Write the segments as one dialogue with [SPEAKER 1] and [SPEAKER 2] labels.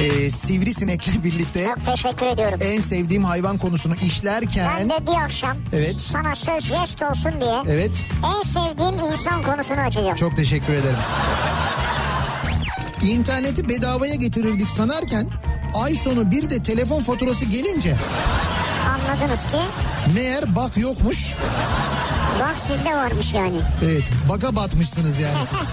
[SPEAKER 1] e, sivrisinekle birlikte
[SPEAKER 2] Çok teşekkür ediyorum.
[SPEAKER 1] en sevdiğim hayvan konusunu
[SPEAKER 2] ben
[SPEAKER 1] işlerken...
[SPEAKER 2] de bir akşam
[SPEAKER 1] Evet.
[SPEAKER 2] sana söz jest olsun diye
[SPEAKER 1] Evet
[SPEAKER 2] en sevdiğim insan konusunu açacağım.
[SPEAKER 1] çok teşekkür ederim. İnterneti bedavaya getirirdik sanarken ay sonu bir de telefon faturası gelince
[SPEAKER 2] Anladınız ki
[SPEAKER 1] meğer bak yokmuş.
[SPEAKER 2] bak sizde varmış yani.
[SPEAKER 1] Evet baka batmışsınız yani siz.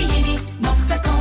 [SPEAKER 3] yeni nokta kom.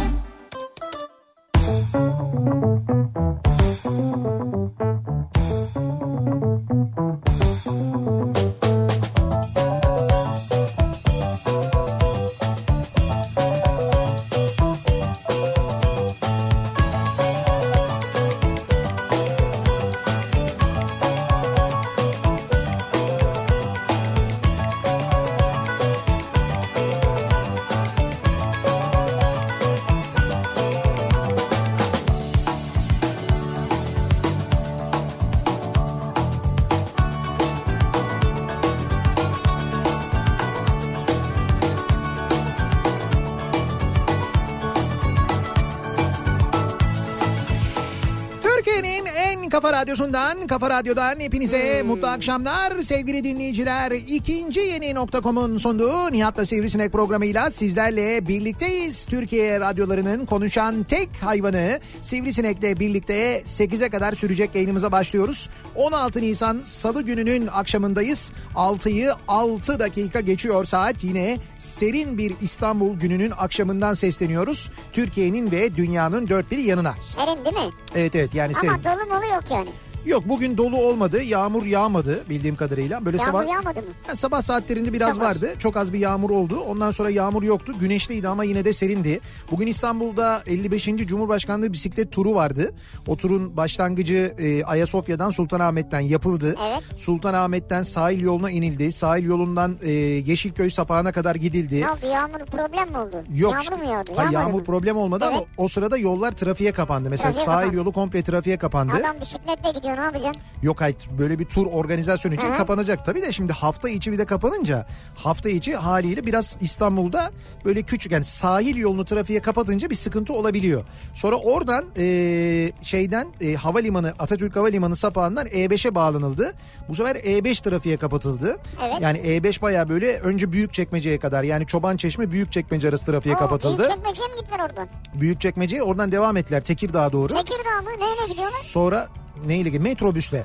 [SPEAKER 1] Türkiye'nin en kafa radyosundan, kafa radyodan hepinize mutlu akşamlar sevgili dinleyiciler. İkinci yeni nokta.com'un sunduğu Nihat'la Sivrisinek programıyla sizlerle birlikteyiz. Türkiye radyolarının konuşan tek hayvanı Sivrisinek'le birlikte 8'e kadar sürecek yayınımıza başlıyoruz. 16 Nisan Salı gününün akşamındayız. 6'yı 6 dakika geçiyor saat yine serin bir İstanbul gününün akşamından sesleniyoruz. Türkiye'nin ve dünyanın dört bir yanına.
[SPEAKER 2] Serin değil mi?
[SPEAKER 1] Evet evet yani serin.
[SPEAKER 2] Ama dolu molu yok yani.
[SPEAKER 1] Yok bugün dolu olmadı. Yağmur yağmadı bildiğim kadarıyla. Böyle
[SPEAKER 2] Yağmur
[SPEAKER 1] sabah
[SPEAKER 2] yağmadı mı?
[SPEAKER 1] Yani sabah saatlerinde biraz
[SPEAKER 2] Çok az.
[SPEAKER 1] vardı. Çok az bir yağmur oldu. Ondan sonra yağmur yoktu. Güneşliydi ama yine de serindi. Bugün İstanbul'da 55. Cumhurbaşkanlığı bisiklet turu vardı. O turun başlangıcı e, Ayasofya'dan Sultanahmet'ten yapıldı.
[SPEAKER 2] Evet.
[SPEAKER 1] Sultanahmet'ten sahil yoluna inildi. Sahil yolundan e, Yeşilköy sapağına kadar gidildi.
[SPEAKER 2] Ne oldu yağmur problem mi oldu?
[SPEAKER 1] Yok
[SPEAKER 2] yağmur
[SPEAKER 1] işte.
[SPEAKER 2] mu yağdı?
[SPEAKER 1] Hayır,
[SPEAKER 2] Yağmadı
[SPEAKER 1] yağmur
[SPEAKER 2] mı?
[SPEAKER 1] problem olmadı ama
[SPEAKER 2] Evet.
[SPEAKER 1] o sırada yollar trafiğe kapandı. Mesela
[SPEAKER 2] Trafiğe
[SPEAKER 1] sahil
[SPEAKER 2] kapandı.
[SPEAKER 1] yolu komple trafiğe kapandı.
[SPEAKER 2] Adam bisikletle gidiyor ne yapacaksın?
[SPEAKER 1] Yok hayır böyle bir tur organizasyonu için
[SPEAKER 2] Hı hı.
[SPEAKER 1] kapanacak tabii de şimdi hafta içi bir de kapanınca hafta içi haliyle biraz İstanbul'da böyle küçük yani sahil yolunu trafiğe kapatınca bir sıkıntı olabiliyor. Sonra oradan eee, şeyden eee, havalimanı Atatürk Havalimanı sapağından E5'e bağlanıldı. Bu sefer E5 trafiğe kapatıldı.
[SPEAKER 2] Evet.
[SPEAKER 1] Yani E5 bayağı böyle önce Büyükçekmece'ye kadar yani Çoban Çeşme Büyükçekmece arası trafiğe kapatıldı.
[SPEAKER 2] Çekmeceye mi gittiler oradan?
[SPEAKER 1] Büyükçekmece'ye oradan devam ettiler Tekirdağ'a doğru.
[SPEAKER 2] Tekirdağ mı? Neyle gidiyorlar?
[SPEAKER 1] Sonra neyle gidiyor? Metrobüsle.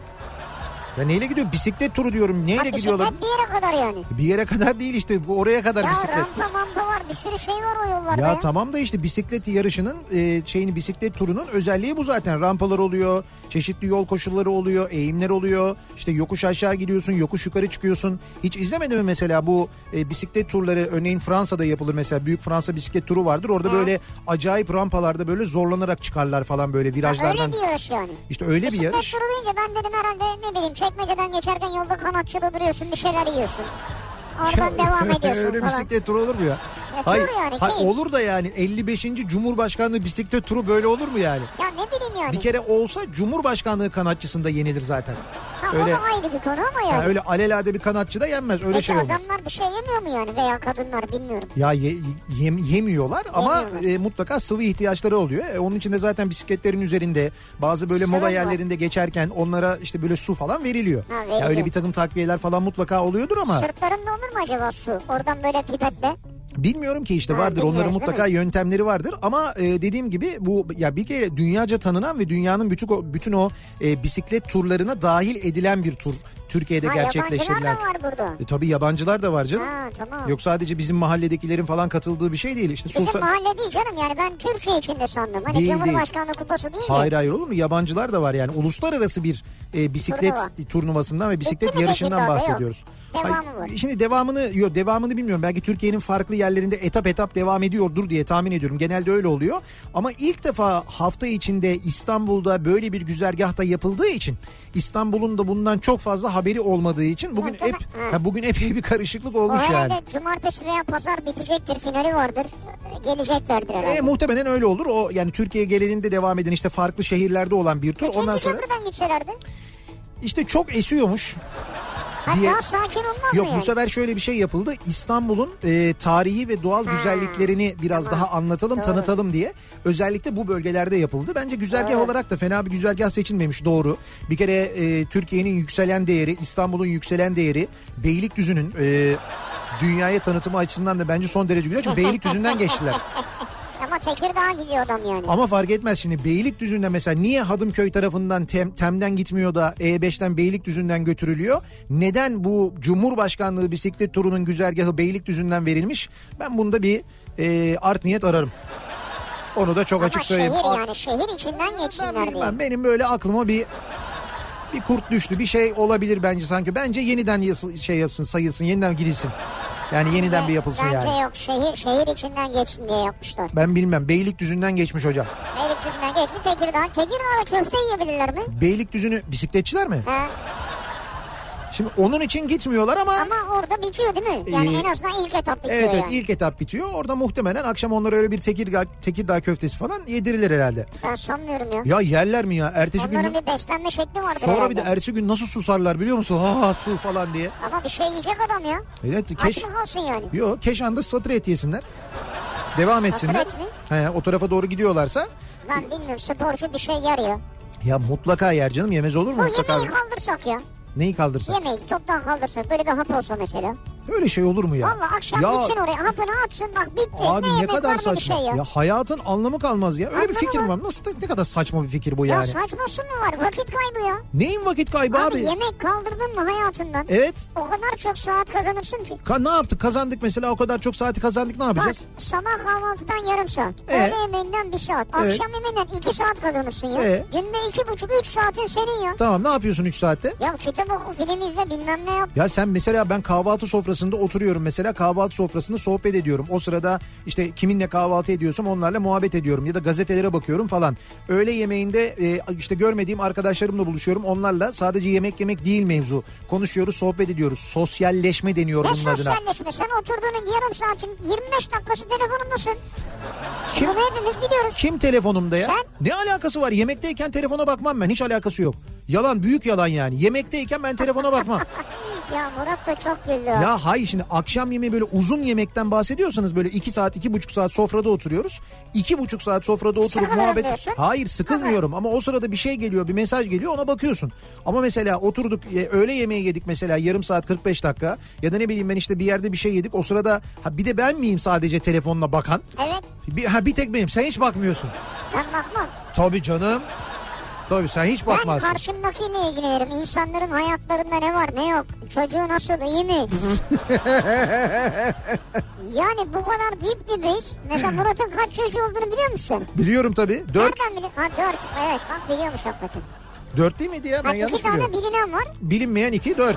[SPEAKER 1] Ya neyle gidiyor? Bisiklet turu diyorum. Neyle
[SPEAKER 2] Ha,
[SPEAKER 1] gidiyorlar?
[SPEAKER 2] bisiklet bir yere kadar yani.
[SPEAKER 1] Bir yere kadar değil işte. Bu oraya kadar
[SPEAKER 2] Ya
[SPEAKER 1] bisiklet.
[SPEAKER 2] rampa mampa var bir sürü şey var o yollarda
[SPEAKER 1] Ya
[SPEAKER 2] ya.
[SPEAKER 1] tamam da işte bisiklet yarışının e, şeyini bisiklet turunun özelliği bu zaten. Rampalar oluyor, çeşitli yol koşulları oluyor, eğimler oluyor. İşte yokuş aşağı gidiyorsun, yokuş yukarı çıkıyorsun. Hiç izlemedin mi mesela bu e, bisiklet turları örneğin Fransa'da yapılır mesela. Büyük Fransa bisiklet turu vardır. Orada böyle acayip rampalarda böyle zorlanarak çıkarlar falan böyle virajlardan.
[SPEAKER 2] Öyle bir yarış yani.
[SPEAKER 1] İşte öyle bir
[SPEAKER 2] Bisiklet
[SPEAKER 1] yarış.
[SPEAKER 2] turu deyince ben dedim herhalde ne bileyim çekmeceden geçerken yolda kanatçıda duruyorsun bir şeyler yiyorsun. Oradan devam ediyorsun
[SPEAKER 1] Öyle
[SPEAKER 2] falan.
[SPEAKER 1] bisiklet turu olur mu ya?
[SPEAKER 2] Ya tur yani,
[SPEAKER 1] hay-
[SPEAKER 2] keyif.
[SPEAKER 1] olur da yani 55. Cumhurbaşkanlığı bisiklet turu böyle olur mu yani?
[SPEAKER 2] Ya ne bileyim yani.
[SPEAKER 1] Bir kere olsa Cumhurbaşkanlığı kanatçısında yenilir zaten.
[SPEAKER 2] ha, o
[SPEAKER 1] öyle-
[SPEAKER 2] da ayrı bir konu ama yani.
[SPEAKER 1] Yani öyle alelade bir kanatçı da yenmez öyle
[SPEAKER 2] Peki
[SPEAKER 1] şey olmaz.
[SPEAKER 2] adamlar bir şey yemiyor mu yani veya kadınlar bilmiyorum.
[SPEAKER 1] Ya ye- yem- yemiyorlar ama
[SPEAKER 2] Yemiyorlar.
[SPEAKER 1] e, mutlaka sıvı ihtiyaçları oluyor. E, onun için de zaten bisikletlerin üzerinde bazı böyle
[SPEAKER 2] Sıvı
[SPEAKER 1] moda
[SPEAKER 2] mı?
[SPEAKER 1] yerlerinde geçerken onlara işte böyle su falan veriliyor.
[SPEAKER 2] Ha, veriliyor.
[SPEAKER 1] ya öyle bir takım takviyeler falan mutlaka oluyordur ama.
[SPEAKER 2] Sırtlarında olur mu acaba su? Oradan böyle pipetle.
[SPEAKER 1] Bilmiyorum ki işte
[SPEAKER 2] Ha,
[SPEAKER 1] vardır
[SPEAKER 2] bilmiyoruz,
[SPEAKER 1] onların
[SPEAKER 2] değil
[SPEAKER 1] mutlaka yöntemleri vardır ama e, dediğim gibi bu ya bir kere dünyaca tanınan ve dünyanın bütün o, bütün o e, bisiklet turlarına dahil edilen bir tur Türkiye'de
[SPEAKER 2] Ha, yabancılar
[SPEAKER 1] gerçekleştirilen.
[SPEAKER 2] da var burada.
[SPEAKER 1] E, tabii yabancılar da var canım.
[SPEAKER 2] Ha E, tamam.
[SPEAKER 1] Yok sadece bizim mahalledekilerin falan katıldığı bir şey değil. İşte
[SPEAKER 2] Bizim
[SPEAKER 1] Sultan
[SPEAKER 2] mahalle değil canım yani ben Türkiye içinde sandım. Hani
[SPEAKER 1] Değil,
[SPEAKER 2] Cumhurbaşkanlığı kupası değil
[SPEAKER 1] Hayır hayır olur mu? Yabancılar da var yani uluslararası bir e, bisiklet
[SPEAKER 2] Turnuva.
[SPEAKER 1] turnuvasından ve bisiklet
[SPEAKER 2] mi Tekirdağ'da?
[SPEAKER 1] yarışından
[SPEAKER 2] Yok.
[SPEAKER 1] bahsediyoruz.
[SPEAKER 2] Devamı
[SPEAKER 1] Ay,
[SPEAKER 2] bu.
[SPEAKER 1] Şimdi devamını yok devamını bilmiyorum. Belki Türkiye'nin farklı yerlerinde etap etap devam ediyordur diye tahmin ediyorum. Genelde öyle oluyor. Ama ilk defa hafta içinde İstanbul'da böyle bir güzergahta yapıldığı için İstanbul'un da bundan çok fazla haberi olmadığı için bugün
[SPEAKER 2] Muhtemel-
[SPEAKER 1] hep ha, bugün epey bir karışıklık olmuş
[SPEAKER 2] o herhalde
[SPEAKER 1] yani.
[SPEAKER 2] cumartesi veya pazar bitecektir. Finali vardır. Geleceklerdir herhalde.
[SPEAKER 1] E, muhtemelen öyle olur. O yani Türkiye genelinde devam eden işte farklı şehirlerde olan bir tur.
[SPEAKER 2] Üçüncü
[SPEAKER 1] Ondan sonra
[SPEAKER 2] köprüden gitselerdi.
[SPEAKER 1] işte çok esiyormuş.
[SPEAKER 2] Ha,
[SPEAKER 1] diye-
[SPEAKER 2] Daha sakin olmaz
[SPEAKER 1] Yok
[SPEAKER 2] mı yani?
[SPEAKER 1] bu sefer şöyle bir şey yapıldı. İstanbul'un e, tarihi ve doğal güzelliklerini biraz daha anlatalım, tanıtalım diye. Özellikle bu bölgelerde yapıldı. Bence güzergah olarak da fena bir güzergah seçilmemiş doğru. Bir kere e, Türkiye'nin yükselen değeri, İstanbul'un yükselen değeri, Beylikdüzü'nün e, dünyaya tanıtımı açısından da bence son derece güzel. Çünkü Beylikdüzü'nden geçtiler.
[SPEAKER 2] Ama Tekirdağ'a gidiyor adam yani.
[SPEAKER 1] Ama fark etmez şimdi Beylikdüzü'nde mesela niye Hadımköy tarafından Tem, Tem'den gitmiyor da E5'ten Beylikdüzü'nden götürülüyor? Neden bu Cumhurbaşkanlığı bisiklet turunun güzergahı Beylikdüzü'nden verilmiş? Ben bunda bir e, art niyet ararım. Onu da çok
[SPEAKER 2] Ama
[SPEAKER 1] açık
[SPEAKER 2] şehir
[SPEAKER 1] söyleyeyim. Art-
[SPEAKER 2] yani şehir içinden
[SPEAKER 1] ben
[SPEAKER 2] geçsinler diye.
[SPEAKER 1] bilmem, benim böyle aklıma bir bir kurt düştü. Bir şey olabilir bence sanki. Bence yeniden yası- şey yapsın, sayılsın, yeniden gidilsin. Yani yeniden bir yapılsın
[SPEAKER 2] Bence
[SPEAKER 1] yani.
[SPEAKER 2] yok şehir şehir içinden geçsin diye yapmışlar.
[SPEAKER 1] Ben bilmem. Beylikdüzü'nden geçmiş hocam.
[SPEAKER 2] Beylikdüzü'nden geçti Tekirdağ. Tekirdağ'da köfte yiyebilirler mi?
[SPEAKER 1] Beylikdüzü'nü bisikletçiler mi?
[SPEAKER 2] Ha.
[SPEAKER 1] Şimdi onun için gitmiyorlar ama,
[SPEAKER 2] Ama orada bitiyor değil mi? Yani
[SPEAKER 1] Ee,
[SPEAKER 2] en azından ilk etap bitiyor
[SPEAKER 1] evet, evet
[SPEAKER 2] yani.
[SPEAKER 1] ilk etap bitiyor. Orada muhtemelen akşam onlara öyle bir Tekirdağ, Tekirdağ köftesi falan yedirilir herhalde.
[SPEAKER 2] Ben sanmıyorum ya.
[SPEAKER 1] Ya yerler mi ya? Ertesi gün
[SPEAKER 2] Onların bir beslenme şekli vardır
[SPEAKER 1] sonra
[SPEAKER 2] herhalde.
[SPEAKER 1] bir de ertesi gün nasıl susarlar biliyor musun? Ha su falan diye.
[SPEAKER 2] Ama bir şey yiyecek adam ya.
[SPEAKER 1] Evet,
[SPEAKER 2] Aç
[SPEAKER 1] keş...
[SPEAKER 2] mı kalsın yani?
[SPEAKER 1] Yo, Keşan'da satır et yesinler. Devam etsinler.
[SPEAKER 2] et mi?
[SPEAKER 1] He, o tarafa doğru gidiyorlarsa
[SPEAKER 2] Ben bilmiyorum sporcu bir şey yarıyor.
[SPEAKER 1] ya mutlaka yer canım yemez olur mu?
[SPEAKER 2] Bu
[SPEAKER 1] Mutlaka-
[SPEAKER 2] yemeği kaldırsak ya.
[SPEAKER 1] Neyi kaldırsa?
[SPEAKER 2] Yemeği toptan kaldırsak böyle bir hap olsa mesela.
[SPEAKER 1] Öyle şey olur mu ya?
[SPEAKER 2] Valla akşam
[SPEAKER 1] Ya-
[SPEAKER 2] gitsin oraya hapını atsın bak bitti.
[SPEAKER 1] Abi ne,
[SPEAKER 2] yemek var
[SPEAKER 1] kadar
[SPEAKER 2] ne bir
[SPEAKER 1] saçma.
[SPEAKER 2] şey
[SPEAKER 1] ya.
[SPEAKER 2] yok.
[SPEAKER 1] hayatın anlamı kalmaz ya. Öyle
[SPEAKER 2] Anlamı
[SPEAKER 1] bir fikir mi
[SPEAKER 2] var.
[SPEAKER 1] var? Nasıl ne kadar saçma bir fikir bu
[SPEAKER 2] Ya,
[SPEAKER 1] yani?
[SPEAKER 2] saçması mı var vakit kaybı ya.
[SPEAKER 1] Neyin vakit kaybı abi? E-
[SPEAKER 2] Abi, yemek kaldırdın mı hayatından?
[SPEAKER 1] Evet.
[SPEAKER 2] O kadar çok saat kazanırsın ki.
[SPEAKER 1] Ka- ne yaptık? Kazandık mesela o kadar çok saati kazandık ne
[SPEAKER 2] Bak
[SPEAKER 1] yapacağız?
[SPEAKER 2] sabah kahvaltıdan yarım saat.
[SPEAKER 1] Ee?
[SPEAKER 2] Öğle yemeğinden bir saat. Akşam yemeğinden iki saat kazanırsın ya.
[SPEAKER 1] Ee?
[SPEAKER 2] Günde iki buçuk üç saatin senin ya.
[SPEAKER 1] Tamam ne yapıyorsun 3 saatte?
[SPEAKER 2] Ya kitap oku film izle bilmem ne yap.
[SPEAKER 1] Ya sen mesela ben kahvaltı sofrasında oturuyorum mesela kahvaltı sofrasında sohbet ediyorum. O sırada işte kiminle kahvaltı ediyorsam onlarla muhabbet ediyorum ya da gazetelere bakıyorum falan. Öğle yemeğinde e, işte görmediğim arkadaşlarımla buluşuyorum. Onlarla sadece yemek yemek değil mevzu. Konuşuyoruz, sohbet ediyoruz. Sosyalleşme deniyor
[SPEAKER 2] Ne
[SPEAKER 1] bunun adına.
[SPEAKER 2] sosyalleşme sen oturduğunun yarım saatin 25 dakikası telefonundasın.
[SPEAKER 1] Kim-
[SPEAKER 2] Bunu hepimiz biliyoruz.
[SPEAKER 1] Kim telefonumda ya?
[SPEAKER 2] Sen?
[SPEAKER 1] Ne alakası var? Yemekteyken telefona bakmam ben. Hiç alakası yok. Yalan büyük yalan yani. Yemekteyken ben telefona bakmam.
[SPEAKER 2] Ya Murat da çok güldü. o.
[SPEAKER 1] ya hayır şimdi akşam yemeği böyle uzun yemekten bahsediyorsanız böyle iki saat iki buçuk saat sofrada oturuyoruz. iki buçuk saat sofrada oturup
[SPEAKER 2] Sıkılırım
[SPEAKER 1] muhabbet...
[SPEAKER 2] diyorsun.
[SPEAKER 1] Hayır sıkılmıyorum ama o sırada bir şey geliyor bir mesaj geliyor ona bakıyorsun. Ama mesela oturduk e, öğle yemeği yedik mesela yarım saat 45 dakika ya da ne bileyim ben işte bir yerde bir şey yedik. O sırada ha, bir de ben miyim sadece telefonla bakan?
[SPEAKER 2] Evet
[SPEAKER 1] Bir, ha, bir tek benim sen hiç bakmıyorsun.
[SPEAKER 2] ben bakmam.
[SPEAKER 1] Tabii canım. Tabii sen hiç
[SPEAKER 2] Ben
[SPEAKER 1] bakmazsın.
[SPEAKER 2] karşımdakiyle ilgilenirim. İnsanların hayatlarında ne var ne yok. Çocuğu nasıl iyi mi? yani bu kadar dip dibiz. Mesela Murat'ın kaç çocuğu olduğunu biliyor musun?
[SPEAKER 1] Biliyorum tabii. Dört.
[SPEAKER 2] Nereden bili- Ha dört. Evet bak biliyormuş hakikaten.
[SPEAKER 1] Dört değil miydi ya? Ben
[SPEAKER 2] Ha, iki
[SPEAKER 1] yanlış
[SPEAKER 2] tane
[SPEAKER 1] biliyorum.
[SPEAKER 2] bilinen var.
[SPEAKER 1] Bilinmeyen iki, dört.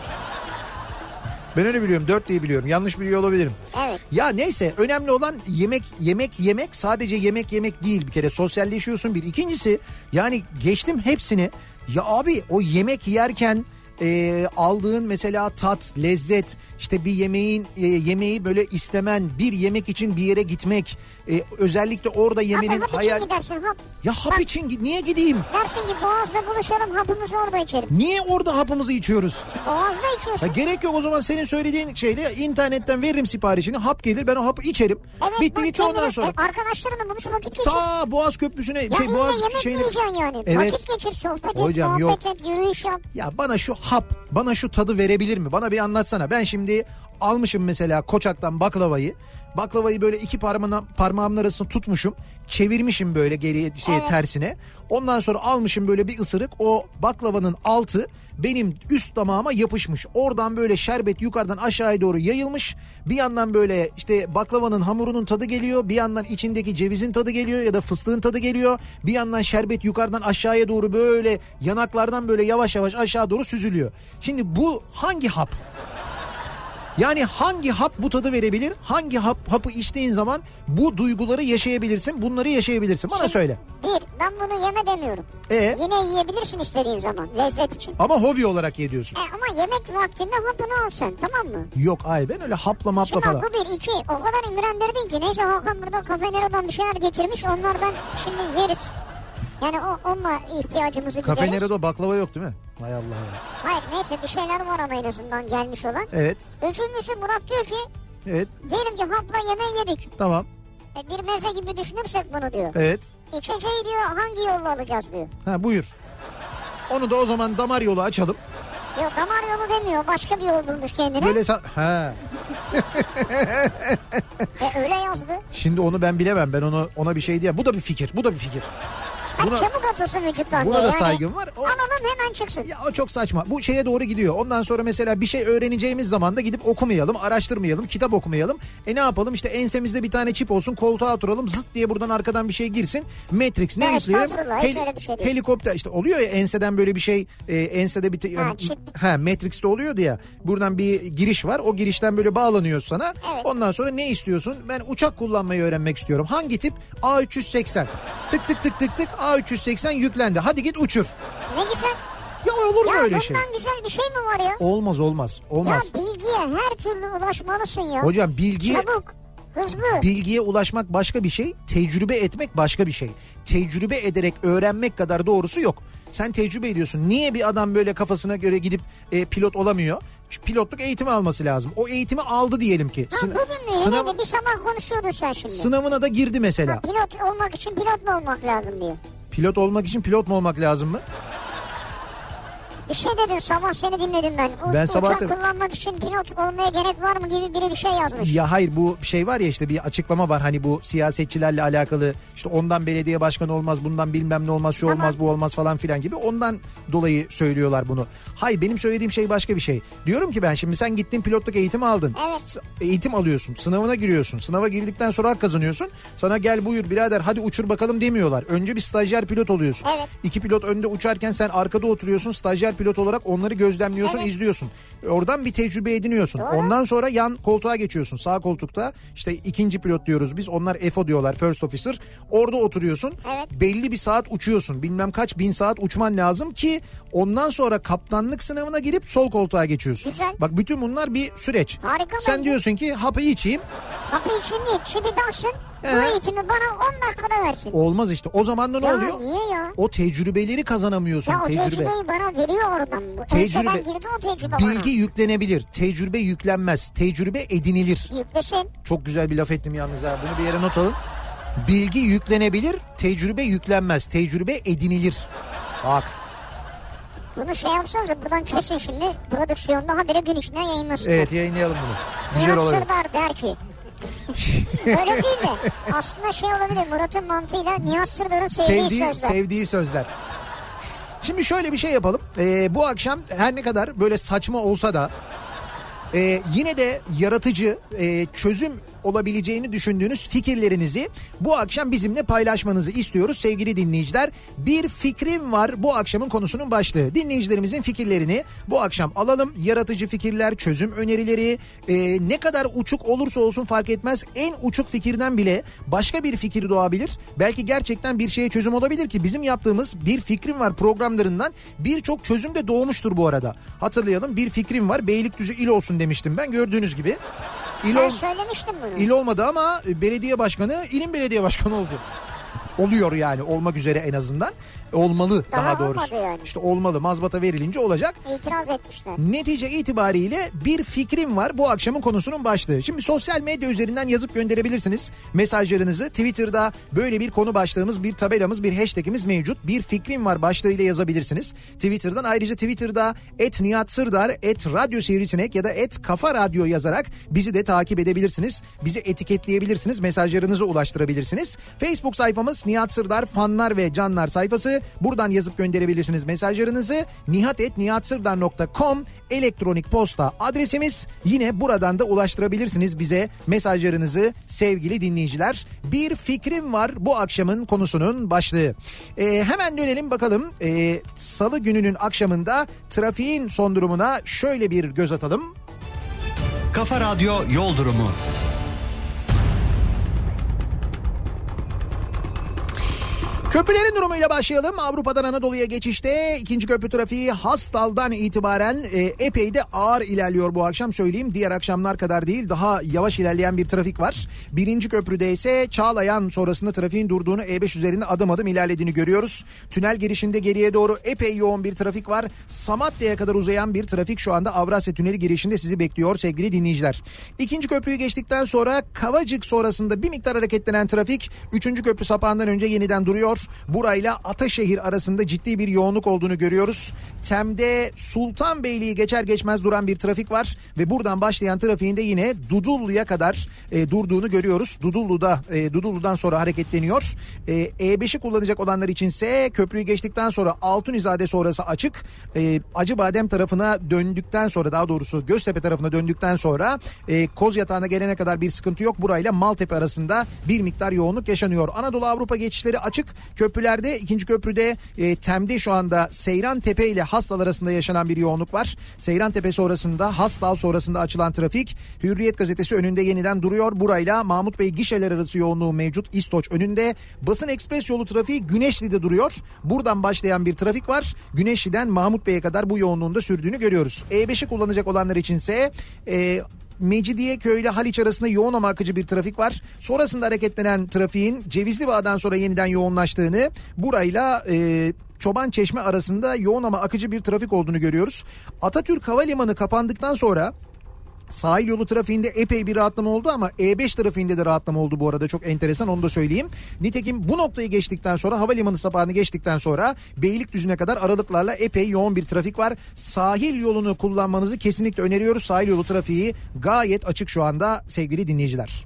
[SPEAKER 1] Ben öyle biliyorum. Dört diye biliyorum. Yanlış biliyor olabilirim.
[SPEAKER 2] Evet.
[SPEAKER 1] Ya neyse önemli olan yemek yemek yemek sadece yemek yemek değil bir kere sosyalleşiyorsun bir. İkincisi yani geçtim hepsini ya abi o yemek yerken e, aldığın mesela tat, lezzet, işte bir yemeğin e, yemeği böyle istemen, bir yemek için bir yere gitmek, e, özellikle orada yemenin
[SPEAKER 2] Hap, hap
[SPEAKER 1] hayal
[SPEAKER 2] için gidersin hap.
[SPEAKER 1] ya hap için gi- niye gideyim?
[SPEAKER 2] Dersin ki Boğaz'da buluşalım hapımızı orada içelim.
[SPEAKER 1] Niye orada hapımızı içiyoruz?
[SPEAKER 2] Boğaz'da
[SPEAKER 1] Ya
[SPEAKER 2] içiyorsun.
[SPEAKER 1] gerek yok o zaman senin söylediğin şeyle internetten veririm siparişini hap gelir ben o hapı içerim.
[SPEAKER 2] Evet
[SPEAKER 1] bitti
[SPEAKER 2] bak
[SPEAKER 1] bitti ondan
[SPEAKER 2] kendine-
[SPEAKER 1] sonra.
[SPEAKER 2] e, Arkadaşlarınla buluş vakit geçir.
[SPEAKER 1] Ta Boğaz Köprüsü'ne
[SPEAKER 2] ya
[SPEAKER 1] şey
[SPEAKER 2] illa
[SPEAKER 1] Boğaz
[SPEAKER 2] yemek
[SPEAKER 1] şeyine-
[SPEAKER 2] yiyeceksin yani.
[SPEAKER 1] Evet.
[SPEAKER 2] Vakit geçir sohbet et,
[SPEAKER 1] Hocam, yok.
[SPEAKER 2] muhabbet et, yürüyüş yap.
[SPEAKER 1] Ya bana şu hap, bana şu tadı verebilir mi? Bana bir anlatsana. Ben şimdi almışım mesela Koçak'tan baklavayı. Baklavayı böyle iki parmağına, parmağımın arasını tutmuşum. Çevirmişim böyle geriye şey tersine. Ondan sonra almışım böyle bir ısırık. O baklavanın altı benim üst damağıma yapışmış. Oradan böyle şerbet yukarıdan aşağıya doğru yayılmış. Bir yandan böyle işte baklavanın hamurunun tadı geliyor. Bir yandan içindeki cevizin tadı geliyor ya da fıstığın tadı geliyor. Bir yandan şerbet yukarıdan aşağıya doğru böyle yanaklardan böyle yavaş yavaş aşağı doğru süzülüyor. Şimdi bu hangi hap? Yani hangi hap bu tadı verebilir? Hangi hap hapı içtiğin zaman bu duyguları yaşayabilirsin, bunları yaşayabilirsin. Bana
[SPEAKER 2] Şimdi
[SPEAKER 1] söyle.
[SPEAKER 2] Bir, ben bunu yeme demiyorum.
[SPEAKER 1] Ee?
[SPEAKER 2] Yine yiyebilirsin istediğin zaman lezzet için.
[SPEAKER 1] Ama hobi olarak ye diyorsun.
[SPEAKER 2] E, ama yemek vaktinde hapını al sen tamam mı?
[SPEAKER 1] Yok ay ben öyle hapla mapla
[SPEAKER 2] Şimdi
[SPEAKER 1] falan.
[SPEAKER 2] bu bir, iki. O kadar imrendirdin ki. Neyse Hakan burada Kafenero'dan bir şeyler getirmiş. Onlardan şimdi yeriz. Yani o, onunla ihtiyacımızı
[SPEAKER 1] Kafe
[SPEAKER 2] gideriz.
[SPEAKER 1] Nero'da baklava yok değil mi? Hay Allah. ya.
[SPEAKER 2] Hayır neyse bir şeyler var ama en azından gelmiş olan.
[SPEAKER 1] Evet.
[SPEAKER 2] Üçüncüsü Murat diyor ki
[SPEAKER 1] Evet.
[SPEAKER 2] diyelim ki hapla yemeği yedik.
[SPEAKER 1] Tamam.
[SPEAKER 2] E, bir meze gibi düşünürsek bunu diyor.
[SPEAKER 1] Evet.
[SPEAKER 2] İçeceği diyor hangi yolla alacağız diyor.
[SPEAKER 1] Ha buyur. Onu da o zaman damar yolu açalım.
[SPEAKER 2] Yok damar yolu demiyor başka bir yol bulmuş kendine.
[SPEAKER 1] Böyle sa- ha.
[SPEAKER 2] E, öyle yazdı.
[SPEAKER 1] Şimdi onu ben bilemem. Ben onu ona bir şey diyemem. Bu da bir fikir. Bu da bir fikir.
[SPEAKER 2] Hani
[SPEAKER 1] Buna-
[SPEAKER 2] çabuk atılsın vücuttan
[SPEAKER 1] Buna
[SPEAKER 2] diyor.
[SPEAKER 1] da saygım var. O-
[SPEAKER 2] Alalım hemen çıksın.
[SPEAKER 1] Ya o çok saçma. Bu şeye doğru gidiyor. Ondan sonra mesela bir şey öğreneceğimiz zaman da gidip okumayalım, araştırmayalım, kitap okumayalım. E ne yapalım? İşte ensemizde bir tane çip olsun, koltuğa oturalım, zıt diye buradan arkadan bir şey girsin. Matrix ne
[SPEAKER 2] Ya
[SPEAKER 1] istiyorum?
[SPEAKER 2] estağfurullah, hiç öyle bir şey değil.
[SPEAKER 1] Helikopter işte oluyor ya enseden böyle bir şey, e, ensede bir te-
[SPEAKER 2] Ha, çip.
[SPEAKER 1] ha Matrix'te oluyordu ya. Buradan bir giriş var. O girişten böyle bağlanıyor sana.
[SPEAKER 2] Evet.
[SPEAKER 1] Ondan sonra ne istiyorsun? Ben uçak kullanmayı öğrenmek istiyorum. Hangi tip? A380. Tık tık tık tık tık A380 yüklendi. Hadi git uçur.
[SPEAKER 2] Ne güzel.
[SPEAKER 1] Ya olur mu
[SPEAKER 2] Ya
[SPEAKER 1] öyle
[SPEAKER 2] bundan
[SPEAKER 1] şey?
[SPEAKER 2] güzel bir şey mi var ya?
[SPEAKER 1] Olmaz olmaz
[SPEAKER 2] Ya
[SPEAKER 1] olmaz.
[SPEAKER 2] bilgiye her türlü ulaşmalısın ya.
[SPEAKER 1] Hocam bilgi
[SPEAKER 2] Çabuk, hızlı.
[SPEAKER 1] bilgiye ulaşmak başka bir şey, tecrübe etmek başka bir şey. Tecrübe ederek öğrenmek kadar doğrusu yok. Sen tecrübe ediyorsun. Niye bir adam böyle kafasına göre gidip e, pilot olamıyor? Çünkü pilotluk eğitimi alması lazım. O eğitimi aldı diyelim ki.
[SPEAKER 2] ha
[SPEAKER 1] Sın-
[SPEAKER 2] bugün mü?
[SPEAKER 1] sınav-
[SPEAKER 2] Yine de bir sabah konuşuyordun sen şimdi.
[SPEAKER 1] sınavına da girdi mesela.
[SPEAKER 2] Pilot olmak için pilot mu olmak lazım diyor.
[SPEAKER 1] Pilot olmak için pilot mu olmak lazım mı?
[SPEAKER 2] Bir şey dedin sabah seni dinledim ben. U-
[SPEAKER 1] Ben sabah
[SPEAKER 2] Uçak
[SPEAKER 1] dedim.
[SPEAKER 2] kullanmak için pilot olmaya gerek var mı gibi biri bir şey yazmış.
[SPEAKER 1] Ya hayır bu şey var ya işte bir açıklama var hani bu siyasetçilerle alakalı işte ondan belediye başkanı olmaz bundan bilmem ne olmaz şu
[SPEAKER 2] Tamam.
[SPEAKER 1] olmaz bu olmaz falan filan gibi ondan dolayı söylüyorlar bunu. Hayır benim söylediğim şey başka bir şey. Diyorum ki ben şimdi sen gittin pilotluk eğitimi aldın.
[SPEAKER 2] Evet.
[SPEAKER 1] S- Eğitim alıyorsun sınavına giriyorsun sınava girdikten sonra hak kazanıyorsun. Sana gel buyur birader hadi uçur bakalım demiyorlar. Önce bir stajyer pilot oluyorsun.
[SPEAKER 2] Evet.
[SPEAKER 1] İki pilot önde uçarken sen arkada oturuyorsun stajyer pilot olarak onları gözlemliyorsun
[SPEAKER 2] Evet.
[SPEAKER 1] izliyorsun. Oradan bir tecrübe ediniyorsun. Ondan sonra yan koltuğa geçiyorsun. Sağ koltukta işte ikinci pilot diyoruz biz. Onlar FO diyorlar first officer. Orada oturuyorsun.
[SPEAKER 2] Evet.
[SPEAKER 1] Belli bir saat uçuyorsun. Bilmem kaç bin saat uçman lazım ki ondan sonra kaptanlık sınavına girip sol koltuğa geçiyorsun.
[SPEAKER 2] Güzel.
[SPEAKER 1] Bak bütün bunlar bir süreç.
[SPEAKER 2] Harika
[SPEAKER 1] Sen
[SPEAKER 2] bence.
[SPEAKER 1] diyorsun ki hapı içeyim.
[SPEAKER 2] Kapı için değil çibi taksın. Bu
[SPEAKER 1] Ee?
[SPEAKER 2] eğitimi bana 10 dakikada versin.
[SPEAKER 1] Olmaz işte. O zaman da ne
[SPEAKER 2] Ya
[SPEAKER 1] oluyor?
[SPEAKER 2] niye ya?
[SPEAKER 1] O tecrübeleri kazanamıyorsun.
[SPEAKER 2] Ya o
[SPEAKER 1] tecrübe.
[SPEAKER 2] tecrübeyi bana veriyor oradan. Bu
[SPEAKER 1] Tecrübe-
[SPEAKER 2] Enseden girdi o tecrübe
[SPEAKER 1] Bilgi yüklenebilir. Tecrübe yüklenmez. Tecrübe edinilir.
[SPEAKER 2] bana. Yüklesin.
[SPEAKER 1] Çok güzel bir laf ettim yalnız ha. Bunu bir yere not alın. Bilgi yüklenebilir, tecrübe yüklenmez. Tecrübe edinilir. Bak
[SPEAKER 2] Bunu şey yapsanız buradan kesin şimdi prodüksiyonda haberi gün içinde yayınlasınlar.
[SPEAKER 1] evet yayınlayalım bunu. Güzel
[SPEAKER 2] Murat
[SPEAKER 1] olabilir.
[SPEAKER 2] Sırdar der ki. Öyle değil de aslında şey olabilir Murat'ın mantığıyla Nihat Sırdar'ın sevdiği
[SPEAKER 1] sevdiği,
[SPEAKER 2] sözler.
[SPEAKER 1] sevdiği sözler. Şimdi şöyle bir şey yapalım. Ee, bu akşam her ne kadar böyle saçma olsa da e, yine de yaratıcı e, çözüm olabileceğini düşündüğünüz fikirlerinizi bu akşam bizimle paylaşmanızı istiyoruz sevgili dinleyiciler. Bir fikrim var bu akşamın konusunun başlığı. Dinleyicilerimizin fikirlerini bu akşam alalım. Yaratıcı fikirler, çözüm önerileri e, ne kadar uçuk olursa olsun fark etmez. En uçuk fikirden bile başka bir fikir doğabilir. Belki gerçekten bir şeye çözüm olabilir ki bizim yaptığımız bir fikrim var programlarından birçok çözüm de doğmuştur bu arada. Hatırlayalım bir fikrim var Beylikdüzü il olsun demiştim ben gördüğünüz gibi. İl,
[SPEAKER 2] Sen
[SPEAKER 1] ol-
[SPEAKER 2] söylemiştin bunu.
[SPEAKER 1] il olmadı ama e, belediye başkanı ilin belediye başkanı oldu. Oluyor yani olmak üzere en azından. Olmalı daha,
[SPEAKER 2] Daha
[SPEAKER 1] doğrusu.
[SPEAKER 2] olmadı yani.
[SPEAKER 1] İşte olmalı mazbata verilince olacak.
[SPEAKER 2] İtiraz etmişler.
[SPEAKER 1] Netice itibariyle bir fikrim var bu akşamın konusunun başlığı. Şimdi sosyal medya üzerinden yazıp gönderebilirsiniz mesajlarınızı. Twitter'da böyle bir konu başlığımız, bir tabelamız, bir hashtagimiz mevcut. Bir fikrim var başlığıyla yazabilirsiniz. Twitter'dan ayrıca Twitter'da et Nihat Sırdar, et Radyo Sivrisinek ya da et Kafa Radyo yazarak bizi de takip edebilirsiniz. Bizi etiketleyebilirsiniz, mesajlarınızı ulaştırabilirsiniz. Facebook sayfamız Nihat Sırdar fanlar ve canlar sayfası. Buradan yazıp gönderebilirsiniz mesajlarınızı. nihat.nihatsırdar.com elektronik posta adresimiz. Yine buradan da ulaştırabilirsiniz bize mesajlarınızı sevgili dinleyiciler. Bir fikrim var bu akşamın konusunun başlığı. Ee, hemen dönelim bakalım ee, salı gününün akşamında trafiğin son durumuna şöyle bir göz atalım.
[SPEAKER 4] Kafa Radyo Yol Durumu.
[SPEAKER 1] Köprülerin durumuyla başlayalım. Avrupa'dan Anadolu'ya geçişte ikinci köprü trafiği Hastal'dan itibaren e, epey de ağır ilerliyor bu akşam söyleyeyim. Diğer akşamlar kadar değil daha yavaş ilerleyen bir trafik var. Birinci köprüde ise Çağlayan sonrasında trafiğin durduğunu E5 üzerinde adım adım ilerlediğini görüyoruz. Tünel girişinde geriye doğru epey yoğun bir trafik var. Samatya'ya kadar uzayan bir trafik şu anda Avrasya Tüneli girişinde sizi bekliyor sevgili dinleyiciler. İkinci köprüyü geçtikten sonra Kavacık sonrasında bir miktar hareketlenen trafik 3. köprü sapağından önce yeniden duruyor. Burayla Ataşehir arasında ciddi bir yoğunluk olduğunu görüyoruz. Tem'de Sultanbeyli'yi geçer geçmez duran bir trafik var ve buradan başlayan trafiğin de yine Dudullu'ya kadar e, durduğunu görüyoruz. Dudullu'da e, Dudullu'dan sonra hareketleniyor. E, E5'i kullanacak olanlar içinse köprüyü geçtikten sonra Altunizade sonrası açık. E, Acıbadem tarafına döndükten sonra daha doğrusu Göztepe tarafına döndükten sonra e, Koz yatağına gelene kadar bir sıkıntı yok. Burayla Maltepe arasında bir miktar yoğunluk yaşanıyor. Anadolu Avrupa geçişleri açık. Köprülerde ikinci köprüde e, Tem'de şu anda Seyran Tepe ile Hastal arasında yaşanan bir yoğunluk var. Seyran Tepe sonrasında Hastal sonrasında açılan trafik Hürriyet gazetesi önünde yeniden duruyor. Burayla Mahmut Bey gişeler arası yoğunluğu mevcut. İstoç önünde basın ekspres yolu trafiği Güneşli'de duruyor. Buradan başlayan bir trafik var. Güneşli'den Mahmut Bey'e kadar bu yoğunluğunda sürdüğünü görüyoruz. E5'i kullanacak olanlar içinse e, Mecidiyeköy ile Haliç arasında yoğun ama akıcı bir trafik var. Sonrasında hareketlenen trafiğin Cevizli Bağ'dan sonra yeniden yoğunlaştığını burayla e, Çoban Çeşme arasında yoğun ama akıcı bir trafik olduğunu görüyoruz. Atatürk Havalimanı kapandıktan sonra Sahil yolu trafiğinde epey bir rahatlama oldu ama E5 trafiğinde de rahatlama oldu bu arada çok enteresan onu da söyleyeyim. Nitekim bu noktayı geçtikten sonra havalimanı sapağını geçtikten sonra Beylikdüzü'ne kadar aralıklarla epey yoğun bir trafik var. Sahil yolunu kullanmanızı kesinlikle öneriyoruz. Sahil yolu trafiği gayet açık şu anda sevgili dinleyiciler.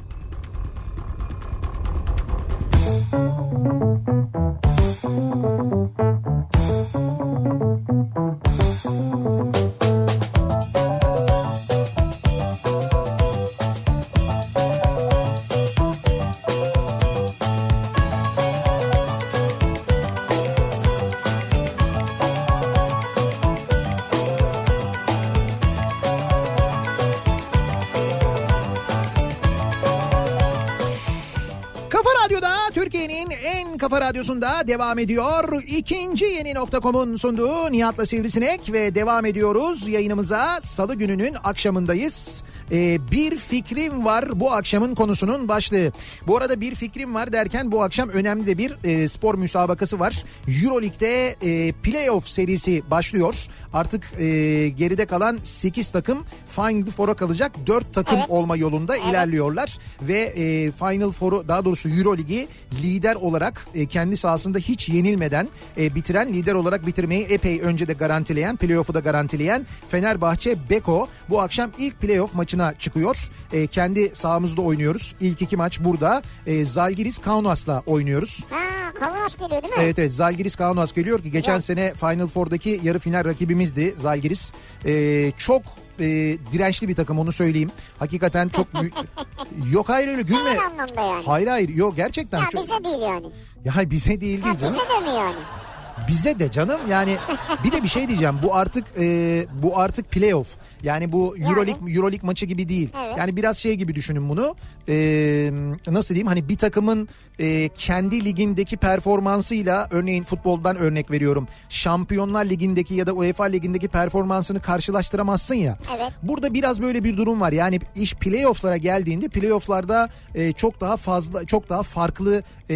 [SPEAKER 1] Kafa Radyo'da Türkiye'nin en kafa radyosunda devam ediyor. İkinci yeni nokta.com'un sunduğu Nihat'la Sivrisinek ve devam ediyoruz yayınımıza. Salı gününün akşamındayız. Ee, bir fikrim var bu akşamın konusunun başlığı. Bu arada bir fikrim var derken bu akşam önemli de bir e, spor müsabakası var. Euroleague'de e, playoff serisi başlıyor. Artık e, geride kalan 8 takım Final Four'a kalacak 4 takım
[SPEAKER 2] Evet.
[SPEAKER 1] olma yolunda ilerliyorlar ve e, Final Four'u daha doğrusu Euro Ligi lider olarak e, kendi sahasında hiç yenilmeden e, bitiren lider olarak bitirmeyi epey önce de garantileyen playoff'u da garantileyen Fenerbahçe Beko bu akşam ilk playoff maçına çıkıyor. E, kendi sahamızda oynuyoruz. İlk iki maç burada. E, Zalgiris Kaunas'la oynuyoruz.
[SPEAKER 2] Ha Kavanos geliyor değil mi?
[SPEAKER 1] Evet evet Zalgiris Kaunas geliyor ki geçen
[SPEAKER 2] Ya.
[SPEAKER 1] sene Final Four'daki yarı final rakibimizdi Zalgiris. Ee, çok e, dirençli bir takım onu söyleyeyim. Hakikaten çok büyük. yok hayır öyle gülme.
[SPEAKER 2] Aynı anlamda yani.
[SPEAKER 1] Hayır hayır yok gerçekten
[SPEAKER 2] Ya
[SPEAKER 1] çok.
[SPEAKER 2] bize değil yani.
[SPEAKER 1] Ya bize değil değil
[SPEAKER 2] Ya
[SPEAKER 1] canım.
[SPEAKER 2] bize de mi yani?
[SPEAKER 1] Bize de canım yani bir de bir şey diyeceğim bu artık e, bu artık playoff. Yani bu
[SPEAKER 2] Yani.
[SPEAKER 1] Euroleague Euroleague maçı gibi değil.
[SPEAKER 2] Evet.
[SPEAKER 1] Yani biraz şey gibi düşünün bunu. E, nasıl diyeyim hani bir takımın e, kendi ligindeki performansıyla örneğin futboldan örnek veriyorum. Şampiyonlar Ligi'ndeki ya da UEFA Ligi'ndeki performansını karşılaştıramazsın ya.
[SPEAKER 2] Evet.
[SPEAKER 1] Burada biraz böyle bir durum var. Yani iş playoff'lara geldiğinde playoff'larda e, çok daha fazla çok daha farklı e,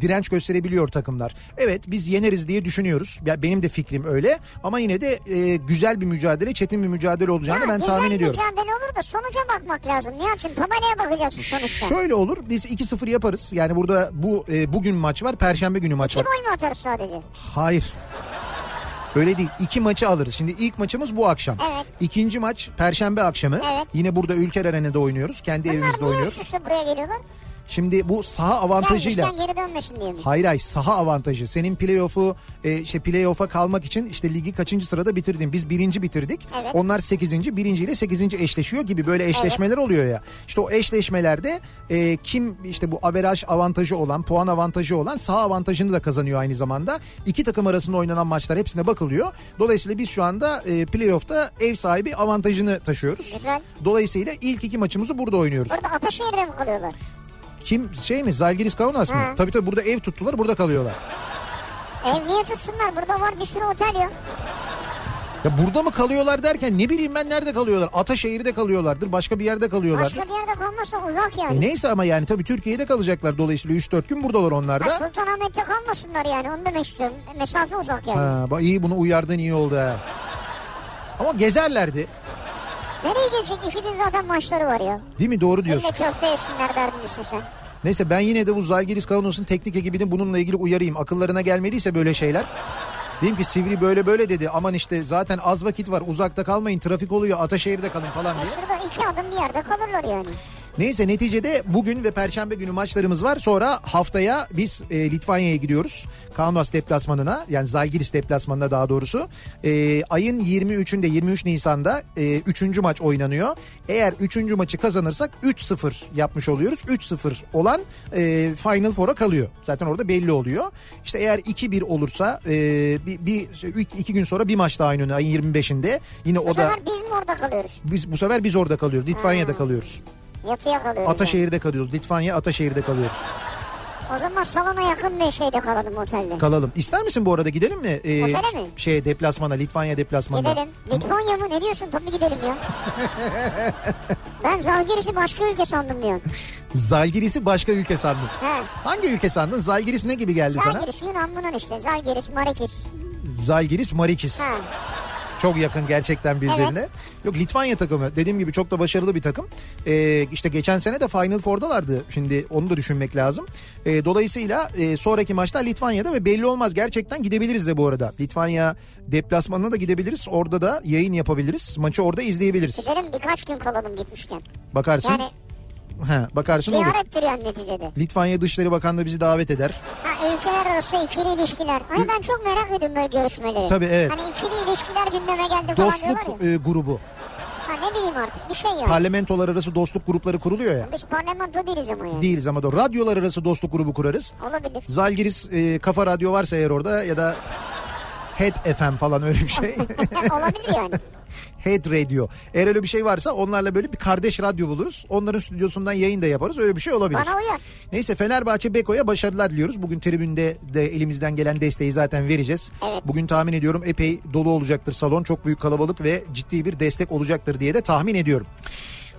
[SPEAKER 1] direnç gösterebiliyor takımlar. Evet biz yeneriz diye düşünüyoruz. Ya benim de fikrim öyle ama yine de e, güzel bir mücadele, çetin bir mücadele olacağını
[SPEAKER 2] Ha,
[SPEAKER 1] ben
[SPEAKER 2] güzel
[SPEAKER 1] tahmin ediyorum.
[SPEAKER 2] mücadele olur da sonuca bakmak lazım. Nihat'cığım tabelaya bakacaksın sonuçta.
[SPEAKER 1] Şöyle olur biz 2-0 yaparız. Yani burada bu e, bugün maç var, perşembe günü maç
[SPEAKER 2] İki
[SPEAKER 1] var.
[SPEAKER 2] gol mü atarız sadece?
[SPEAKER 1] Hayır. Öyle değil. İki maçı alırız. Şimdi ilk maçımız bu akşam.
[SPEAKER 2] Evet.
[SPEAKER 1] İkinci maç Perşembe akşamı.
[SPEAKER 2] Evet.
[SPEAKER 1] Yine burada Ülker Arena'da oynuyoruz. Kendi
[SPEAKER 2] Bunlar
[SPEAKER 1] evimizde
[SPEAKER 2] niye üst
[SPEAKER 1] oynuyoruz.
[SPEAKER 2] üste buraya geliyorlar?
[SPEAKER 1] Şimdi bu saha avantajıyla...
[SPEAKER 2] Gelmişken geri dönmesin diye mi?
[SPEAKER 1] Hayır hayır saha avantajı. Senin playoff'u e, işte playoff'a kalmak için işte ligi kaçıncı sırada bitirdin? Biz birinci bitirdik.
[SPEAKER 2] Evet.
[SPEAKER 1] Onlar sekizinci. Birinciyle sekizinci eşleşiyor gibi böyle eşleşmeler oluyor ya. İşte o eşleşmelerde e, kim işte bu averaj avantajı olan, puan avantajı olan saha avantajını da kazanıyor aynı zamanda. İki takım arasında oynanan maçlar hepsine bakılıyor. Dolayısıyla biz şu anda e, playoff'ta ev sahibi avantajını taşıyoruz.
[SPEAKER 2] Güzel.
[SPEAKER 1] Dolayısıyla ilk iki maçımızı burada oynuyoruz.
[SPEAKER 2] Orada Ataşehir'de mi kalıyorlar?
[SPEAKER 1] Kim şey mi? Zalgiris Kaunas mı?
[SPEAKER 2] Hı.
[SPEAKER 1] Tabii tabii burada ev tuttular, burada kalıyorlar.
[SPEAKER 2] Ev niye tutsunlar? Burada var bir sürü otel ya.
[SPEAKER 1] Ya burada mı kalıyorlar derken ne bileyim ben nerede kalıyorlar? Ataşehir'de kalıyorlardır, başka bir yerde kalıyorlardır.
[SPEAKER 2] Başka bir yerde kalmasın uzak
[SPEAKER 1] E
[SPEAKER 2] yani.
[SPEAKER 1] neyse ama yani tabii Türkiye'de kalacaklar dolayısıyla 3-4 gün buradalar onlar
[SPEAKER 2] Ha,
[SPEAKER 1] da.
[SPEAKER 2] Sultanahmet'te kalmasınlar yani onu demek istiyorum. E, Mesafe uzak yani.
[SPEAKER 1] Ha, bak iyi bunu uyardın iyi oldu ha. Ama gezerlerdi.
[SPEAKER 2] Nereye gelecek? İki gün zaten maçları var ya.
[SPEAKER 1] Değil mi? Doğru
[SPEAKER 2] Bir de
[SPEAKER 1] diyorsun.
[SPEAKER 2] köfte yesinler derdin işte sen.
[SPEAKER 1] Neyse ben yine de bu Zalgiris Kaunos'un teknik ekibini bununla ilgili uyarayım. Akıllarına gelmediyse böyle şeyler. Diyeyim ki Sivri böyle böyle dedi. Aman işte zaten az vakit var uzakta kalmayın trafik oluyor Ataşehir'de kalın falan
[SPEAKER 2] E
[SPEAKER 1] diye.
[SPEAKER 2] şurada iki adım bir yerde kalırlar yani.
[SPEAKER 1] Neyse neticede bugün ve perşembe günü maçlarımız var. Sonra haftaya biz e, Litvanya'ya gidiyoruz. Kaunas deplasmanına yani Zalgiris deplasmanına daha doğrusu. E, ayın 23'ünde 23 Nisan'da 3. maç oynanıyor. Eğer 3. maçı kazanırsak 3-0 yapmış oluyoruz. 3-0 olan e, Final Four'a kalıyor. Zaten orada belli oluyor. İşte eğer 2-1 olursa e, bir, bir, iki- iki gün sonra bir maç daha oynanıyor ayın 25'inde. Yine
[SPEAKER 2] Bu
[SPEAKER 1] o da
[SPEAKER 2] sefer Hmm. biz mi orada kalıyoruz?
[SPEAKER 1] biz, bu sefer biz orada kalıyoruz. Litvanya'da kalıyoruz.
[SPEAKER 2] Yatıya kalıyoruz. yani.
[SPEAKER 1] Ataşehir'de kalıyoruz. Litvanya Ataşehir'de kalıyoruz.
[SPEAKER 2] O zaman salona yakın bir şeyde kalalım otelde.
[SPEAKER 1] Kalalım. İster misin bu arada gidelim mi? Ee,
[SPEAKER 2] Otele mi?
[SPEAKER 1] Şeye deplasmana, Litvanya deplasmanına.
[SPEAKER 2] Gidelim. Letonya mı? Ne diyorsun? Tabii gidelim ya. ben Zalgiris'i başka ülke sandım diyor.
[SPEAKER 1] Zalgiris'i başka ülke sandın.
[SPEAKER 2] He.
[SPEAKER 1] Hangi ülke sandın? Zalgiris ne gibi geldi
[SPEAKER 2] Zalgiris Yunan Yunan işte. Zalgiris, Marikis.
[SPEAKER 1] sana? Zalgiris, Marikis.
[SPEAKER 2] Ha.
[SPEAKER 1] Çok yakın gerçekten birbirine.
[SPEAKER 2] Evet.
[SPEAKER 1] Yok Litvanya takımı dediğim gibi çok da başarılı bir takım. Ee, işte geçen sene de Final Four'dalardı. Şimdi onu da düşünmek lazım. Ee, dolayısıyla e, sonraki maçta Litvanya'da ve belli olmaz gerçekten gidebiliriz de bu arada. Litvanya deplasmanına da gidebiliriz. Orada da yayın yapabiliriz. Maçı orada izleyebiliriz.
[SPEAKER 2] Gidelim birkaç gün kalalım gitmişken.
[SPEAKER 1] Bakarsın.
[SPEAKER 2] Yani
[SPEAKER 1] He, bakarsın olur.
[SPEAKER 2] ziyarettir yani neticede.
[SPEAKER 1] Litvanya Dışişleri Bakanlığı bizi davet eder.
[SPEAKER 2] Ha, ülkeler arası ikili ilişkiler. Hani ben çok merak ediyorum böyle görüşmeleri.
[SPEAKER 1] Tabii, evet.
[SPEAKER 2] Hani ikili ilişkiler gündeme geldi falan diyorlar
[SPEAKER 1] Dostluk
[SPEAKER 2] ya.
[SPEAKER 1] e, grubu.
[SPEAKER 2] Ha, ne bileyim artık bir şey yani.
[SPEAKER 1] Parlamentolar arası dostluk grupları kuruluyor ya.
[SPEAKER 2] Biz parlamento değiliz ama yani.
[SPEAKER 1] Değiliz ama doğru. Radyolar arası dostluk grubu kurarız.
[SPEAKER 2] Olabilir.
[SPEAKER 1] Zalgiris e, Kafa Radyo varsa eğer orada ya da E Head FM falan öyle bir şey.
[SPEAKER 2] Ha, olabilir yani.
[SPEAKER 1] Head Radio. Eğer öyle bir şey varsa onlarla böyle bir kardeş radyo buluruz. Onların stüdyosundan yayın da yaparız. Öyle bir şey olabilir.
[SPEAKER 2] Bana uyar.
[SPEAKER 1] Neyse Fenerbahçe Beko'ya başarılar diliyoruz. Bugün tribünde de elimizden gelen desteği zaten vereceğiz.
[SPEAKER 2] Evet.
[SPEAKER 1] Bugün tahmin ediyorum epey dolu olacaktır salon. Çok büyük kalabalık ve ciddi bir destek olacaktır diye de tahmin ediyorum.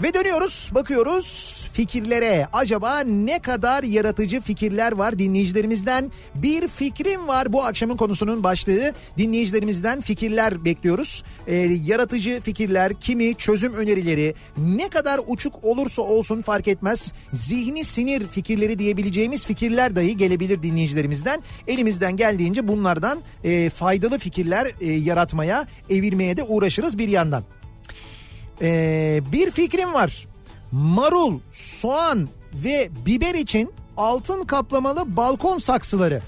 [SPEAKER 1] Ve dönüyoruz bakıyoruz fikirlere acaba ne kadar yaratıcı fikirler var dinleyicilerimizden bir fikrim var bu akşamın konusunun başlığı dinleyicilerimizden fikirler bekliyoruz Ee, yaratıcı fikirler kimi çözüm önerileri ne kadar uçuk olursa olsun fark etmez zihni sinir fikirleri diyebileceğimiz fikirler dahi gelebilir dinleyicilerimizden elimizden geldiğince bunlardan e, faydalı fikirler e, yaratmaya evirmeye de uğraşırız bir yandan. Ee, bir fikrim var. Marul, soğan ve biber için altın kaplamalı balkon saksıları.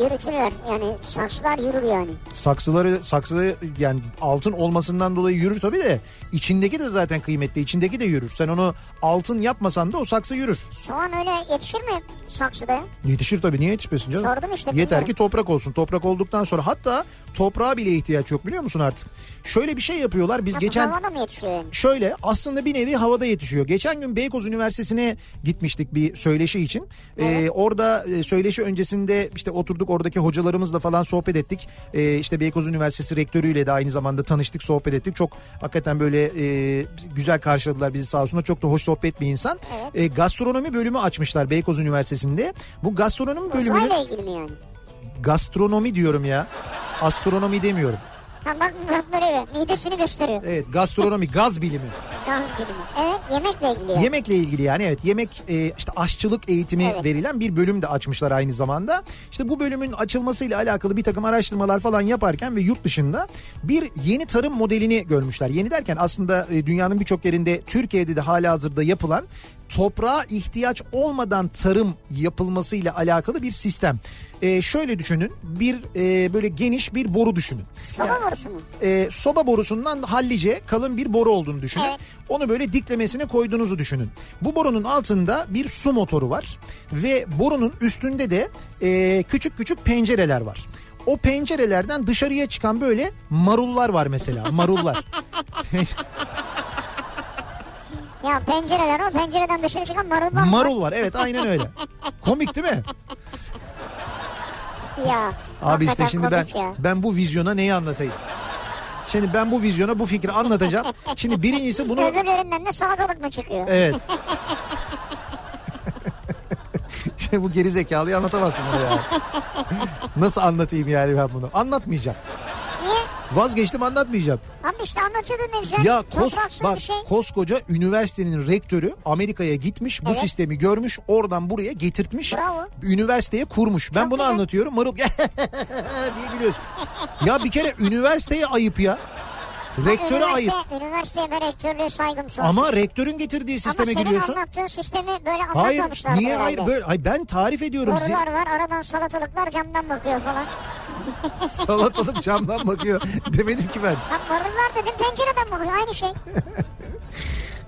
[SPEAKER 2] Yürütürler yani saksılar yürür yani.
[SPEAKER 1] Saksıları saksı yani altın olmasından dolayı yürür tabii de içindeki de zaten kıymetli. içindeki de yürür. Sen onu altın yapmasan da o saksı yürür.
[SPEAKER 2] Soğan öyle yetişir mi saksıda? ya?
[SPEAKER 1] Yetişir tabii niye yetişmesin canım?
[SPEAKER 2] Sordum işte,
[SPEAKER 1] Yeter
[SPEAKER 2] bilmiyorum.
[SPEAKER 1] ki toprak olsun. Toprak olduktan sonra hatta toprağa bile ihtiyaç yok biliyor musun artık? Şöyle bir şey yapıyorlar. Biz
[SPEAKER 2] Nasıl
[SPEAKER 1] geçen
[SPEAKER 2] havada mı yetişiyor yani?
[SPEAKER 1] Şöyle aslında bir nevi havada yetişiyor. Geçen gün Beykoz Üniversitesi'ne gitmiştik bir söyleşi için. Ee, orada e, söyleşi öncesinde işte oturduk oradaki hocalarımızla falan sohbet ettik. Ee, işte Beykoz Üniversitesi rektörüyle de aynı zamanda tanıştık sohbet ettik. Çok hakikaten böyle e, güzel karşıladılar bizi sağ olsunlar. Çok da hoş sohbet bir insan. Ee, gastronomi bölümü açmışlar Beykoz Üniversitesi'nde. Bu gastronomi bölümünün
[SPEAKER 2] Uzayla ilgili mi yani?
[SPEAKER 1] gastronomi diyorum ya. Astronomi demiyorum.
[SPEAKER 2] Ha bak Murat böyle bir midesini gösteriyor.
[SPEAKER 1] Evet gastronomi gaz bilimi.
[SPEAKER 2] Gaz bilimi. Evet yemekle ilgili. yani.
[SPEAKER 1] Yemekle ilgili yani evet yemek e, işte aşçılık eğitimi
[SPEAKER 2] Evet.
[SPEAKER 1] verilen bir bölüm de açmışlar aynı zamanda. İşte bu bölümün açılmasıyla alakalı bir takım araştırmalar falan yaparken ve yurt dışında bir yeni tarım modelini görmüşler. Yeni derken aslında e, dünyanın birçok yerinde Türkiye'de de hala hazırda yapılan toprağa ihtiyaç olmadan tarım yapılmasıyla alakalı bir sistem. Ee, şöyle düşünün bir e, böyle geniş bir boru düşünün.
[SPEAKER 2] Soba borusu mu?
[SPEAKER 1] e, soba borusundan hallice kalın bir boru olduğunu düşünün.
[SPEAKER 2] Evet.
[SPEAKER 1] Onu böyle diklemesine koyduğunuzu düşünün. Bu borunun altında bir su motoru var ve borunun üstünde de e, küçük küçük pencereler var. O pencerelerden dışarıya çıkan böyle marullar var mesela marullar.
[SPEAKER 2] Ya pencereler o pencereden dışarı çıkan marullar mı?
[SPEAKER 1] Marul var evet aynen öyle. Komik değil mi?
[SPEAKER 2] Ya.
[SPEAKER 1] Abi işte
[SPEAKER 2] hakikaten
[SPEAKER 1] şimdi ben
[SPEAKER 2] komik ya.
[SPEAKER 1] ben bu vizyona neyi anlatayım? Şimdi ben bu vizyona bu fikri anlatacağım. Şimdi birincisi bunu
[SPEAKER 2] Öbürlerinden de salatalık mı çıkıyor?
[SPEAKER 1] Evet. şey bu geri zekalıyı anlatamazsın bunu yani. Nasıl anlatayım yani ben bunu? Anlatmayacağım.
[SPEAKER 2] Niye?
[SPEAKER 1] Vazgeçtim anlatmayacağım.
[SPEAKER 2] Abi işte anlatıyordun ne güzel.
[SPEAKER 1] Ya kos,
[SPEAKER 2] Topraksız
[SPEAKER 1] bak,
[SPEAKER 2] bir şey.
[SPEAKER 1] koskoca üniversitenin rektörü Amerika'ya gitmiş bu
[SPEAKER 2] Evet.
[SPEAKER 1] sistemi görmüş oradan buraya getirtmiş.
[SPEAKER 2] Bravo.
[SPEAKER 1] Üniversiteye kurmuş. ben bunu
[SPEAKER 2] güzel.
[SPEAKER 1] anlatıyorum marul diye gülüyorsun. ya bir kere üniversiteye ayıp ya. Rektöre ayıp.
[SPEAKER 2] Üniversite, üniversiteye ve rektörlüğe saygım sonsuz.
[SPEAKER 1] Ama rektörün getirdiği
[SPEAKER 2] Ama
[SPEAKER 1] sisteme
[SPEAKER 2] senin
[SPEAKER 1] giriyorsun.
[SPEAKER 2] anlattığın sistemi böyle
[SPEAKER 1] Hayır
[SPEAKER 2] anlatmamışlar.
[SPEAKER 1] niye hayır böyle şey- hayır, ben tarif ediyorum size
[SPEAKER 2] Borular var aradan salatalıklar camdan bakıyor falan.
[SPEAKER 1] salatalık camdan bakıyor demedim ki ben
[SPEAKER 2] Bak borular dedim pencereden bakıyor aynı şey.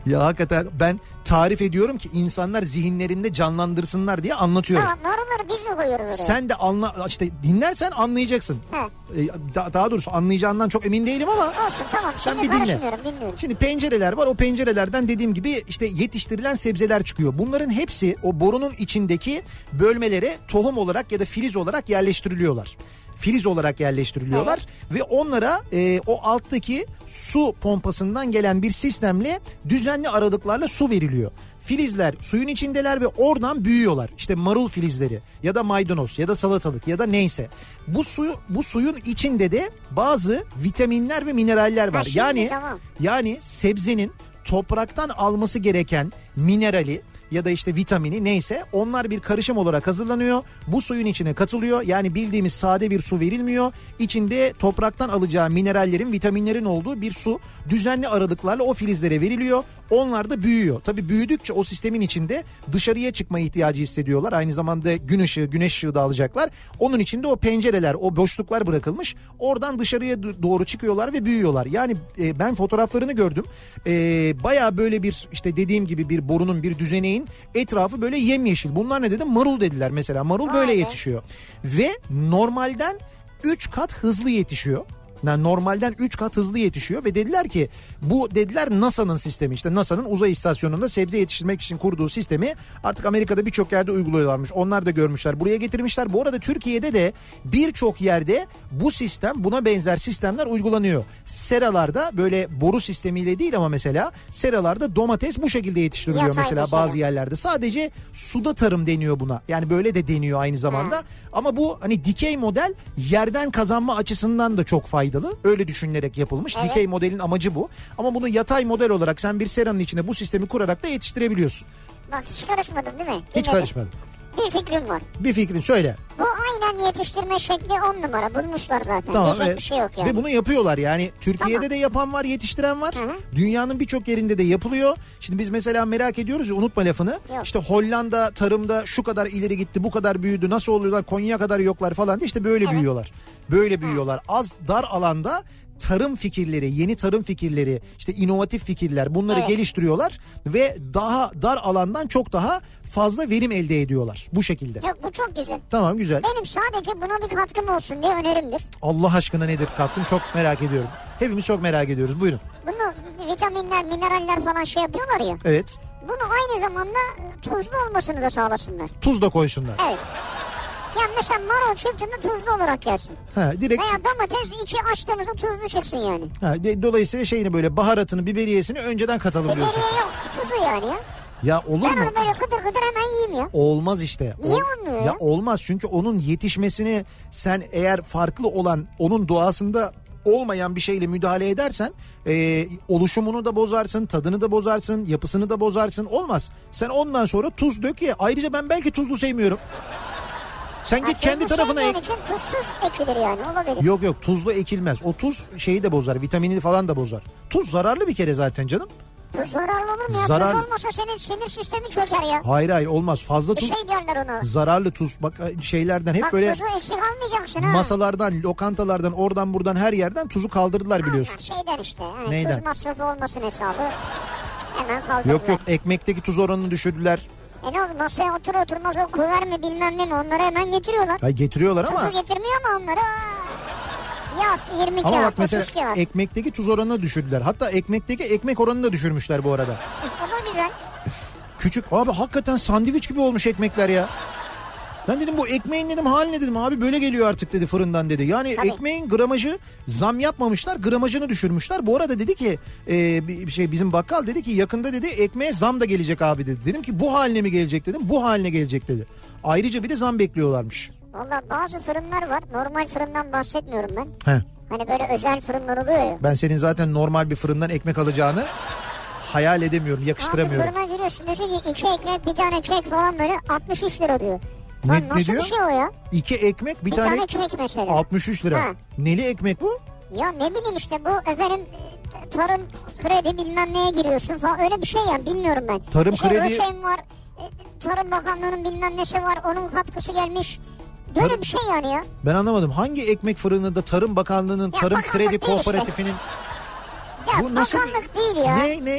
[SPEAKER 1] ya hakikaten ben tarif ediyorum ki insanlar zihinlerinde canlandırsınlar diye anlatıyorum.
[SPEAKER 2] tamam boruları biz mi koyuyoruz oraya?
[SPEAKER 1] Sen de anla işte dinlersen anlayacaksın.
[SPEAKER 2] He.
[SPEAKER 1] E, da- daha doğrusu anlayacağından çok emin değilim ama
[SPEAKER 2] Olsun tamam
[SPEAKER 1] sen
[SPEAKER 2] şimdi
[SPEAKER 1] bir dinle.
[SPEAKER 2] karışmıyorum dinliyorum.
[SPEAKER 1] Şimdi pencereler var. O pencerelerden dediğim gibi işte yetiştirilen sebzeler çıkıyor. Bunların hepsi o borunun içindeki bölmelere tohum olarak ya da filiz olarak yerleştiriliyorlar. Filiz olarak yerleştiriliyorlar ve onlara e, o alttaki su pompasından gelen bir sistemle düzenli aralıklarla su veriliyor. Filizler suyun içindeler ve oradan büyüyorlar. İşte marul filizleri ya da maydanoz ya da salatalık ya da neyse. Bu suyu bu suyun içinde de bazı vitaminler ve mineraller var.
[SPEAKER 2] şimdi
[SPEAKER 1] yani
[SPEAKER 2] tamam.
[SPEAKER 1] yani sebzenin topraktan alması gereken minerali ya da işte vitamini neyse onlar bir karışım olarak hazırlanıyor. Bu suyun içine katılıyor. Yani bildiğimiz sade bir su verilmiyor. İçinde topraktan alacağı minerallerin, vitaminlerin olduğu bir su düzenli aralıklarla o filizlere veriliyor. Onlar da büyüyor. Tabii büyüdükçe o sistemin içinde dışarıya çıkma ihtiyacı hissediyorlar. Aynı zamanda gün ışığı, güneş ışığı da alacaklar. Onun içinde o pencereler, o boşluklar bırakılmış. Oradan dışarıya d- doğru çıkıyorlar ve büyüyorlar. Yani e, ben fotoğraflarını gördüm. E, Baya böyle bir işte dediğim gibi bir borunun, bir düzeneğin etrafı böyle yemyeşil. Bunlar ne dedim? Marul dediler mesela. Marul böyle
[SPEAKER 2] Vay be.
[SPEAKER 1] yetişiyor. Ve normalden 3 kat hızlı yetişiyor. Yani normalden 3 kat hızlı yetişiyor ve dediler ki bu dediler NASA'nın sistemi işte NASA'nın uzay istasyonunda sebze yetiştirmek için kurduğu sistemi artık Amerika'da birçok yerde uyguluyorlarmış. Onlar da görmüşler buraya getirmişler. Bu arada Türkiye'de de birçok yerde bu sistem buna benzer sistemler uygulanıyor. Seralarda böyle boru sistemiyle değil ama mesela seralarda domates bu şekilde yetiştiriliyor
[SPEAKER 2] Yatay
[SPEAKER 1] mesela
[SPEAKER 2] bir sera.
[SPEAKER 1] bazı yerlerde. Sadece suda tarım deniyor buna. Yani böyle de deniyor aynı zamanda. Ama bu hani dikey model yerden kazanma açısından da çok faydalı. Öyle düşünülerek yapılmış.
[SPEAKER 2] Evet.
[SPEAKER 1] Dikey modelin amacı bu. Ama bunu yatay model olarak sen bir seranın içine bu sistemi kurarak da yetiştirebiliyorsun.
[SPEAKER 2] Bak hiç karışmadın değil mi?
[SPEAKER 1] Hiç
[SPEAKER 2] Dinledim.
[SPEAKER 1] karışmadım.
[SPEAKER 2] Bir fikrim var.
[SPEAKER 1] Bir fikrin söyle.
[SPEAKER 2] Bu aynen yetiştirme şekli on numara bulmuşlar zaten. Diyecek
[SPEAKER 1] evet.
[SPEAKER 2] bir şey yok yani.
[SPEAKER 1] Ve bunu yapıyorlar yani. Türkiye'de
[SPEAKER 2] Tamam.
[SPEAKER 1] de yapan var, yetiştiren var. Dünyanın birçok yerinde de yapılıyor. Şimdi biz mesela merak ediyoruz ya unutma lafını.
[SPEAKER 2] Yok.
[SPEAKER 1] İşte Hollanda tarımda şu kadar ileri gitti, bu kadar büyüdü, nasıl oluyorlar, Konya kadar yoklar falan diye işte böyle büyüyorlar. Böyle büyüyorlar. Az dar alanda tarım fikirleri, yeni tarım fikirleri, işte inovatif fikirler bunları
[SPEAKER 2] Evet.
[SPEAKER 1] geliştiriyorlar ve daha dar alandan çok daha fazla verim elde ediyorlar bu şekilde.
[SPEAKER 2] Yok bu çok güzel.
[SPEAKER 1] Tamam güzel.
[SPEAKER 2] Benim sadece buna bir katkım olsun diye önerimdir.
[SPEAKER 1] Allah aşkına nedir katkın çok merak ediyorum. Hepimiz çok merak ediyoruz. Buyurun.
[SPEAKER 2] Bunu vitaminler, mineraller falan şey yapıyorlar ya.
[SPEAKER 1] Evet.
[SPEAKER 2] Bunu aynı zamanda tuzlu olmasını da sağlasınlar.
[SPEAKER 1] Tuz da koysunlar.
[SPEAKER 2] Evet. Ya mesela marul çıktığında tuzlu olarak yersin.
[SPEAKER 1] Ha, direkt
[SPEAKER 2] Veya domates içi açtığımızda tuzlu çıksın yani.
[SPEAKER 1] ha, de- dolayısıyla şeyini böyle baharatını, biberiyesini önceden katalım diyorsun.
[SPEAKER 2] Biberiye yok tuzu yani ya.
[SPEAKER 1] Ya olur
[SPEAKER 2] Ben
[SPEAKER 1] mu?
[SPEAKER 2] onu böyle kıtır kıtır hemen yiyeyim ya.
[SPEAKER 1] Olmaz işte.
[SPEAKER 2] Niye
[SPEAKER 1] Ol-
[SPEAKER 2] olmuyor ya?
[SPEAKER 1] Ya olmaz çünkü onun yetişmesini sen eğer farklı olan onun doğasında olmayan bir şeyle müdahale edersen e, oluşumunu da bozarsın, tadını da bozarsın, yapısını da bozarsın. Olmaz. Sen ondan sonra tuz dök ye. Ayrıca ben belki tuzlu sevmiyorum. Sen
[SPEAKER 2] Ha,
[SPEAKER 1] git kendi
[SPEAKER 2] tuzlu
[SPEAKER 1] tarafına ek.
[SPEAKER 2] sevmeyen için tuzsuz ekilir yani olabilir.
[SPEAKER 1] Yok yok tuzlu ekilmez. O tuz şeyi de bozar, vitamini falan da bozar. Tuz zararlı bir kere zaten canım.
[SPEAKER 2] Tuz zararlı olur mu ya?
[SPEAKER 1] Zarar-
[SPEAKER 2] Tuz olmasa senin sinir sistemin çöker ya.
[SPEAKER 1] Hayır hayır olmaz. Fazla
[SPEAKER 2] Bir
[SPEAKER 1] tuz
[SPEAKER 2] şey diyorlar ona.
[SPEAKER 1] zararlı tuz bak e, şeylerden hep
[SPEAKER 2] Bak
[SPEAKER 1] böyle
[SPEAKER 2] tuzu eksik almayacaksın ha.
[SPEAKER 1] masalardan, lokantalardan, oradan buradan her yerden tuzu kaldırdılar biliyorsun.
[SPEAKER 2] Aynen, Şeyden şey işte. Yani
[SPEAKER 1] Neyden?
[SPEAKER 2] Tuz masrafı olmasın hesabı. Hemen kaldırdılar.
[SPEAKER 1] Yok yok ekmekteki tuz oranını düşürdüler.
[SPEAKER 2] E ne oldu masaya otur oturmaz o kuver mi bilmem ne mi onları hemen getiriyorlar.
[SPEAKER 1] Hay getiriyorlar ama
[SPEAKER 2] Tuzu getirmiyor mu onları? Yaz 20
[SPEAKER 1] ama
[SPEAKER 2] kağıt,
[SPEAKER 1] bak
[SPEAKER 2] 30
[SPEAKER 1] mesela
[SPEAKER 2] kağıt.
[SPEAKER 1] ekmekteki tuz oranını düşürdüler. Hatta ekmekteki ekmek oranını da düşürmüşler bu arada.
[SPEAKER 2] o da güzel.
[SPEAKER 1] Küçük abi hakikaten sandviç gibi olmuş ekmekler ya. Ben dedim bu ekmeğin dedim haline dedim abi böyle geliyor artık dedi fırından dedi. Yani
[SPEAKER 2] Tabii.
[SPEAKER 1] ekmeğin gramajı zam yapmamışlar gramajını düşürmüşler. Bu arada dedi ki e, bir bir şey bizim bakkal dedi ki yakında dedi ekmeğe zam da gelecek abi dedi. Dedim ki bu haline mi gelecek dedim bu haline gelecek dedi. Ayrıca bir de zam bekliyorlarmış.
[SPEAKER 2] Valla bazı fırınlar var. Normal fırından bahsetmiyorum ben.
[SPEAKER 1] He.
[SPEAKER 2] Hani böyle özel fırınlar oluyor ya.
[SPEAKER 1] Ben senin zaten normal bir fırından ekmek alacağını hayal edemiyorum
[SPEAKER 2] Abi
[SPEAKER 1] yakıştıramıyorum.
[SPEAKER 2] fırına giriyorsun desin ki iki ekmek bir tane kek falan böyle 63 lira diyor.
[SPEAKER 1] Ne-
[SPEAKER 2] Lan
[SPEAKER 1] ne
[SPEAKER 2] nasıl
[SPEAKER 1] diyor?
[SPEAKER 2] bir şey o ya?
[SPEAKER 1] İki ekmek bir,
[SPEAKER 2] Bir
[SPEAKER 1] tane,
[SPEAKER 2] tane kek mesela.
[SPEAKER 1] 63 lira.
[SPEAKER 2] Ha.
[SPEAKER 1] Neli ekmek bu?
[SPEAKER 2] Ya ne bileyim işte bu efendim e, tarım kredi bilmem neye giriyorsun falan öyle bir şey yani bilmiyorum ben.
[SPEAKER 1] Tarım
[SPEAKER 2] işte
[SPEAKER 1] kredi-
[SPEAKER 2] ÖSYM var. e, Tarım Bakanlığı'nın bilmem nesi var. Onun katkısı gelmiş. Böyle bir şey yani ya.
[SPEAKER 1] Ben anlamadım. Hangi ekmek fırınında Tarım Bakanlığı'nın
[SPEAKER 2] Ya
[SPEAKER 1] Tarım
[SPEAKER 2] bakanlık
[SPEAKER 1] Kredi
[SPEAKER 2] değil işte.
[SPEAKER 1] Kooperatifi'nin
[SPEAKER 2] Ya
[SPEAKER 1] Bu nasıl bir-
[SPEAKER 2] bakanlık değil ya.
[SPEAKER 1] ne ne?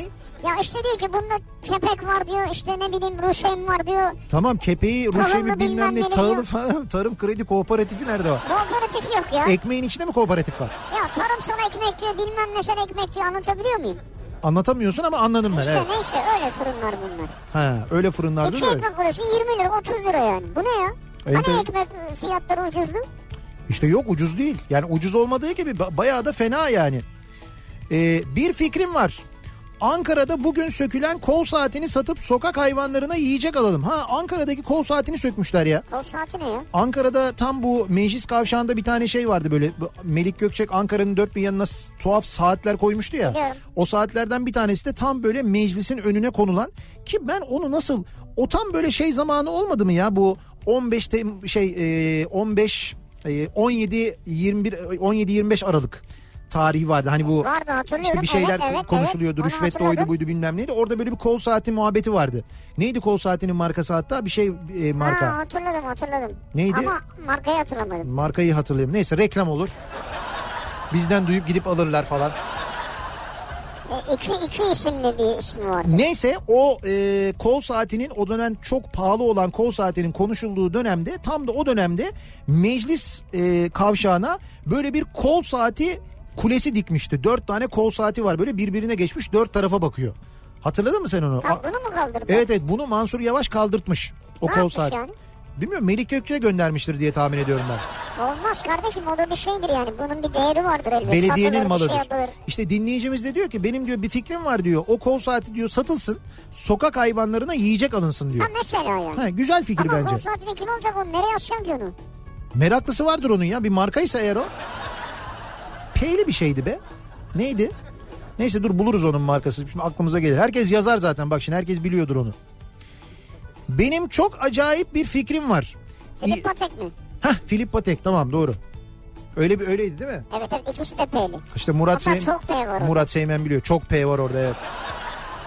[SPEAKER 2] Ya işte diyor ki bunda kepek var diyor. işte ne bileyim Ruşen var diyor.
[SPEAKER 1] Tamam kepeği,
[SPEAKER 2] Tahıllı
[SPEAKER 1] ruşevi bilmem ne
[SPEAKER 2] bilmem neleri
[SPEAKER 1] tahılı
[SPEAKER 2] yok.
[SPEAKER 1] falan Tarım Kredi Kooperatifi nerede var?
[SPEAKER 2] Kooperatif yok ya.
[SPEAKER 1] Ekmeğin içinde mi kooperatif var?
[SPEAKER 2] ya tarımsal ekmek diyor bilmem nesel ekmek diyor anlatabiliyor muyum?
[SPEAKER 1] Anlatamıyorsun ama anladım ben.
[SPEAKER 2] İşte
[SPEAKER 1] Evet.
[SPEAKER 2] neyse öyle fırınlar bunlar.
[SPEAKER 1] Ha, öyle fırınlarda
[SPEAKER 2] İki
[SPEAKER 1] da öyle.
[SPEAKER 2] ekmek orası 20 lira 30 lira yani. Bu ne ya?
[SPEAKER 1] Evet,
[SPEAKER 2] Hani
[SPEAKER 1] evet.
[SPEAKER 2] ekmek fiyatları ucuzdu?
[SPEAKER 1] İşte yok ucuz değil. Yani ucuz olmadığı gibi ba- bayağı da fena yani. Ee, bir fikrim var. Ankara'da bugün sökülen kol saatini satıp sokak hayvanlarına yiyecek alalım. Ha Ankara'daki kol saatini sökmüşler ya.
[SPEAKER 2] Kol saati ne ya?
[SPEAKER 1] Ankara'da tam bu meclis kavşağında bir tane şey vardı böyle Bu Melik Gökçek Ankara'nın dört bir yanına s- tuhaf saatler koymuştu ya.
[SPEAKER 2] Biliyorum.
[SPEAKER 1] O saatlerden bir tanesi de tam böyle meclisin önüne konulan ki ben onu nasıl o tam böyle şey zamanı olmadı mı ya bu 15 tem, şey e, 15 e, 17 21 17 25 Aralık tarihi vardı. Hani bu
[SPEAKER 2] Vardı, hatırlıyorum.
[SPEAKER 1] işte bir
[SPEAKER 2] Evet,
[SPEAKER 1] şeyler
[SPEAKER 2] evet, evet.
[SPEAKER 1] konuşuluyordu.
[SPEAKER 2] Onu
[SPEAKER 1] Rüşvet de oydu
[SPEAKER 2] hatırladım.
[SPEAKER 1] buydu bilmem neydi. Orada böyle bir kol saati muhabbeti vardı. Neydi kol saatinin markası hatta? Bir şey e, marka.
[SPEAKER 2] Ha, hatırladım hatırladım.
[SPEAKER 1] Neydi?
[SPEAKER 2] Ama markayı hatırlamadım.
[SPEAKER 1] Markayı hatırlayayım. Neyse reklam olur. Bizden duyup gidip alırlar falan.
[SPEAKER 2] E, iki, iki isimli bir ismi var.
[SPEAKER 1] Neyse o e, kol saatinin o dönem çok pahalı olan kol saatinin konuşulduğu dönemde tam da o dönemde meclis e, kavşağına böyle bir kol saati kulesi dikmişti. Dört tane kol saati var böyle birbirine geçmiş dört tarafa bakıyor. Hatırladın mı sen onu?
[SPEAKER 2] Tam
[SPEAKER 1] A-
[SPEAKER 2] bunu mu kaldırdı?
[SPEAKER 1] evet evet bunu Mansur Yavaş kaldırtmış o
[SPEAKER 2] Ne
[SPEAKER 1] kol
[SPEAKER 2] yapmış
[SPEAKER 1] saati.
[SPEAKER 2] yani?
[SPEAKER 1] Bilmiyorum Melik Gökçe'ye göndermiştir diye tahmin ediyorum ben.
[SPEAKER 2] Olmaz kardeşim o da bir şeydir yani. Bunun bir değeri vardır elbet. Satılır,
[SPEAKER 1] Belediyenin
[SPEAKER 2] bir
[SPEAKER 1] malıdır.
[SPEAKER 2] Şey yapılır.
[SPEAKER 1] işte dinleyicimiz de diyor ki benim diyor bir fikrim var diyor. O kol saati diyor satılsın. Sokak hayvanlarına yiyecek alınsın diyor.
[SPEAKER 2] Ha mesela yani.
[SPEAKER 1] Ha, güzel fikir
[SPEAKER 2] Ama
[SPEAKER 1] bence.
[SPEAKER 2] kol saatini kim olacak onu? Nereye asacağım ki onu?
[SPEAKER 1] Meraklısı vardır onun ya. Bir markaysa eğer o. P'li bir şeydi be. Neydi? Neyse dur buluruz onun markası. Şimdi aklımıza gelir. Herkes yazar zaten. Bak şimdi herkes biliyordur onu. Benim çok acayip bir fikrim var.
[SPEAKER 2] Filip Patek mi?
[SPEAKER 1] Hah Filip Patek tamam doğru. Öyle bir öyleydi değil mi?
[SPEAKER 2] Evet evet ikisi de P'li.
[SPEAKER 1] İşte Murat
[SPEAKER 2] Ama
[SPEAKER 1] Seymen-
[SPEAKER 2] çok P var orada.
[SPEAKER 1] Murat Seymen biliyor. Çok P var orada evet.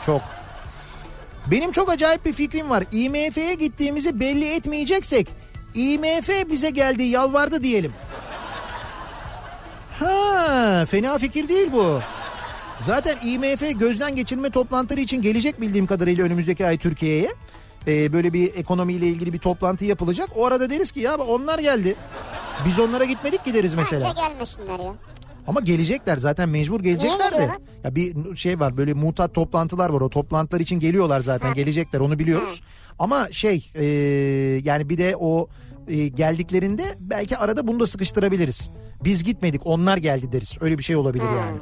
[SPEAKER 1] Çok. Benim çok acayip bir fikrim var. IMF'ye gittiğimizi belli etmeyeceksek IMF bize geldi yalvardı diyelim. Ha, fena fikir değil bu. Zaten IMF gözden geçirme toplantıları için gelecek bildiğim kadarıyla önümüzdeki ay Türkiye'ye. Ee, böyle bir ekonomiyle ilgili bir toplantı yapılacak. O arada deriz ki ya onlar geldi. Biz onlara gitmedik ki deriz mesela.
[SPEAKER 2] Bence gelmesinler ya.
[SPEAKER 1] Ama gelecekler zaten mecbur gelecekler de.
[SPEAKER 2] geliyorlar?
[SPEAKER 1] Ya bir şey var böyle mutat toplantılar var o toplantılar için geliyorlar zaten gelecekler onu biliyoruz. Ama şey e, yani bir de o e, geldiklerinde belki arada bunu da sıkıştırabiliriz. Biz gitmedik onlar geldi deriz öyle bir şey olabilir yani.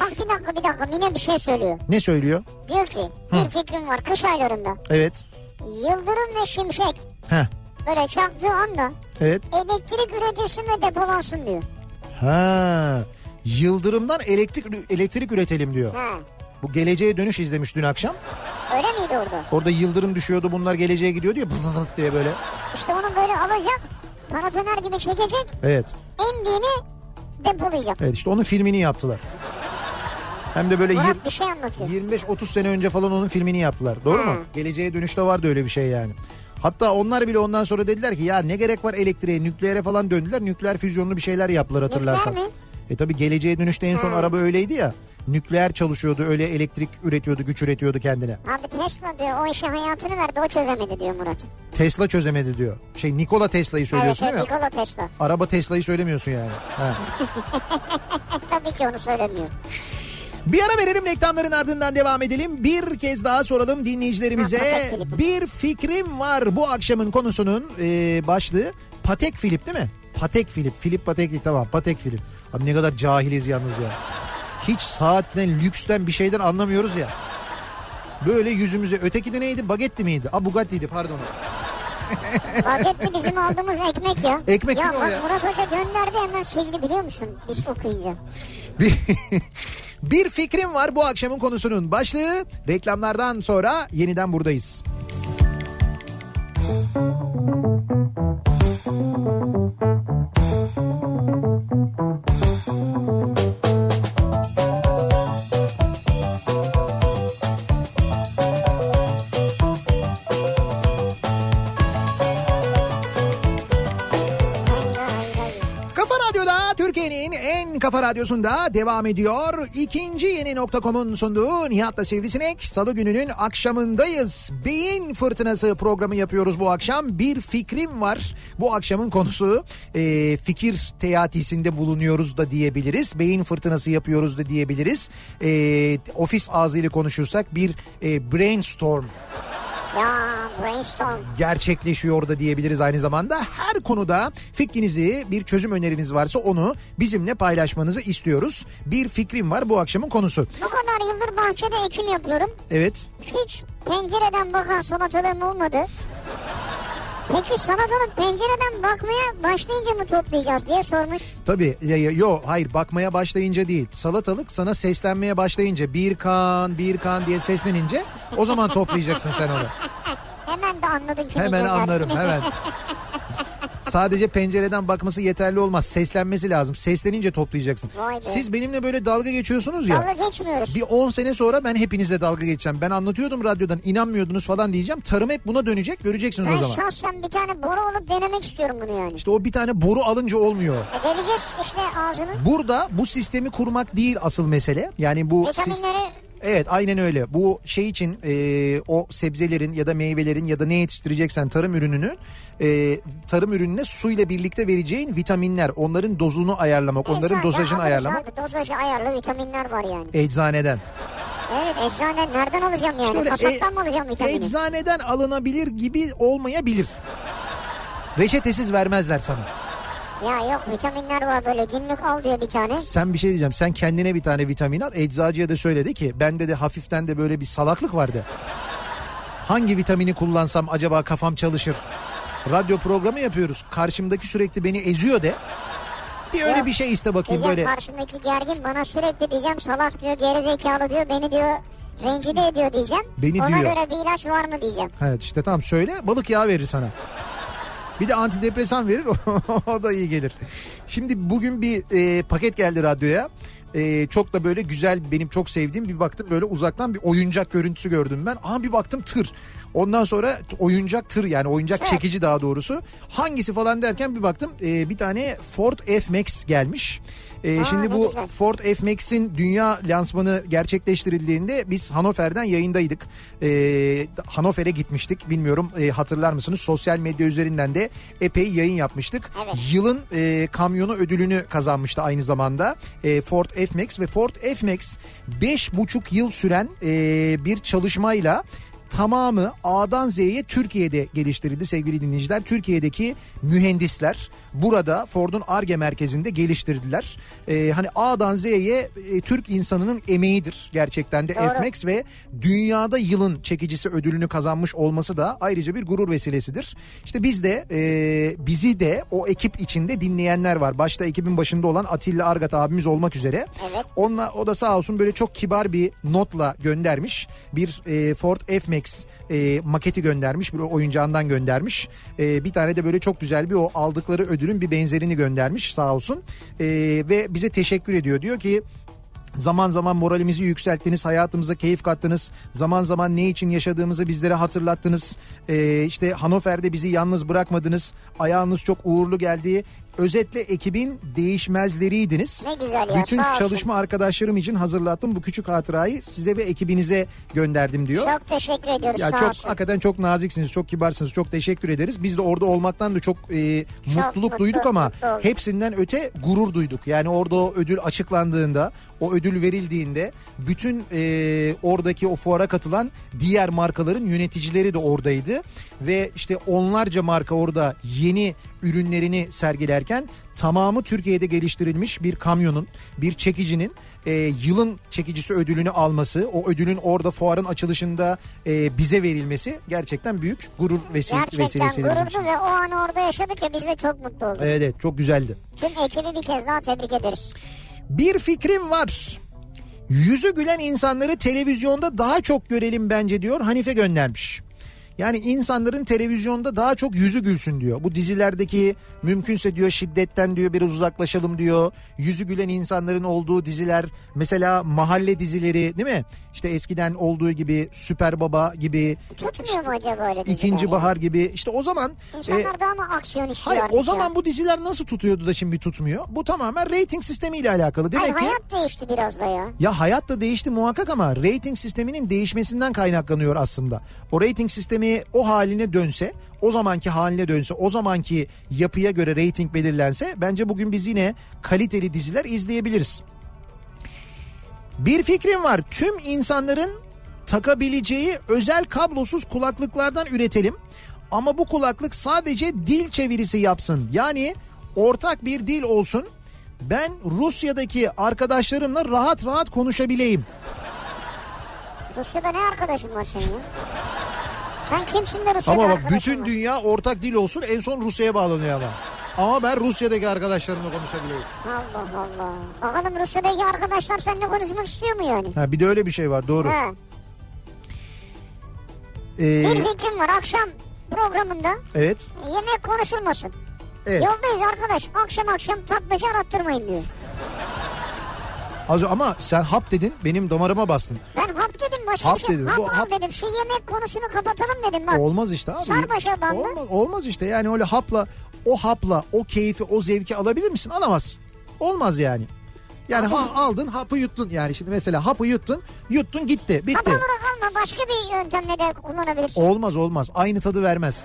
[SPEAKER 2] Bak bir dakika bir dakika Mine bir şey söylüyor.
[SPEAKER 1] Ne söylüyor?
[SPEAKER 2] Diyor ki bir fikrim var kış aylarında.
[SPEAKER 1] Evet.
[SPEAKER 2] Yıldırım ve şimşek
[SPEAKER 1] Heh.
[SPEAKER 2] böyle çaktığı anda
[SPEAKER 1] Evet.
[SPEAKER 2] elektrik üretilsin ve depolansın diyor.
[SPEAKER 1] Ha. Yıldırımdan elektrik elektrik üretelim diyor.
[SPEAKER 2] Ha.
[SPEAKER 1] Bu geleceğe dönüş izlemiş dün akşam.
[SPEAKER 2] Öyle miydi orada?
[SPEAKER 1] Orada yıldırım düşüyordu bunlar geleceğe gidiyor diyor diye böyle.
[SPEAKER 2] İşte onu böyle alacak, paratoner gibi çekecek,
[SPEAKER 1] Evet.
[SPEAKER 2] indiğini depolayacak.
[SPEAKER 1] Evet işte onun filmini yaptılar. Hem de böyle yir-
[SPEAKER 2] Murat bir şey anlatıyor.
[SPEAKER 1] 25-30 sene önce falan onun filmini yaptılar. Doğru mu? Geleceğe dönüşte vardı öyle bir şey yani. Hatta onlar bile ondan sonra dediler ki ya ne gerek var elektriğe, nükleere falan döndüler. Nükleer füzyonlu bir şeyler yaptılar hatırlarsan.
[SPEAKER 2] Nükleer mi?
[SPEAKER 1] E tabi geleceğe dönüşte en son araba öyleydi ya. Nükleer çalışıyordu öyle elektrik üretiyordu güç üretiyordu kendine.
[SPEAKER 2] Abi Tesla diyor o işe hayatını verdi o çözemedi diyor Murat.
[SPEAKER 1] Tesla çözemedi diyor. Şey Nikola Tesla'yı
[SPEAKER 2] Evet,
[SPEAKER 1] söylüyorsun
[SPEAKER 2] evet
[SPEAKER 1] değil mi?
[SPEAKER 2] Nikola Tesla.
[SPEAKER 1] Araba Tesla'yı söylemiyorsun yani. Ha.
[SPEAKER 2] E, Tabii ki onu söylemiyor.
[SPEAKER 1] Bir ara verelim reklamların ardından devam edelim. Bir kez daha soralım dinleyicilerimize.
[SPEAKER 2] Ha, Patek Philippe.
[SPEAKER 1] Bir fikrim var bu akşamın konusunun e, başlığı. Patek Philip değil mi? Patek Philip. Philip Patek değil tamam Patek Philip. Abi ne kadar cahiliz yalnız ya. Hiç saatten, lüksten bir şeyden anlamıyoruz ya. Böyle yüzümüze. Öteki de neydi? Bagetti miydi? Aa Bugatti'ydi pardon.
[SPEAKER 2] Bagetti bizim aldığımız ekmek ya.
[SPEAKER 1] Ekmek
[SPEAKER 2] ya
[SPEAKER 1] mi o
[SPEAKER 2] bak
[SPEAKER 1] ya?
[SPEAKER 2] Murat Hoca gönderdi hemen sildi biliyor musun? Biz okuyunca.
[SPEAKER 1] Bir, bir fikrim var bu akşamın konusunun başlığı. Reklamlardan sonra yeniden buradayız.
[SPEAKER 2] Hayır hayır hayır.
[SPEAKER 1] Kafa Radyo'da Türkiye'nin en kafa radyosunda devam ediyor. İkinci yeni nokta.com'un sunduğu Nihat'la Sivrisinek. Salı gününün akşamındayız. Beyin fırtınası programı yapıyoruz bu akşam. Bir fikrim var. Bu akşamın konusu e, fikir teatisinde bulunuyoruz da diyebiliriz. Beyin fırtınası yapıyoruz da diyebiliriz. E, ofis ağzıyla konuşursak bir e, brainstorm
[SPEAKER 2] Ya brainstorm.
[SPEAKER 1] gerçekleşiyor da diyebiliriz aynı zamanda. Her konuda fikrinizi bir çözüm öneriniz varsa onu bizimle paylaşmanızı istiyoruz. Bir fikrim var bu akşamın konusu.
[SPEAKER 2] Bu kadar yıldır bahçede ekim yapıyorum.
[SPEAKER 1] Evet
[SPEAKER 2] Hiç pencereden bakan sanat adamı olmadı. Peki sanat adamı pencereden bakmaya başlayınca mı toplayacağız diye sormuş.
[SPEAKER 1] tabii Ya- ya- yo hayır bakmaya başlayınca değil salatalık sana seslenmeye başlayınca bir kan bir kan diye seslenince o zaman toplayacaksın sen onu.
[SPEAKER 2] Hemen de anladın kimi
[SPEAKER 1] Hemen
[SPEAKER 2] gönderdin.
[SPEAKER 1] anlarım hemen. Sadece pencereden bakması yeterli olmaz. Seslenmesi lazım. Seslenince toplayacaksın.
[SPEAKER 2] Vay be.
[SPEAKER 1] Siz benimle böyle dalga geçiyorsunuz ya.
[SPEAKER 2] Dalga geçmiyoruz.
[SPEAKER 1] Bir 10 sene sonra ben hepinize dalga geçeceğim. Ben anlatıyordum radyodan inanmiyordunuz falan diyeceğim. Tarım hep buna dönecek göreceksiniz
[SPEAKER 2] Ben
[SPEAKER 1] o zaman.
[SPEAKER 2] şahsen bir tane boru alıp denemek istiyorum bunu yani.
[SPEAKER 1] İşte o bir tane boru alınca olmuyor.
[SPEAKER 2] E, deleceğiz işte ağzını.
[SPEAKER 1] Burada bu sistemi kurmak değil asıl mesele. Yani bu sis-
[SPEAKER 2] Vitaminleri
[SPEAKER 1] Evet aynen öyle. Bu şey için e, o sebzelerin ya da meyvelerin ya da ne yetiştireceksen tarım ürününü e, tarım ürününe suyla birlikte vereceğin vitaminler. Onların dozunu ayarlamak, onların
[SPEAKER 2] eczaneden
[SPEAKER 1] dozajını
[SPEAKER 2] alırız
[SPEAKER 1] ayarlamak.
[SPEAKER 2] Abi, dozajı ayarlı vitaminler var yani.
[SPEAKER 1] Eczaneden.
[SPEAKER 2] Evet eczaneden nereden alacağım yani?
[SPEAKER 1] İşte öyle,
[SPEAKER 2] Kasaptan
[SPEAKER 1] e-
[SPEAKER 2] mı alacağım vitamini?
[SPEAKER 1] Eczaneden alınabilir gibi olmayabilir. Reçetesiz vermezler sana.
[SPEAKER 2] ya yok vitaminler var böyle günlük al diyor bir tane.
[SPEAKER 1] Sen bir şey diyeceğim. Sen kendine bir tane vitamin al. Eczacıya da söyledi ki bende de hafiften de böyle bir salaklık vardı. Hangi vitamini kullansam acaba kafam çalışır? Radyo programı yapıyoruz. Karşımdaki sürekli beni eziyor de. Bir öyle
[SPEAKER 2] Yok.
[SPEAKER 1] bir şey iste bakayım
[SPEAKER 2] Diyeceğim
[SPEAKER 1] böyle.
[SPEAKER 2] karşımdaki gergin bana sürekli diyeceğim salak diyor gerizekalı diyor beni diyor rencide ediyor diyeceğim.
[SPEAKER 1] Beni
[SPEAKER 2] Ona
[SPEAKER 1] diyor.
[SPEAKER 2] göre bir ilaç var mı diyeceğim.
[SPEAKER 1] Evet işte tamam söyle balık yağı verir sana. Bir de antidepresan verir o da iyi gelir. Şimdi bugün bir e, paket geldi radyoya. E, çok da böyle güzel benim çok sevdiğim bir baktım böyle uzaktan bir oyuncak görüntüsü gördüm ben. Aha bir baktım tır. Ondan sonra t- oyuncak tır yani oyuncak
[SPEAKER 2] Tır.
[SPEAKER 1] çekici daha doğrusu. Hangisi falan derken bir baktım e, bir tane Ford F-Max gelmiş. E,
[SPEAKER 2] Aa,
[SPEAKER 1] şimdi
[SPEAKER 2] ne
[SPEAKER 1] bu
[SPEAKER 2] güzel.
[SPEAKER 1] Ford F-Max'in dünya lansmanı gerçekleştirildiğinde biz Hanover'den yayındaydık. Ee, Hanover'e gitmiştik. Bilmiyorum e, hatırlar mısınız? Sosyal medya üzerinden de epey yayın yapmıştık.
[SPEAKER 2] Evet.
[SPEAKER 1] Yılın e, kamyonu ödülünü kazanmıştı aynı zamanda. E, Ford F-Max ve Ford F-Max 5,5 yıl süren e, bir çalışmayla tamamı A'dan Z'ye Türkiye'de geliştirildi sevgili dinleyiciler. Türkiye'deki mühendisler burada Ford'un ARGE merkezinde geliştirdiler. Ee, hani A'dan Z'ye e, Türk insanının emeğidir gerçekten de
[SPEAKER 2] Doğru.
[SPEAKER 1] FMAX ve dünyada yılın çekicisi ödülünü kazanmış olması da ayrıca bir gurur vesilesidir. İşte biz de e, bizi de o ekip içinde dinleyenler var. Başta ekibin başında olan Atilla Argat abimiz olmak üzere.
[SPEAKER 2] Evet.
[SPEAKER 1] Onunla, o da sağ olsun böyle çok kibar bir notla göndermiş. Bir e, Ford F-Max e, maketi göndermiş. Bir oyuncağından göndermiş. E, bir tane de böyle çok güzel bir o aldıkları ödülün bir benzerini göndermiş sağ olsun. E, ve bize teşekkür ediyor. Diyor ki Zaman zaman moralimizi yükselttiniz, hayatımıza keyif kattınız. Zaman zaman ne için yaşadığımızı bizlere hatırlattınız. Ee, işte Hanover'de bizi yalnız bırakmadınız. Ayağınız çok uğurlu geldi. Özetle ekibin değişmezleriydiniz.
[SPEAKER 2] Ne güzel ya,
[SPEAKER 1] Bütün
[SPEAKER 2] sağ olsun.
[SPEAKER 1] çalışma arkadaşlarım için hazırlattım bu küçük hatırayı size ve ekibinize gönderdim diyor.
[SPEAKER 2] Çok teşekkür ediyoruz
[SPEAKER 1] Ya
[SPEAKER 2] sağ
[SPEAKER 1] çok
[SPEAKER 2] olsun.
[SPEAKER 1] hakikaten çok naziksiniz, çok kibarsınız, çok teşekkür ederiz. Biz de orada olmaktan da çok, e, mutluluk
[SPEAKER 2] mutlu,
[SPEAKER 1] duyduk ama
[SPEAKER 2] mutlu olduk.
[SPEAKER 1] hepsinden öte gurur duyduk. Yani orada o ödül açıklandığında, o ödül verildiğinde bütün e, oradaki o fuara katılan diğer markaların yöneticileri de oradaydı ve işte onlarca marka orada yeni ürünlerini sergilerken tamamı Türkiye'de geliştirilmiş bir kamyonun, bir çekicinin e, yılın çekicisi ödülünü alması, o ödülün orada fuarın açılışında e, bize verilmesi gerçekten büyük gurur vesile,
[SPEAKER 2] Gerçekten
[SPEAKER 1] vesilesi. bizim için.
[SPEAKER 2] gururdu ve o an orada yaşadık ya biz de çok mutlu olduk.
[SPEAKER 1] Evet, evet çok güzeldi.
[SPEAKER 2] Tüm ekibi bir kez daha tebrik ederiz.
[SPEAKER 1] Bir fikrim var. Yüzü gülen insanları televizyonda daha çok görelim bence diyor Hanife göndermiş. Yani insanların televizyonda daha çok yüzü gülsün diyor. Bu dizilerdeki mümkünse diyor şiddetten diyor biraz uzaklaşalım diyor. Yüzü gülen insanların olduğu diziler mesela mahalle dizileri değil mi? İşte eskiden olduğu gibi Süper Baba gibi,
[SPEAKER 2] Tutmuyor mu acaba öyle diziler?
[SPEAKER 1] İkinci Bahar gibi. İşte o zaman e,
[SPEAKER 2] İnsanlar daha mı aksiyon istiyor
[SPEAKER 1] hayır
[SPEAKER 2] artık
[SPEAKER 1] o zaman
[SPEAKER 2] ya?
[SPEAKER 1] bu diziler nasıl tutuyordu da şimdi tutmuyor? Bu tamamen reyting sistemiyle alakalı. Demek
[SPEAKER 2] Hayır
[SPEAKER 1] ki
[SPEAKER 2] hayat değişti biraz da ya.
[SPEAKER 1] ya hayat da değişti muhakkak ama rating sisteminin değişmesinden kaynaklanıyor aslında. O rating sistemi o haline dönse, o zamanki haline dönse, o zamanki yapıya göre rating belirlense bence bugün biz yine kaliteli diziler izleyebiliriz. Bir fikrim var. Tüm insanların takabileceği özel kablosuz kulaklıklardan üretelim. Ama bu kulaklık sadece dil çevirisi yapsın. Yani ortak bir dil olsun. Ben Rusya'daki arkadaşlarımla rahat rahat konuşabileyim.
[SPEAKER 2] Rusya'da ne arkadaşın var senin ya? Sen kimsin de Rusya'da
[SPEAKER 1] Ama bak
[SPEAKER 2] arkadaşın
[SPEAKER 1] bütün
[SPEAKER 2] var?
[SPEAKER 1] dünya ortak dil olsun en son Rusya'ya bağlanıyor ama. Ama ben Rusya'daki arkadaşlarımla konuşabileyim.
[SPEAKER 2] Allah Allah. Bakalım Rusya'daki arkadaşlar seninle konuşmak istiyor mu yani?
[SPEAKER 1] Ha, bir de öyle bir şey var doğru.
[SPEAKER 2] Ha.
[SPEAKER 1] Ee,
[SPEAKER 2] Bir fikrim var akşam programında
[SPEAKER 1] evet.
[SPEAKER 2] yemek konuşulmasın.
[SPEAKER 1] Evet.
[SPEAKER 2] Yoldayız arkadaş akşam akşam tatlıcı arattırmayın diyor.
[SPEAKER 1] Az ama sen hap dedin benim damarıma bastın.
[SPEAKER 2] Ben hap dedim başka
[SPEAKER 1] Hap
[SPEAKER 2] bir şey.
[SPEAKER 1] dedin,
[SPEAKER 2] Hap,
[SPEAKER 1] bu
[SPEAKER 2] al
[SPEAKER 1] hap-
[SPEAKER 2] dedim şu yemek konusunu kapatalım dedim bak.
[SPEAKER 1] Olmaz işte abi.
[SPEAKER 2] Sar başa bandı.
[SPEAKER 1] Olmaz, olmaz işte yani öyle hapla o hapla o keyfi o zevki alabilir misin? Alamazsın. Olmaz yani. Yani ha, aldın hapı yuttun yani şimdi mesela hapı yuttun yuttun gitti bitti.
[SPEAKER 2] Hap olarak alma başka bir yöntemle de kullanabilirsin.
[SPEAKER 1] Olmaz olmaz. Aynı tadı vermez.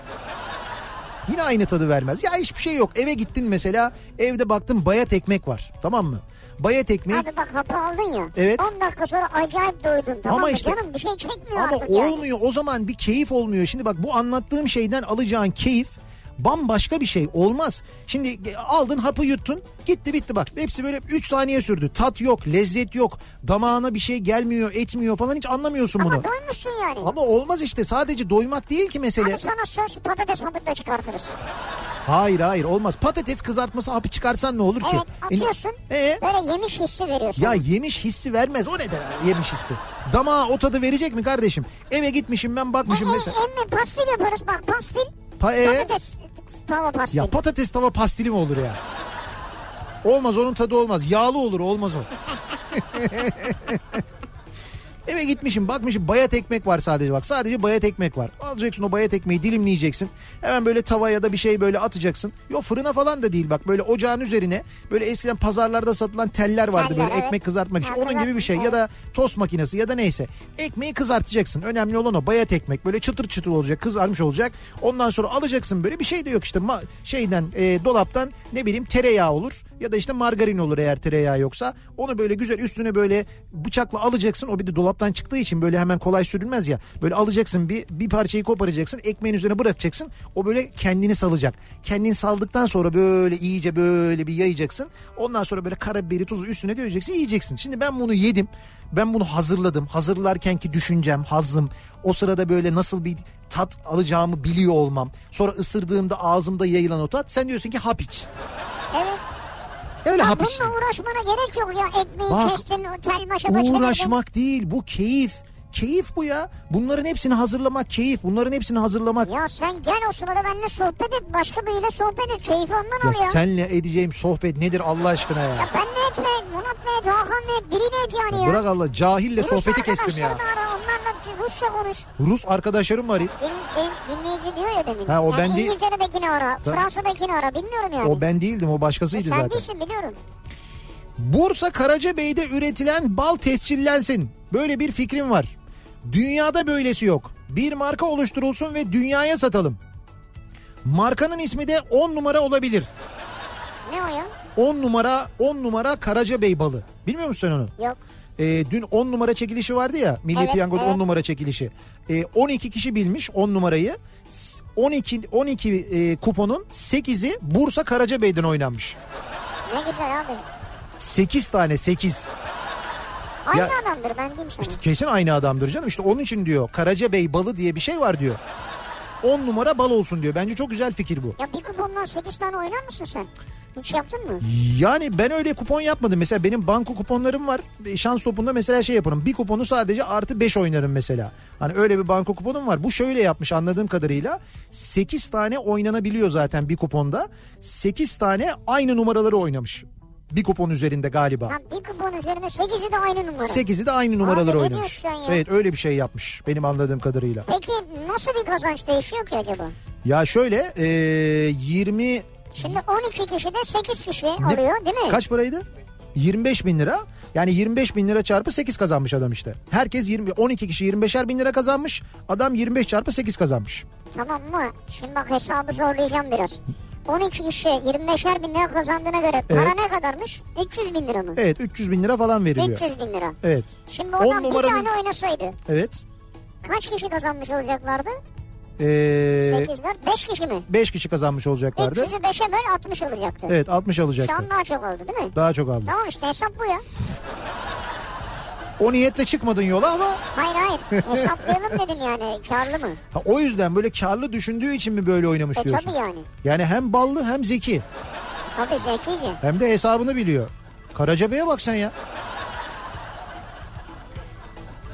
[SPEAKER 1] Yine aynı tadı vermez. Ya hiçbir şey yok. Eve gittin mesela evde baktın bayat ekmek var. Tamam mı? Bayat ekmeği
[SPEAKER 2] Abi bak hapı aldın ya.
[SPEAKER 1] Evet.
[SPEAKER 2] 10 dakika sonra acayip doydun tamam
[SPEAKER 1] Ama
[SPEAKER 2] mı
[SPEAKER 1] işte-
[SPEAKER 2] canım bir şey çekmiyor
[SPEAKER 1] ama
[SPEAKER 2] artık yani.
[SPEAKER 1] olmuyor. O zaman bir keyif olmuyor. Şimdi bak bu anlattığım şeyden alacağın keyif bambaşka bir şey olmaz. Şimdi aldın hapı yuttun gitti bitti bak. Hepsi böyle 3 saniye sürdü. Tat yok, lezzet yok. Damağına bir şey gelmiyor, etmiyor falan hiç anlamıyorsun bunu.
[SPEAKER 2] Ama doymuşsun yani.
[SPEAKER 1] Ama olmaz işte. Sadece doymak değil ki mesele.
[SPEAKER 2] Abi sana söz patates hapını da çıkartırız.
[SPEAKER 1] Hayır hayır olmaz. Patates kızartması hapı çıkarsan ne olur ki?
[SPEAKER 2] Evet atıyorsun
[SPEAKER 1] Şey, E,
[SPEAKER 2] böyle yemiş hissi veriyorsun. E,
[SPEAKER 1] ya yemiş hissi vermez. O neden abi yemiş hissi? Damağa o tadı verecek mi kardeşim? Eve gitmişim ben bakmışım
[SPEAKER 2] Ama
[SPEAKER 1] mesela.
[SPEAKER 2] e, Emmi pastil yaparız bak pastil.
[SPEAKER 1] Pa- e?
[SPEAKER 2] Patates tava pastil.
[SPEAKER 1] Ya patates tava pastili mi olur ya? Olmaz onun tadı olmaz. Yağlı olur olmaz o. Eve gitmişim bakmışım bayat ekmek var sadece bak sadece bayat ekmek var. Alacaksın o bayat ekmeği dilimleyeceksin. Hemen böyle tavaya da bir şey böyle atacaksın. Yo fırına falan da değil bak böyle ocağın üzerine böyle eskiden pazarlarda satılan teller vardı
[SPEAKER 2] Teller,
[SPEAKER 1] böyle
[SPEAKER 2] evet.
[SPEAKER 1] ekmek kızartmak için.
[SPEAKER 2] Ha,
[SPEAKER 1] Onun gibi bir şey ya da tost makinesi ya da neyse. Ekmeği kızartacaksın önemli olan o bayat ekmek böyle çıtır çıtır olacak kızarmış olacak. Ondan sonra alacaksın böyle bir şey de yok işte ma- şeyden e, dolaptan ne bileyim tereyağı olur ya da işte margarin olur eğer tereyağı yoksa. Onu böyle güzel üstüne böyle bıçakla alacaksın. O bir de dolaptan çıktığı için böyle hemen kolay sürülmez ya. Böyle alacaksın bir bir parçayı koparacaksın. Ekmeğin üzerine bırakacaksın. O böyle kendini salacak. Kendini saldıktan sonra böyle iyice böyle bir yayacaksın. Ondan sonra böyle karabiberi tuzu üstüne göreceksin yiyeceksin. Şimdi ben bunu yedim. Ben bunu hazırladım. Hazırlarken ki düşüncem, hazım. O sırada böyle nasıl bir tat alacağımı biliyor olmam. Sonra ısırdığımda ağzımda yayılan o tat. Sen diyorsun ki hap iç.
[SPEAKER 2] Evet.
[SPEAKER 1] Öyle
[SPEAKER 2] Ya
[SPEAKER 1] hap iç.
[SPEAKER 2] bununla uğraşmana gerek yok ya. Ekmeği
[SPEAKER 1] Bak,
[SPEAKER 2] şey. kestin, tel maşa da çevirdin.
[SPEAKER 1] Uğraşmak değil bu keyif. keyif bu ya. Bunların hepsini hazırlamak keyif. Bunların hepsini hazırlamak.
[SPEAKER 2] Ya sen gel o sırada benimle sohbet et. Başka biriyle sohbet et. Keyif ondan
[SPEAKER 1] Ya
[SPEAKER 2] oluyor.
[SPEAKER 1] senle edeceğim sohbet nedir Allah aşkına ya.
[SPEAKER 2] Ya ben ne etme, Murat'la et, Hakan'la et, biriyle et yani ya.
[SPEAKER 1] Bırak Allah cahille
[SPEAKER 2] Rus
[SPEAKER 1] sohbeti kestim ya.
[SPEAKER 2] arkadaşlarını ara, onlarla Rusça konuş.
[SPEAKER 1] Rus arkadaşlarım var.
[SPEAKER 2] Din, din- dinleyici diyor ya demin.
[SPEAKER 1] Ha, o
[SPEAKER 2] yani
[SPEAKER 1] ben değil.
[SPEAKER 2] İngiltere'dekini ara, Fransa'dakini ara bilmiyorum yani.
[SPEAKER 1] O ben değildim o
[SPEAKER 2] E
[SPEAKER 1] başkasıydı
[SPEAKER 2] sen
[SPEAKER 1] zaten.
[SPEAKER 2] değilsin biliyorum.
[SPEAKER 1] Bursa Karacabey'de üretilen bal tescillensin. Böyle bir fikrim var. Dünyada böylesi yok. Bir marka oluşturulsun ve dünyaya satalım. Markanın ismi de 10 numara olabilir.
[SPEAKER 2] Ne o ya?
[SPEAKER 1] 10 numara 10 numara Karacabey balı. Bilmiyor musun sen onu?
[SPEAKER 2] Yok.
[SPEAKER 1] Ee, dün 10 numara çekilişi vardı ya. Milli
[SPEAKER 2] Evet,
[SPEAKER 1] Piyango'da 10
[SPEAKER 2] evet.
[SPEAKER 1] numara çekilişi. Ee, 12 kişi bilmiş 10 numarayı. S- 12 12 e, kuponun 8'i Bursa Karacabey'den oynanmış.
[SPEAKER 2] Ne güzel abi.
[SPEAKER 1] 8 tane 8.
[SPEAKER 2] Aynı
[SPEAKER 1] Ya-
[SPEAKER 2] adamdır ben diyeyim sana.
[SPEAKER 1] Kesin aynı adamdır canım. İşte onun için diyor. Karacabey balı diye bir şey var diyor. 10 numara bal olsun diyor. Bence çok güzel fikir bu.
[SPEAKER 2] Ya bir kupondan 8 tane oynar mısın sen? Hiç yaptın mı?
[SPEAKER 1] Yani ben öyle kupon yapmadım. Mesela benim banko kuponlarım var. E, Şans topunda mesela şey yaparım. Bir kuponu sadece artı 5 oynarım mesela. Hani öyle bir banko kuponum var. Bu şöyle yapmış anladığım kadarıyla. 8 tane oynanabiliyor zaten bir kuponda. 8 tane aynı numaraları oynamış. Bir kupon üzerinde galiba.
[SPEAKER 2] Lan bir kupon üzerine 8'i de aynı numara.
[SPEAKER 1] 8'i de aynı numaraları
[SPEAKER 2] Abi ne
[SPEAKER 1] oynamış.
[SPEAKER 2] diyorsun ya?
[SPEAKER 1] Evet öyle bir şey yapmış benim anladığım kadarıyla.
[SPEAKER 2] Peki nasıl bir kazanç değişiyor ki acaba?
[SPEAKER 1] Ya şöyle e, 20
[SPEAKER 2] Şimdi 12 kişi de 8 kişi alıyor değil mi?
[SPEAKER 1] kaç paraydı? 25 bin lira. Yani 25 bin lira çarpı 8 kazanmış adam işte. Herkes 20, 12 kişi 25'er bin lira kazanmış. Adam 25 çarpı 8 kazanmış.
[SPEAKER 2] Tamam mı? Şimdi bak hesabı zorlayacağım biraz. 12 kişi 25'er bin lira kazandığına göre para
[SPEAKER 1] Evet.
[SPEAKER 2] ne kadarmış? 300 bin lira mı?
[SPEAKER 1] Evet 300 bin lira falan veriliyor.
[SPEAKER 2] 300 bin lira.
[SPEAKER 1] Evet.
[SPEAKER 2] Şimdi
[SPEAKER 1] On
[SPEAKER 2] oradan bir
[SPEAKER 1] numaranın-
[SPEAKER 2] tane oynasaydı
[SPEAKER 1] Evet.
[SPEAKER 2] kaç kişi kazanmış olacaklardı?
[SPEAKER 1] Ee,
[SPEAKER 2] 8'ler 5 kişi mi?
[SPEAKER 1] 5 kişi kazanmış olacaklardı.
[SPEAKER 2] 300'ü 5'e böl 60 olacaktı.
[SPEAKER 1] Evet 60
[SPEAKER 2] Şu an
[SPEAKER 1] alacaktı.
[SPEAKER 2] daha çok oldu değil mi?
[SPEAKER 1] Daha çok aldı.
[SPEAKER 2] Tamam işte hesap bu ya.
[SPEAKER 1] O niyetle çıkmadın yola ama
[SPEAKER 2] Hayır hayır hesaplayalım dedim yani karlı mı?
[SPEAKER 1] ha, o yüzden böyle karlı düşündüğü için mi böyle oynamış
[SPEAKER 2] E
[SPEAKER 1] diyorsun?
[SPEAKER 2] tabii yani.
[SPEAKER 1] Yani hem ballı hem zeki
[SPEAKER 2] Tabii zekice.
[SPEAKER 1] hem de hesabını biliyor. Karacabey'e bak sen ya.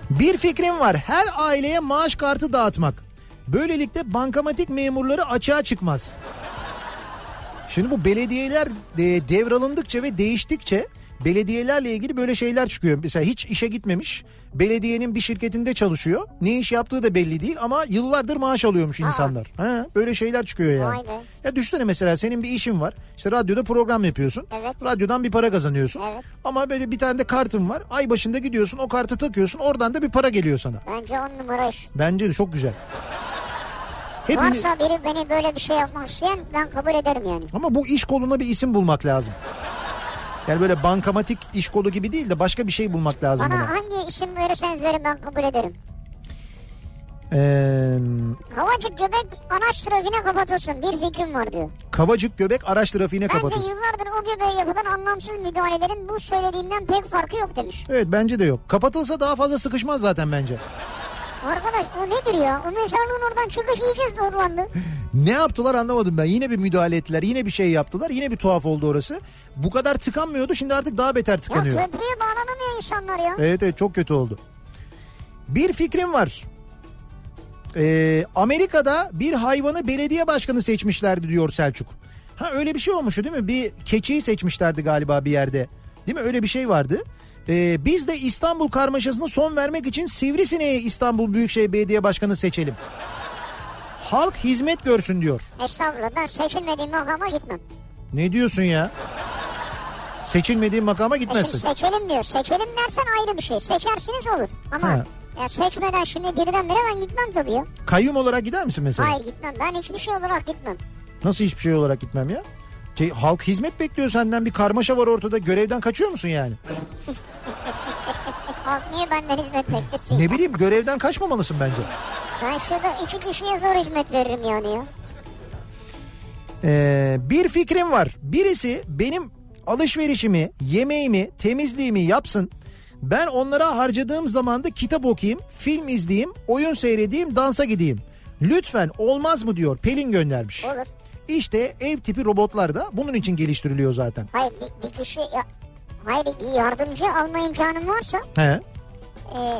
[SPEAKER 1] Bir fikrim var. Her aileye maaş kartı dağıtmak. Böylelikle bankamatik memurları açığa çıkmaz. Şimdi bu belediyeler e, devralındıkça ve değiştikçe belediyelerle ilgili böyle şeyler çıkıyor. Mesela hiç işe gitmemiş. Belediyenin bir şirketinde çalışıyor. Ne iş yaptığı da belli değil ama yıllardır maaş alıyormuş insanlar. Ha, böyle şeyler çıkıyor yani.
[SPEAKER 2] Vay be.
[SPEAKER 1] Ya düşünsene mesela senin bir işin var. İşte radyoda program yapıyorsun.
[SPEAKER 2] Evet.
[SPEAKER 1] Radyodan bir para kazanıyorsun.
[SPEAKER 2] Evet.
[SPEAKER 1] Ama böyle bir tane de kartın var. Ay başında gidiyorsun o kartı takıyorsun. Oradan da bir para geliyor sana.
[SPEAKER 2] Bence on numara iş.
[SPEAKER 1] Bence de çok güzel. Hepimiz...
[SPEAKER 2] Varsa biri beni böyle bir şey yapmak isteyen ben kabul ederim yani.
[SPEAKER 1] Ama bu iş koluna bir isim bulmak lazım. Yani böyle bankamatik iş kolu gibi değil de başka bir şey bulmak lazım
[SPEAKER 2] Bana
[SPEAKER 1] buna.
[SPEAKER 2] hangi isim verirseniz verin ben kabul ederim.
[SPEAKER 1] Ee,
[SPEAKER 2] Havacık göbek araç trafiğine kapatılsın bir fikrim var diyor.
[SPEAKER 1] kavacık göbek araç trafiğine
[SPEAKER 2] Bence
[SPEAKER 1] kapatılsın.
[SPEAKER 2] yıllardır o göbeğe yapılan anlamsız müdahalelerin bu söylediğimden pek farkı yok demiş.
[SPEAKER 1] Evet bence de yok. Kapatılsa daha fazla sıkışmaz zaten bence.
[SPEAKER 2] Arkadaş o nedir ya? O mezarlığın oradan çıkış iyice zorlandı.
[SPEAKER 1] Ne yaptılar anlamadım ben. Yine bir müdahale ettiler. Yine bir şey yaptılar. Yine bir tuhaf oldu orası. Bu kadar tıkanmıyordu. Şimdi artık daha beter
[SPEAKER 2] ya
[SPEAKER 1] tıkanıyor.
[SPEAKER 2] köprüye bağlanamıyor insanlar ya.
[SPEAKER 1] Evet evet çok kötü oldu. Bir fikrim var. Ee, Amerika'da bir hayvanı belediye başkanı seçmişlerdi diyor Selçuk. Ha öyle bir şey olmuştu değil mi? Bir keçiyi seçmişlerdi galiba bir yerde. Değil mi? Öyle bir şey vardı. Ee, biz de İstanbul karmaşasına son vermek için Sivrisineği İstanbul Büyükşehir Belediye Başkanı seçelim. Halk hizmet görsün diyor.
[SPEAKER 2] Estağfurullah ben seçilmediğim makama gitmem.
[SPEAKER 1] Ne diyorsun ya? Seçilmediğin makama
[SPEAKER 2] E şimdi
[SPEAKER 1] gitmezsin.
[SPEAKER 2] seçelim diyor. Seçelim dersen ayrı bir şey. Seçersiniz olur. Ama
[SPEAKER 1] Ha.
[SPEAKER 2] ya seçmeden şimdi birdenbire ben gitmem tabii ya.
[SPEAKER 1] Kayyum olarak gider misin mesela?
[SPEAKER 2] Hayır gitmem. Ben hiçbir şey olarak gitmem.
[SPEAKER 1] Nasıl hiçbir şey olarak gitmem ya? Şey, halk hizmet bekliyor senden bir karmaşa var ortada görevden kaçıyor musun yani?
[SPEAKER 2] Halk niye benden hizmet beklesin?
[SPEAKER 1] Ne bileyim görevden kaçmamalısın bence.
[SPEAKER 2] Ben şurada iki kişiye zor hizmet veririm yani ya.
[SPEAKER 1] Ee, bir fikrim var. Birisi benim alışverişimi, yemeğimi, temizliğimi yapsın. Ben onlara harcadığım zamanda kitap okuyayım, film izleyeyim, oyun seyredeyim, dansa gideyim. Lütfen olmaz mı diyor Pelin göndermiş.
[SPEAKER 2] Olur.
[SPEAKER 1] İşte ev tipi robotlar da bunun için geliştiriliyor zaten.
[SPEAKER 2] Hayır bir, bir kişi... Ya, hayır bir yardımcı alma imkanım varsa
[SPEAKER 1] He.
[SPEAKER 2] e,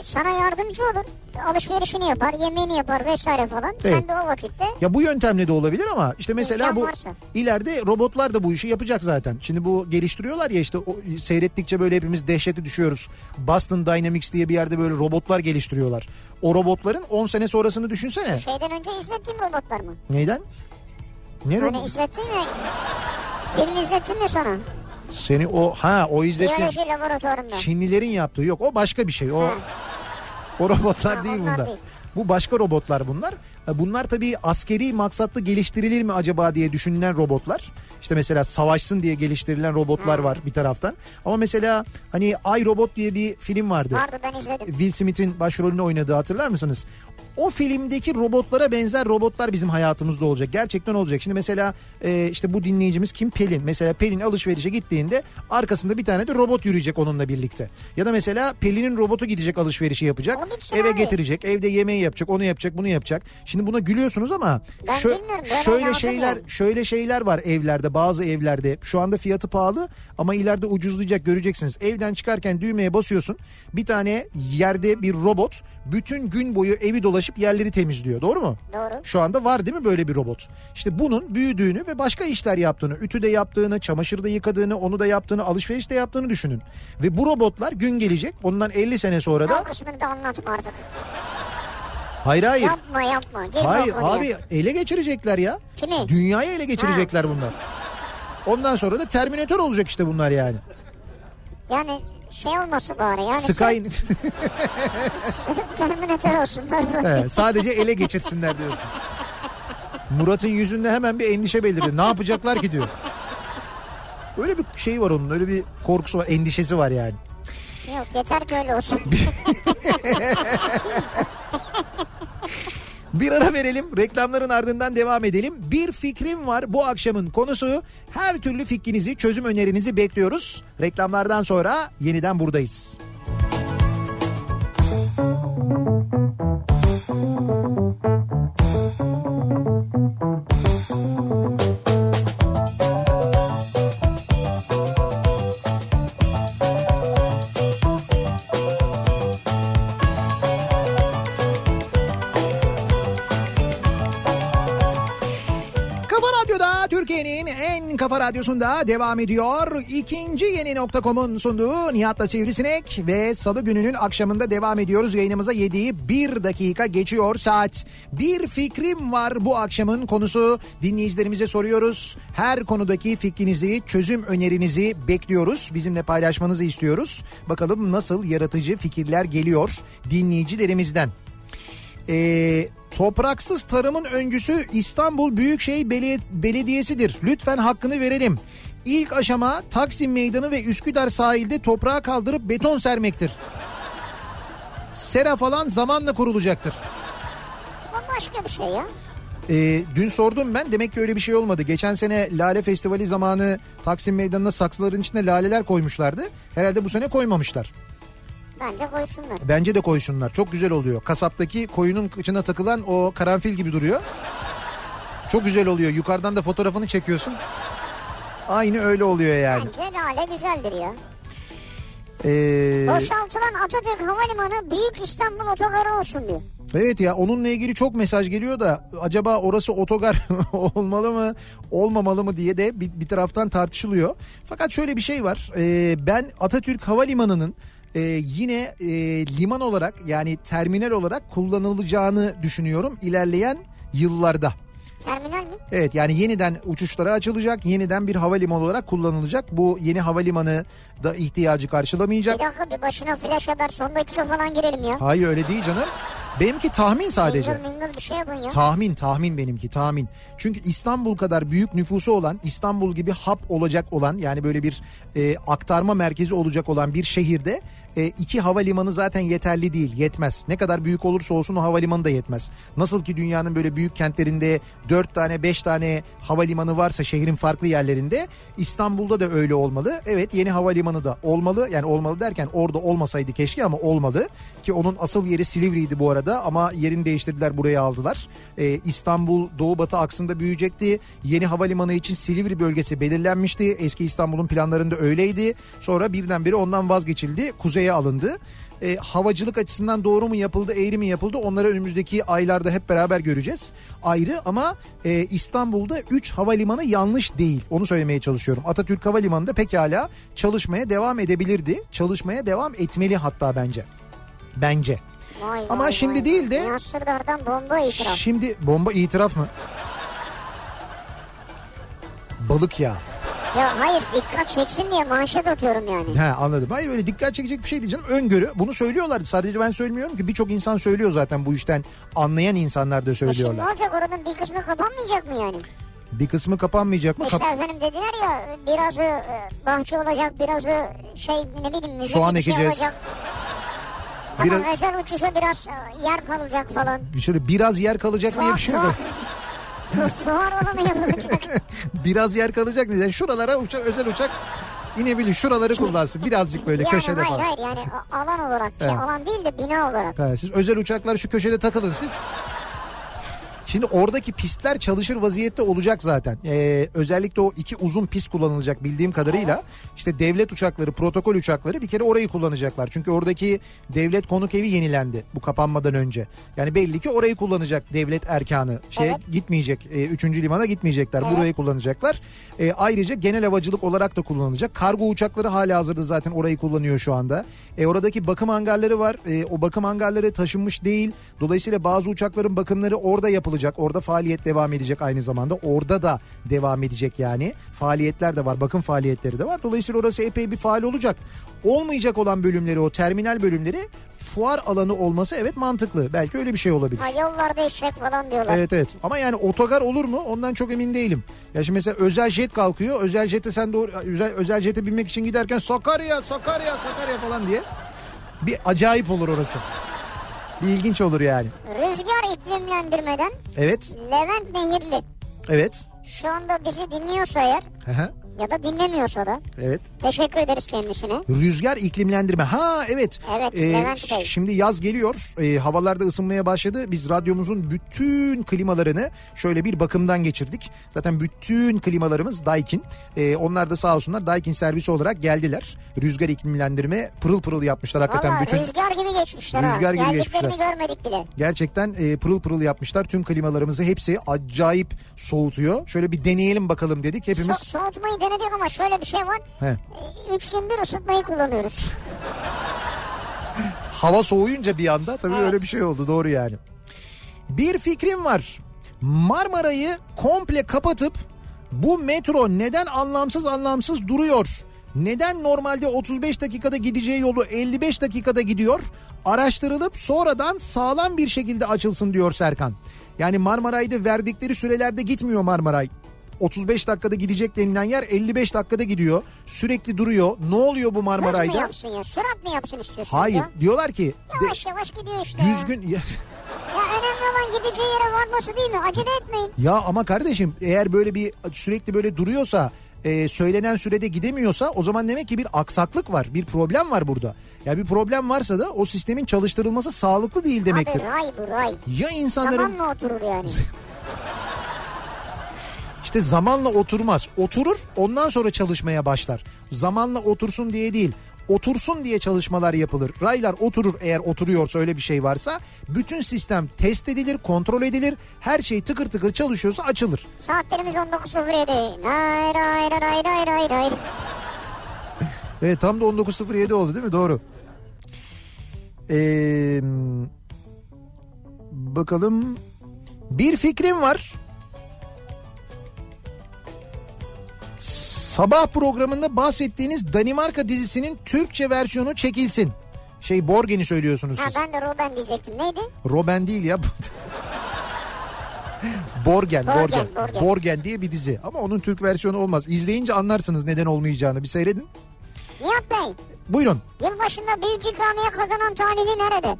[SPEAKER 2] sana yardımcı olur. Alışverişini yapar, yemeğini yapar vesaire falan.
[SPEAKER 1] Evet.
[SPEAKER 2] Sen de o vakitte
[SPEAKER 1] Ya bu yöntemle de olabilir ama işte mesela
[SPEAKER 2] İmkan
[SPEAKER 1] bu
[SPEAKER 2] varsa.
[SPEAKER 1] ileride robotlar da bu işi yapacak zaten. Şimdi bu geliştiriyorlar ya işte o, seyrettikçe böyle hepimiz dehşete düşüyoruz. Boston Dynamics diye bir yerde böyle robotlar geliştiriyorlar. O robotların 10 sene sonrasını düşünsene.
[SPEAKER 2] şeyden önce izlettiğim robotlar mı?
[SPEAKER 1] Neyden? Ne
[SPEAKER 2] Hani
[SPEAKER 1] robot?
[SPEAKER 2] izlettim mi? Film izlettim mi sana?
[SPEAKER 1] Seni o ha o izlettiğin şey.
[SPEAKER 2] Biyoloji laboratuvarında.
[SPEAKER 1] Çinlilerin yaptığı yok o başka bir şey. O o robotlar
[SPEAKER 2] Ha,
[SPEAKER 1] değil
[SPEAKER 2] onlar
[SPEAKER 1] bunlar.
[SPEAKER 2] değil.
[SPEAKER 1] Bu başka robotlar bunlar. E, Bunlar tabii askeri maksatlı geliştirilir mi acaba diye düşünülen robotlar. İşte mesela savaşsın diye geliştirilen robotlar var bir taraftan. Ama mesela hani Ay Robot diye bir film vardı.
[SPEAKER 2] Vardı ben izledim.
[SPEAKER 1] Will Smith'in başrolünü oynadığı hatırlar mısınız? O filmdeki robotlara benzer robotlar bizim hayatımızda olacak. Gerçekten olacak. Şimdi mesela e, işte bu dinleyicimiz kim? Pelin. Mesela Pelin alışverişe gittiğinde arkasında bir tane de robot yürüyecek onunla birlikte. Ya da mesela Pelin'in robotu gidecek alışverişi yapacak.
[SPEAKER 2] O bitsin
[SPEAKER 1] Eve
[SPEAKER 2] abi.
[SPEAKER 1] getirecek. Evde yemeği yapacak. Onu yapacak. Bunu yapacak. Şimdi buna gülüyorsunuz ama
[SPEAKER 2] Ben
[SPEAKER 1] şö-
[SPEAKER 2] bilmiyorum, böyle
[SPEAKER 1] şöyle
[SPEAKER 2] lazım
[SPEAKER 1] şeyler
[SPEAKER 2] yani.
[SPEAKER 1] şöyle şeyler var evlerde bazı evlerde şu anda fiyatı pahalı ama ileride ucuzlayacak göreceksiniz. Evden çıkarken düğmeye basıyorsun bir tane yerde bir robot bütün gün boyu evi dolaşıp yerleri temizliyor doğru mu?
[SPEAKER 2] Doğru.
[SPEAKER 1] Şu anda var değil mi böyle bir robot? İşte bunun büyüdüğünü ve başka işler yaptığını, ütü de yaptığını, çamaşır da yıkadığını, onu da yaptığını, alışveriş de yaptığını düşünün. Ve bu robotlar gün gelecek. Ondan 50 sene sonra da
[SPEAKER 2] O kısmını da anlatma artık.
[SPEAKER 1] hayır hayır.
[SPEAKER 2] Yapma yapma. Girme
[SPEAKER 1] Hayır
[SPEAKER 2] o konuya.
[SPEAKER 1] abi ele geçirecekler ya.
[SPEAKER 2] Kimi?
[SPEAKER 1] Dünyayı ele geçirecekler bunlar. Ondan sonra da Terminator olacak işte bunlar yani.
[SPEAKER 2] Yani şey olmasın bari yani.
[SPEAKER 1] Sky
[SPEAKER 2] sırf- Terminator olsunlar.
[SPEAKER 1] He, sadece ele geçirsinler diyorsun. Murat'ın yüzünde hemen bir endişe belirdi. Ne yapacaklar ki diyor. Öyle bir şey var onun. Öyle bir korkusu var, endişesi var yani.
[SPEAKER 2] Yok yeter ki öyle olsun.
[SPEAKER 1] Bir ara verelim. Reklamların ardından devam edelim. Bir fikrim var bu akşamın konusu. Her türlü fikrinizi, çözüm önerinizi bekliyoruz. Reklamlardan sonra yeniden buradayız. Kafa Radyo'da Türkiye'nin en kafa radyosunda devam ediyor. İkinci yeni nokta.com'un sunduğu Nihat'la Sivrisinek ve salı gününün akşamında devam ediyoruz. Yayınımıza yediği bir dakika geçiyor saat. Bir fikrim var bu akşamın konusu. Dinleyicilerimize soruyoruz. Her konudaki fikrinizi, çözüm önerinizi bekliyoruz. Bizimle paylaşmanızı istiyoruz. Bakalım nasıl yaratıcı fikirler geliyor dinleyicilerimizden. Ee, topraksız tarımın öncüsü İstanbul Büyükşehir Beli- Belediyesi'dir. Lütfen hakkını verelim. İlk aşama Taksim Meydanı ve Üsküdar sahilde toprağa kaldırıp beton sermektir. Sera falan zamanla kurulacaktır.
[SPEAKER 2] Ama başka bir şey ya.
[SPEAKER 1] Ee, dün sordum ben demek ki öyle bir şey olmadı. Geçen sene Lale Festivali zamanı Taksim Meydanı'na saksıların içine laleler koymuşlardı. Herhalde bu sene koymamışlar.
[SPEAKER 2] Bence koysunlar.
[SPEAKER 1] Bence de koysunlar. Çok güzel oluyor. Kasaptaki koyunun kıçına takılan o karanfil gibi duruyor. Çok güzel oluyor. Yukarıdan da fotoğrafını çekiyorsun. Aynı öyle oluyor yani.
[SPEAKER 2] Bence lale güzeldir ya.
[SPEAKER 1] Ee,
[SPEAKER 2] Boşaltılan Atatürk Havalimanı Büyük İstanbul Otogarı olsun diyor.
[SPEAKER 1] evet ya onunla ilgili çok mesaj geliyor da acaba orası otogar olmalı mı olmamalı mı diye de bir, bir taraftan tartışılıyor. Fakat şöyle bir şey var. Ee, ben Atatürk Havalimanı'nın e, yine e, liman olarak yani terminal olarak kullanılacağını düşünüyorum ilerleyen yıllarda.
[SPEAKER 2] Terminal mi?
[SPEAKER 1] Evet yani yeniden uçuşlara açılacak, yeniden bir havalimanı olarak kullanılacak. Bu yeni havalimanı da ihtiyacı
[SPEAKER 2] Bir
[SPEAKER 1] karşılamayacak.
[SPEAKER 2] dakika bir başına flash haber son dakika falan girelim ya.
[SPEAKER 1] Hayır öyle değil canım. Benimki tahmin sadece.
[SPEAKER 2] Jingle mingle bir şey yapın ya.
[SPEAKER 1] Tahmin tahmin benimki tahmin. Çünkü İstanbul kadar büyük nüfusu olan İstanbul gibi hap olacak olan yani böyle bir e, aktarma merkezi olacak olan bir şehirde e, iki havalimanı zaten yeterli değil yetmez. Ne kadar büyük olursa olsun o havalimanı da yetmez. Nasıl ki dünyanın böyle büyük kentlerinde dört tane beş tane havalimanı varsa şehrin farklı yerlerinde İstanbul'da da öyle olmalı. Evet yeni havalimanı da olmalı yani olmalı derken orada olmasaydı keşke ama olmalı ki onun asıl yeri Silivri'ydi bu arada ama yerini değiştirdiler buraya aldılar. Ee, İstanbul doğu batı aksında büyüyecekti. Yeni havalimanı için Silivri bölgesi belirlenmişti. Eski İstanbul'un planlarında öyleydi. Sonra birdenbire ondan vazgeçildi. Kuzeye şeye alındı. E, havacılık açısından doğru mu yapıldı, eğri mi yapıldı onları önümüzdeki aylarda hep beraber göreceğiz. Ayrı ama e, İstanbul'da 3 havalimanı yanlış değil. Onu söylemeye çalışıyorum. Atatürk Havalimanı'nda pekala çalışmaya devam edebilirdi. Çalışmaya devam etmeli hatta bence. Bence.
[SPEAKER 2] Vay,
[SPEAKER 1] Ama
[SPEAKER 2] vay,
[SPEAKER 1] şimdi
[SPEAKER 2] vay.
[SPEAKER 1] değil de-
[SPEAKER 2] Nasır da oradan bomba itiraf.
[SPEAKER 1] Şimdi bomba itiraf mı? Balık ya.
[SPEAKER 2] Ya hayır dikkat çeksin diye manşet atıyorum yani.
[SPEAKER 1] He anladım. Hayır öyle dikkat çekecek bir şey değil canım. Öngörü. Bunu söylüyorlar. Sadece ben söylemiyorum ki birçok insan söylüyor zaten bu işten. Anlayan insanlar da
[SPEAKER 2] E şimdi ne
[SPEAKER 1] söylüyorlar.
[SPEAKER 2] olacak oranın bir kısmı kapanmayacak mı yani?
[SPEAKER 1] Bir kısmı kapanmayacak mı?
[SPEAKER 2] İşte
[SPEAKER 1] Kap-
[SPEAKER 2] efendim dediler ya birazı e, bahçe olacak birazı şey ne bileyim müze
[SPEAKER 1] Soğan
[SPEAKER 2] bir şey
[SPEAKER 1] ekeceğiz.
[SPEAKER 2] olacak.
[SPEAKER 1] Biraz-
[SPEAKER 2] Tamam özel uçuşa biraz e, yer kalacak falan.
[SPEAKER 1] Şöyle biraz yer kalacak diye bir şey yok.
[SPEAKER 2] Fuar- Fuar alanı yapılacak.
[SPEAKER 1] biraz yer kalacak diye. Şuralara uça- özel uçak inebilir. Şuraları kullansın. Birazcık böyle
[SPEAKER 2] yani
[SPEAKER 1] köşede
[SPEAKER 2] hayır
[SPEAKER 1] falan.
[SPEAKER 2] hayır yani a- alan olarak şey,
[SPEAKER 1] Evet.
[SPEAKER 2] alan değil de bina olarak.
[SPEAKER 1] Ha, siz özel uçaklar şu köşede takılın siz. Şimdi oradaki pistler çalışır vaziyette olacak zaten. Ee, özellikle o iki uzun pist kullanılacak bildiğim kadarıyla. işte devlet uçakları, protokol uçakları bir kere orayı kullanacaklar. Çünkü oradaki devlet konuk evi yenilendi bu kapanmadan önce. Yani belli ki orayı kullanacak devlet erkanı. Şeye
[SPEAKER 2] Evet.
[SPEAKER 1] gitmeyecek, e, üçüncü limana gitmeyecekler. Burayı kullanacaklar. E, ayrıca genel havacılık olarak da kullanılacak. Kargo uçakları hala hazırda zaten orayı kullanıyor şu anda. E, oradaki bakım hangarları var. E, o bakım hangarları taşınmış değil. Dolayısıyla bazı uçakların bakımları orada yapılacak. Orada faaliyet devam edecek aynı zamanda. Orada da devam edecek yani. Faaliyetler de var. Bakım faaliyetleri de var. Dolayısıyla orası epey bir faal olacak. Olmayacak olan bölümleri o terminal bölümleri fuar alanı olması evet mantıklı. Belki öyle bir şey olabilir.
[SPEAKER 2] Ha, yollarda işlek falan diyorlar.
[SPEAKER 1] Evet evet ama yani otogar olur mu ondan çok emin değilim. Ya şimdi mesela özel jet kalkıyor özel jete sen doğru özel, özel jete binmek için giderken Sakarya Sakarya Sakarya falan diye bir acayip olur orası. Bir ilginç olur yani.
[SPEAKER 2] Rüzgar iklimlendirmeden
[SPEAKER 1] Evet
[SPEAKER 2] Levent Nehirli
[SPEAKER 1] evet
[SPEAKER 2] şu anda bizi dinliyorsa eğer
[SPEAKER 1] Hı hı,
[SPEAKER 2] ya da dinlemiyorsa da
[SPEAKER 1] evet.
[SPEAKER 2] teşekkür ederiz kendisine.
[SPEAKER 1] Rüzgar iklimlendirme. Ha evet. Ee,
[SPEAKER 2] Evet, Levent Bey.
[SPEAKER 1] Şimdi yaz geliyor. Ee, havalarda ısınmaya başladı. Biz radyomuzun bütün klimalarını şöyle bir bakımdan geçirdik. Zaten bütün klimalarımız Daikin. Ee, onlar da sağ olsunlar Daikin servisi olarak geldiler. Rüzgar iklimlendirme pırıl pırıl yapmışlar hakikaten
[SPEAKER 2] Valla
[SPEAKER 1] bütün.
[SPEAKER 2] rüzgar gibi geçmişler ha.
[SPEAKER 1] Rüzgar gibi
[SPEAKER 2] Geldiklerini
[SPEAKER 1] geçmişler.
[SPEAKER 2] görmedik bile.
[SPEAKER 1] Gerçekten e, pırıl pırıl yapmışlar. Tüm klimalarımızı hepsi acayip soğutuyor. Şöyle bir deneyelim bakalım dedik.
[SPEAKER 2] So-
[SPEAKER 1] Hepimiz
[SPEAKER 2] soğutmayı denedik ama şöyle bir şey var.
[SPEAKER 1] He.
[SPEAKER 2] E, Üç gündür ısıtmayı kullanıyoruz.
[SPEAKER 1] hava soğuyunca bir anda tabii öyle bir şey oldu doğru yani. Bir fikrim var. Marmara'yı komple kapatıp bu metro neden anlamsız anlamsız duruyor? Neden normalde 35 dakikada gideceği yolu 55 dakikada gidiyor? Araştırılıp sonradan sağlam bir şekilde açılsın diyor Serkan. Yani Marmaray'da verdikleri sürelerde gitmiyor Marmaray. 35 dakikada gidecek denilen yer 55 dakikada gidiyor. Sürekli duruyor. Ne oluyor bu
[SPEAKER 2] Hız mı
[SPEAKER 1] Marmaray'da?
[SPEAKER 2] yapsın ya? Sürat mı yapsın istiyorsun
[SPEAKER 1] Hayır.
[SPEAKER 2] ya?
[SPEAKER 1] Diyorlar ki de-
[SPEAKER 2] Yavaş yavaş gidiyor işte. ya.
[SPEAKER 1] düzgün ya,
[SPEAKER 2] Ya önemli olan gideceği yere varması değil mi? Acele etmeyin.
[SPEAKER 1] ya ama kardeşim eğer böyle bir sürekli böyle duruyorsa e, söylenen sürede gidemiyorsa o zaman demek ki bir aksaklık var. Bir problem var burada. Ya bir problem varsa da o sistemin çalıştırılması sağlıklı değil demektir.
[SPEAKER 2] Abi ray bu ray.
[SPEAKER 1] Ya insanların
[SPEAKER 2] Tamam mı oturur yani?
[SPEAKER 1] İşte zamanla oturmaz. Oturur ondan sonra çalışmaya başlar. Zamanla otursun diye değil otursun diye çalışmalar yapılır. Raylar oturur eğer oturuyorsa öyle bir şey varsa bütün sistem test edilir, kontrol edilir. Her şey tıkır tıkır çalışıyorsa açılır.
[SPEAKER 2] Saatlerimiz 19.07. Ray ray ray ray ray ray ray.
[SPEAKER 1] Evet E, tam da 19.07 oldu değil mi? Doğru. Ee, bakalım. Bir fikrim var. Sabah programında bahsettiğiniz Danimarka dizisinin Türkçe versiyonu çekilsin. Şey Borgen'i söylüyorsunuz
[SPEAKER 2] Ha
[SPEAKER 1] siz.
[SPEAKER 2] ben de Ruben diyecektim. Neydi?
[SPEAKER 1] Robben değil ya. Borgen, Borgen,
[SPEAKER 2] Borgen,
[SPEAKER 1] Borgen,
[SPEAKER 2] Borgen.
[SPEAKER 1] diye bir dizi. Ama onun Türk versiyonu olmaz. İzleyince anlarsınız neden olmayacağını. Bir seyredin.
[SPEAKER 2] Nihat Bey.
[SPEAKER 1] Buyurun.
[SPEAKER 2] Yılbaşında büyük ikramiye kazanan talihli nerede?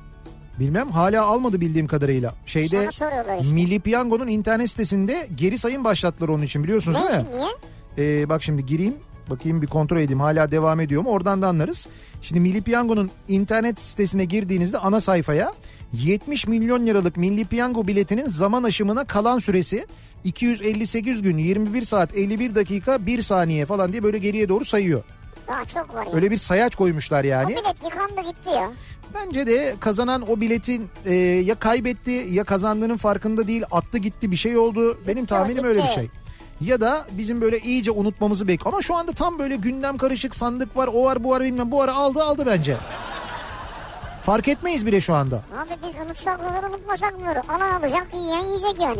[SPEAKER 1] Bilmem hala almadı bildiğim kadarıyla. Şeyde
[SPEAKER 2] Sana soruyorlar işte.
[SPEAKER 1] Milli Piyango'nun internet sitesinde geri sayım başlattılar onun için biliyorsunuz
[SPEAKER 2] Ne
[SPEAKER 1] değil
[SPEAKER 2] için
[SPEAKER 1] mi?
[SPEAKER 2] niye?
[SPEAKER 1] Ee, bak şimdi gireyim bakayım bir kontrol edeyim hala devam ediyor mu oradan da anlarız. Şimdi Milli Piyango'nun internet sitesine girdiğinizde ana sayfaya 70 milyon liralık Milli Piyango biletinin zaman aşımına kalan süresi 258 gün 21 saat 51 dakika 1 saniye falan diye böyle geriye doğru sayıyor.
[SPEAKER 2] Daha çok var ya.
[SPEAKER 1] Öyle bir sayaç koymuşlar
[SPEAKER 2] O
[SPEAKER 1] yani.
[SPEAKER 2] bilet yıkandı gitti ya.
[SPEAKER 1] Bence de kazanan o biletin e, ya kaybetti ya kazandığının farkında değil attı gitti bir şey oldu. Benim tahminim öyle bir
[SPEAKER 2] gitti.
[SPEAKER 1] şey. Ya da bizim böyle iyice unutmamızı bekliyor. Ama şu anda tam böyle gündem karışık sandık var o var bu var bilmem bu ara aldı aldı bence. Fark etmeyiz bile şu anda.
[SPEAKER 2] Abi biz unutsak bunları unutmasak bunları. Alan alacak yiyen yiyecek yani.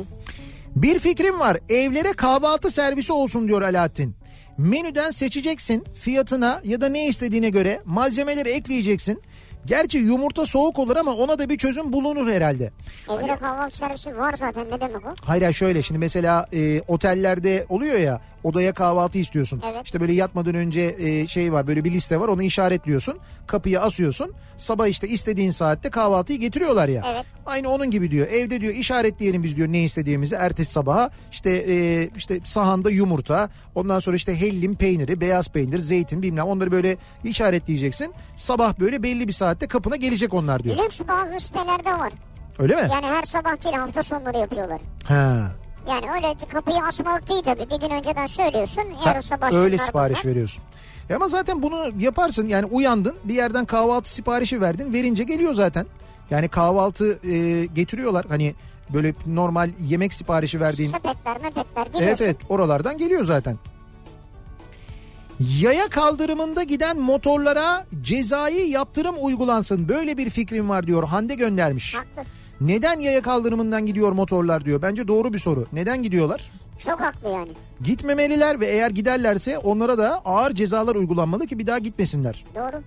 [SPEAKER 1] Bir fikrim var. Evlere kahvaltı servisi olsun diyor Alaaddin. Menüden seçeceksin fiyatına ya da ne istediğine göre malzemeleri ekleyeceksin. Gerçi yumurta soğuk olur ama ona da bir çözüm bulunur herhalde. Hani?
[SPEAKER 2] Evde kahvaltı servisi şey var zaten ne demek o?
[SPEAKER 1] Hayır hayır şöyle şimdi mesela e, otellerde oluyor ya odaya kahvaltı istiyorsun.
[SPEAKER 2] Evet.
[SPEAKER 1] İşte böyle yatmadan önce e, şey var böyle bir liste var onu işaretliyorsun. Kapıya asıyorsun. Sabah işte istediğin saatte kahvaltıyı getiriyorlar ya.
[SPEAKER 2] Evet.
[SPEAKER 1] Aynı onun gibi diyor. Evde diyor işaretleyelim biz diyor ne istediğimizi ertesi sabaha. işte e, işte sahanda yumurta, ondan sonra işte hellim peyniri, beyaz peynir, zeytin bilmem onları böyle işaretleyeceksin. Sabah böyle belli bir saatte kapına gelecek onlar diyor.
[SPEAKER 2] Lüks bazı sitelerde var.
[SPEAKER 1] Öyle mi?
[SPEAKER 2] Yani her sabah değil hafta sonları yapıyorlar.
[SPEAKER 1] Ha.
[SPEAKER 2] Yani öyle kapıyı asmalık değil tabii. Bir gün önceden söylüyorsun.
[SPEAKER 1] Ha,
[SPEAKER 2] Yarın sabah
[SPEAKER 1] öyle
[SPEAKER 2] şunlar
[SPEAKER 1] sipariş
[SPEAKER 2] bunlar.
[SPEAKER 1] veriyorsun. E Ama zaten bunu yaparsın yani uyandın bir yerden kahvaltı siparişi verdin verince geliyor zaten. Yani kahvaltı e, getiriyorlar hani böyle normal yemek siparişi verdiğin.
[SPEAKER 2] Sepetler mepetler
[SPEAKER 1] Evet
[SPEAKER 2] geliyorsun.
[SPEAKER 1] evet oralardan geliyor zaten. Yaya kaldırımında giden motorlara cezai yaptırım uygulansın böyle bir fikrim var diyor Hande göndermiş.
[SPEAKER 2] Haklı.
[SPEAKER 1] Neden yaya kaldırımından gidiyor motorlar diyor bence doğru bir soru. Neden gidiyorlar?
[SPEAKER 2] Çok haklı yani.
[SPEAKER 1] Gitmemeliler ve eğer giderlerse onlara da ağır cezalar uygulanmalı ki bir daha gitmesinler.
[SPEAKER 2] Doğru.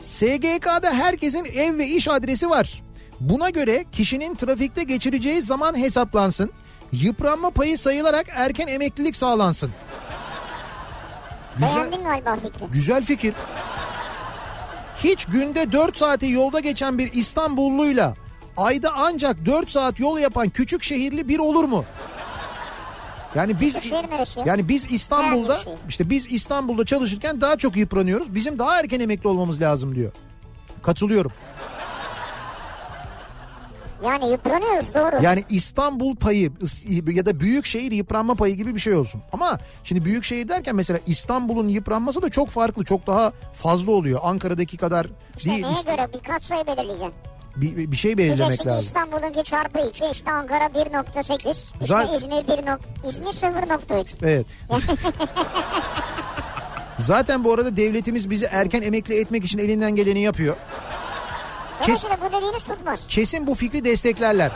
[SPEAKER 1] SGK'da herkesin ev ve iş adresi var. Buna göre kişinin trafikte geçireceği zaman hesaplansın. Yıpranma payı sayılarak erken emeklilik sağlansın. Güzel,
[SPEAKER 2] Beğendin galiba fikri.
[SPEAKER 1] güzel fikir. Hiç günde 4 saati yolda geçen bir İstanbulluyla ayda ancak 4 saat yol yapan küçük şehirli bir olur mu? Yani biz
[SPEAKER 2] Şehir neresi? ya?
[SPEAKER 1] Yani biz İstanbul'da
[SPEAKER 2] Nerede bir şey?
[SPEAKER 1] işte biz İstanbul'da çalışırken daha çok yıpranıyoruz. Bizim daha erken emekli olmamız lazım diyor. Katılıyorum.
[SPEAKER 2] Yani yıpranıyoruz doğru.
[SPEAKER 1] Yani İstanbul payı is- ya da büyük şehir yıpranma payı gibi bir şey olsun. Ama şimdi büyük şehir derken mesela İstanbul'un yıpranması da çok farklı, çok daha fazla oluyor. Ankara'daki kadar
[SPEAKER 2] İşte
[SPEAKER 1] değil.
[SPEAKER 2] neye
[SPEAKER 1] İst-
[SPEAKER 2] göre bir katsayı belirleyeceksin.
[SPEAKER 1] bir, bir şey
[SPEAKER 2] Diyeceksin
[SPEAKER 1] belirlemek
[SPEAKER 2] ki
[SPEAKER 1] lazım.
[SPEAKER 2] İstanbul'unki çarpı 2, işte Ankara 1.8, işte
[SPEAKER 1] Zaten-
[SPEAKER 2] İzmir 1. nok- İzmir 0.3.
[SPEAKER 1] Evet. Zaten bu arada devletimiz bizi erken emekli etmek için elinden geleni yapıyor.
[SPEAKER 2] Dolayısıyla bu dediğiniz tutmaz.
[SPEAKER 1] kesin bu fikri desteklerler.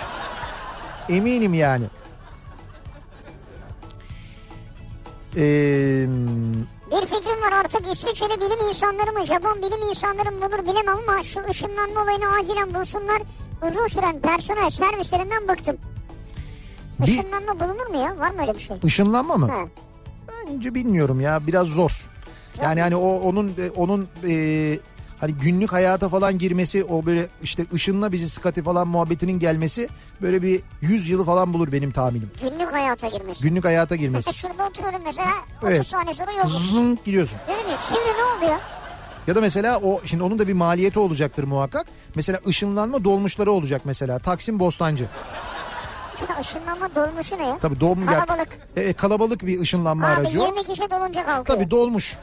[SPEAKER 1] Eminim yani. Ee,
[SPEAKER 2] Bir fikrim var artık İsviçreli bilim insanları mı Japon bilim insanları mı bulur bilemem ama şu ışınlanma olayını acilen bulsunlar. Uzun süren personel servislerinden bıktım.
[SPEAKER 1] Bir-
[SPEAKER 2] Işınlanma bulunur mu ya? Var mı öyle bir şey?
[SPEAKER 1] ışınlanma mı?
[SPEAKER 2] Ha.
[SPEAKER 1] Bence bilmiyorum ya biraz zor. Yani hani o onun e, onun e, hani günlük hayata falan girmesi o böyle işte ışınla bizi sıkati falan muhabbetinin gelmesi böyle bir 100 yılı falan bulur benim tahminim.
[SPEAKER 2] Günlük hayata girmesi.
[SPEAKER 1] Günlük hayata
[SPEAKER 2] E
[SPEAKER 1] girmesi.
[SPEAKER 2] şurada oturuyorum mesela 30
[SPEAKER 1] Evet.
[SPEAKER 2] saniye sonra yokum.
[SPEAKER 1] Zın gidiyorsun.
[SPEAKER 2] Dedim ya şimdi ne oldu ya?
[SPEAKER 1] Ya da mesela o şimdi onun da bir maliyeti olacaktır muhakkak. Mesela ışınlanma dolmuşları olacak mesela. Taksim Bostancı.
[SPEAKER 2] Ya ışınlanma dolmuşu ne ya?
[SPEAKER 1] Tabii dolmuş.
[SPEAKER 2] Kalabalık.
[SPEAKER 1] E, e, kalabalık bir ışınlanma
[SPEAKER 2] Abi
[SPEAKER 1] aracı. o.
[SPEAKER 2] 20 kişi dolunca kalkıyor.
[SPEAKER 1] Tabii dolmuş.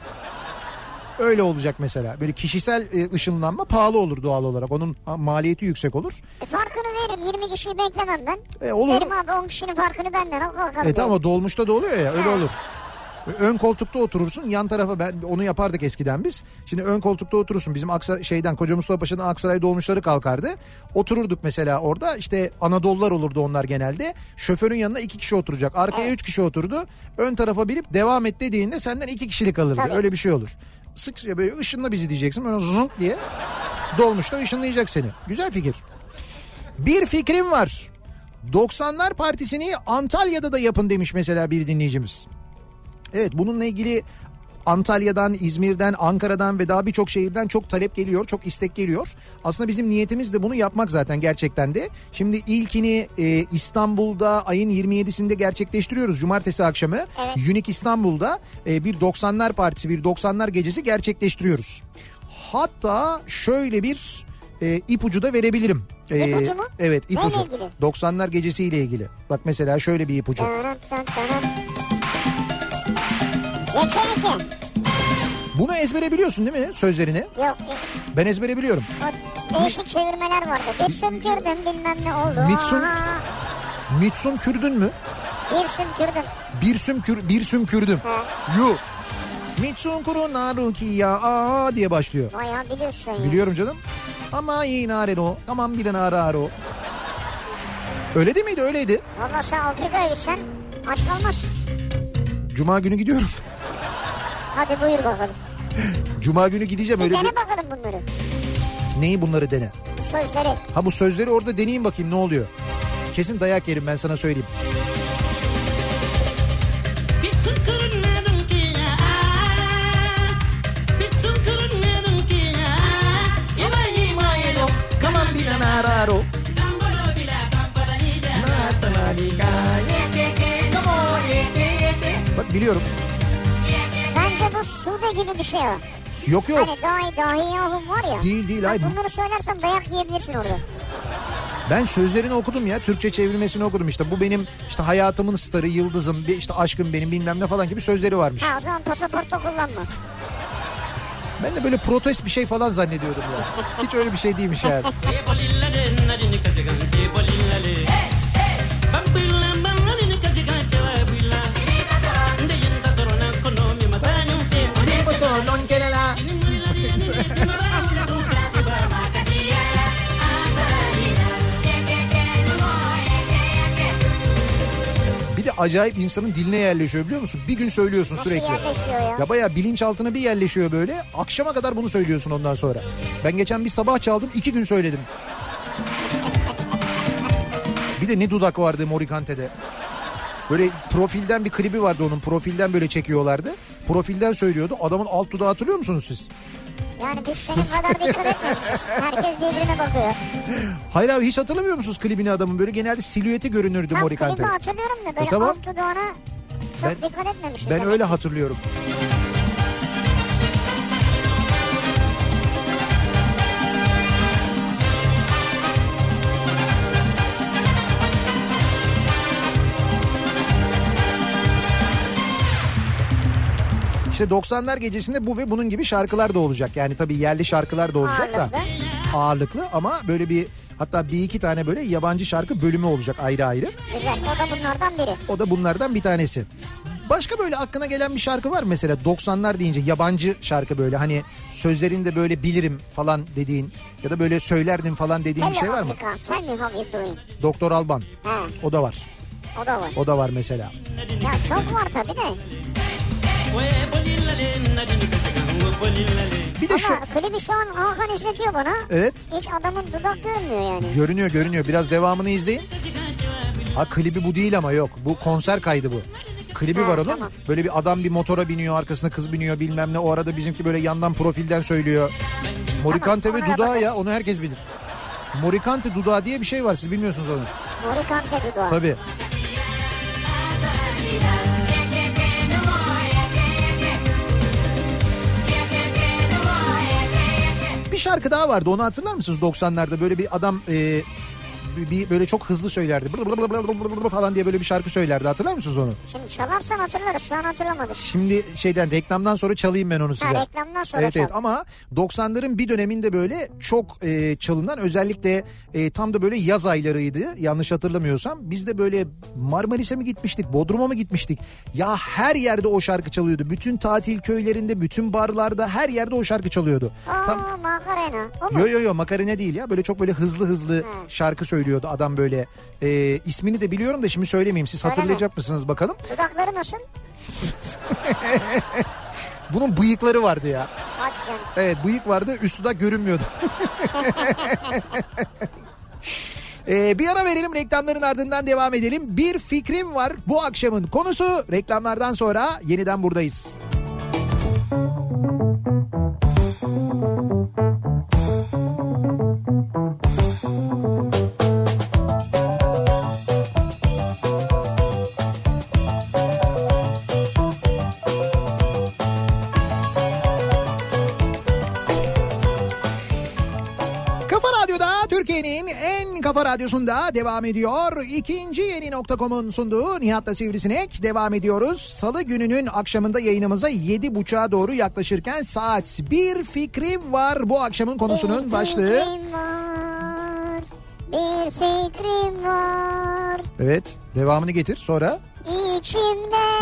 [SPEAKER 1] Öyle olacak mesela. Böyle kişisel e, ışınlanma pahalı olur doğal olarak. Onun ha, maliyeti yüksek olur.
[SPEAKER 2] E farkını veririm 20 kişiyi beklemem ben.
[SPEAKER 1] E, olur.
[SPEAKER 2] Derim abi 10 kişinin farkını benden al kalkalım.
[SPEAKER 1] E tamam o dolmuşta da oluyor ya öyle olur. Ön koltukta oturursun yan tarafa ben onu yapardık eskiden biz. Şimdi ön koltukta oturursun bizim Aksa, şeyden Koca Mustafa Paşa'dan Aksaray dolmuşları kalkardı. Otururduk mesela orada işte Anadolular olurdu onlar genelde. Şoförün yanına iki kişi oturacak arkaya üç kişi oturdu. Ön tarafa binip devam et dediğinde senden iki kişilik alırdı
[SPEAKER 2] Tabii.
[SPEAKER 1] öyle bir şey olur. Sık ya böyle ışınla bizi diyeceksin böyle zunk diye dolmuşta ışınlayacak seni. Güzel fikir. Bir fikrim var. 90'lar Partisi'ni Antalya'da da yapın demiş mesela bir dinleyicimiz. Evet bununla ilgili Antalya'dan, İzmir'den, Ankara'dan ve daha birçok şehirden çok talep geliyor, çok istek geliyor. Aslında bizim niyetimiz de bunu yapmak zaten gerçekten de. Şimdi ilkini e, İstanbul'da ayın 27'sinde gerçekleştiriyoruz Cumartesi akşamı. Unique İstanbul'da e, bir 90'lar partisi, bir 90'lar gecesi gerçekleştiriyoruz. Hatta şöyle bir e, ipucu da verebilirim. E,
[SPEAKER 2] İpucu mu?
[SPEAKER 1] Evet
[SPEAKER 2] Neyle
[SPEAKER 1] ipucu.
[SPEAKER 2] ilgili?
[SPEAKER 1] 90'lar gecesiyle ilgili. Bak mesela şöyle bir ipucu.
[SPEAKER 2] Dönün, dönün, dönün. Leke leke.
[SPEAKER 1] Bunu ezbere biliyorsun değil mi sözlerini?
[SPEAKER 2] Yok
[SPEAKER 1] Ben ezbere biliyorum.
[SPEAKER 2] e, o değişik çevirmeler vardı. Bir sümkürdüm bilmem ne oldu.
[SPEAKER 1] Bir süm-
[SPEAKER 2] Aha,
[SPEAKER 1] Mitsum kürdün mü?
[SPEAKER 2] Bir sümkürdüm.
[SPEAKER 1] Bir sümkür, bir sümkürdüm. Yu. Mitsun kuru naruki ya aa diye başlıyor.
[SPEAKER 2] Bayağı biliyorsun ya.
[SPEAKER 1] Biliyorum canım. Ama inare o. Aman bir ara o. Öyle değil miydi? Öyleydi.
[SPEAKER 2] Valla sen Afrika'ya gitsen aç kalmaz.
[SPEAKER 1] Cuma günü gidiyorum.
[SPEAKER 2] Hadi buyur bakalım.
[SPEAKER 1] Cuma günü gideceğim
[SPEAKER 2] Bir
[SPEAKER 1] öyle
[SPEAKER 2] dene
[SPEAKER 1] bir...
[SPEAKER 2] bakalım bunları.
[SPEAKER 1] Neyi bunları dene.
[SPEAKER 2] Sözleri.
[SPEAKER 1] Ha bu sözleri orada deneyeyim bakayım ne oluyor. Kesin dayak yerim ben sana söyleyeyim. Bak biliyorum.
[SPEAKER 2] Bence bu suda gibi bir şey o.
[SPEAKER 1] Yok yok.
[SPEAKER 2] Hani dahi dahi yahum var ya.
[SPEAKER 1] Değil, değil,
[SPEAKER 2] Bak
[SPEAKER 1] hayır.
[SPEAKER 2] Bunları söylersen dayak yiyebilirsin orada.
[SPEAKER 1] Ben sözlerini okudum ya. Türkçe çevirmesini okudum işte. Bu benim işte hayatımın starı, yıldızım, bir işte aşkım benim bilmem ne falan gibi sözleri varmış.
[SPEAKER 2] Ha o zaman pasaportta kullanma.
[SPEAKER 1] Ben de böyle protest bir şey falan zannediyordum ya. Hiç öyle bir şey değilmiş yani. Bir de acayip insanın diline yerleşiyor biliyor musun? Bir gün söylüyorsun
[SPEAKER 2] Nasıl
[SPEAKER 1] sürekli.
[SPEAKER 2] yerleşiyor ya?
[SPEAKER 1] Ya bayağı bilinçaltına bir yerleşiyor böyle. Akşama kadar bunu söylüyorsun ondan sonra. Ben geçen bir sabah çaldım iki gün söyledim. Bir de ne dudak vardı Morikante'de. Böyle profilden bir klibi vardı onun. Profilden böyle çekiyorlardı. Profilden söylüyordu. Adamın alt dudağı hatırlıyor musunuz siz?
[SPEAKER 2] Yani biz senin kadar dikkat etmemişiz. Herkes birbirine bakıyor.
[SPEAKER 1] Hayır abi hiç hatırlamıyor musunuz klibini adamın? Böyle genelde silüeti görünürdü
[SPEAKER 2] Ben
[SPEAKER 1] Morikante'de.
[SPEAKER 2] klibi hatırlıyorum da böyle
[SPEAKER 1] E, tamam.
[SPEAKER 2] alt dudağına çok
[SPEAKER 1] Ben-
[SPEAKER 2] dikkat etmemişiz.
[SPEAKER 1] Ben
[SPEAKER 2] demek.
[SPEAKER 1] öyle hatırlıyorum. İşte 90'lar gecesinde bu ve bunun gibi şarkılar da olacak. Yani tabii yerli şarkılar da olacak da ağırlıklı ama böyle bir hatta bir iki tane böyle yabancı şarkı bölümü olacak ayrı ayrı.
[SPEAKER 2] Güzel o da bunlardan biri.
[SPEAKER 1] O da bunlardan bir tanesi. Başka böyle aklına gelen bir şarkı var mı? mesela 90'lar deyince yabancı şarkı böyle hani sözlerini de böyle bilirim falan dediğin ya da böyle söylerdim falan dediğin bir
[SPEAKER 2] Hello
[SPEAKER 1] şey var mı?
[SPEAKER 2] Africa. Tell me how you doing.
[SPEAKER 1] Doktor Alban
[SPEAKER 2] Ha,
[SPEAKER 1] o da var.
[SPEAKER 2] o da var.
[SPEAKER 1] O da var mesela.
[SPEAKER 2] Ya çok var tabii de.
[SPEAKER 1] Bir de
[SPEAKER 2] Ama
[SPEAKER 1] şu E-
[SPEAKER 2] klibi şu an Hakan izletiyor bana.
[SPEAKER 1] evet
[SPEAKER 2] Hiç adamın dudak görünmüyor yani.
[SPEAKER 1] görünüyor görünüyor biraz devamını izleyin. Ha klibi bu değil ama yok bu konser kaydı bu. Klibi
[SPEAKER 2] Ha,
[SPEAKER 1] var onun.
[SPEAKER 2] tamam.
[SPEAKER 1] Böyle bir adam bir motora biniyor arkasına kız biniyor bilmem ne. O arada bizimki böyle yandan profilden söylüyor. Morikante
[SPEAKER 2] Tamam,
[SPEAKER 1] ve
[SPEAKER 2] ona
[SPEAKER 1] Dudağı ya
[SPEAKER 2] bakarız.
[SPEAKER 1] onu herkes bilir. Morikante Dudağı diye bir şey var siz bilmiyorsunuz onu.
[SPEAKER 2] Morikante dudağı.
[SPEAKER 1] Tabii. Bir şarkı daha vardı onu hatırlar mısınız 90'larda böyle bir adam e, bir- bir böyle çok hızlı söylerdi Bır bır bır bır bır bır falan diye böyle bir şarkı söylerdi hatırlar mısınız onu?
[SPEAKER 2] Şimdi çalarsan hatırlarız şu an hatırlamadım.
[SPEAKER 1] Şimdi şeyden reklamdan sonra çalayım ben onu size.
[SPEAKER 2] reklamdan sonra
[SPEAKER 1] evet,
[SPEAKER 2] çal.
[SPEAKER 1] evet. ama 90'ların bir döneminde böyle çok e, çalınan özellikle e, tam da böyle yaz aylarıydı yanlış hatırlamıyorsam. Biz de böyle Marmaris'e mi gitmiştik Bodrum'a mı gitmiştik? Ya her yerde o şarkı çalıyordu. Bütün tatil köylerinde bütün barlarda her yerde o şarkı çalıyordu.
[SPEAKER 2] Aa
[SPEAKER 1] Tam...
[SPEAKER 2] makarena. O mu?
[SPEAKER 1] Yo yo yo makarene değil ya böyle çok böyle hızlı hızlı şarkı söylüyordu adam böyle E, ismini de biliyorum da şimdi söylemeyeyim siz
[SPEAKER 2] Söyleme.
[SPEAKER 1] hatırlayacak mısınız bakalım
[SPEAKER 2] Dudakları nasıl?
[SPEAKER 1] bunun bıyıkları vardı ya
[SPEAKER 2] Hadi canım.
[SPEAKER 1] Evet bıyık vardı üst dudak görünmüyordu. Ee, bir ara verelim reklamların ardından devam edelim. Bir fikrim var bu akşamın konusu reklamlardan sonra yeniden buradayız. Kafa Radyo'da Türkiye'nin en kafa Kafa Radyosu'nda devam ediyor. İkinci yeni nokta.com'un sunduğu Nihat'la Sivrisinek devam ediyoruz. Salı gününün akşamında yayınımıza yedi buçuğa doğru yaklaşırken saat bir fikrim var bu akşamın konusunun başlığı.
[SPEAKER 2] Bir fikrim var. Bir fikrim var.
[SPEAKER 1] Evet devamını getir sonra.
[SPEAKER 2] İçimde.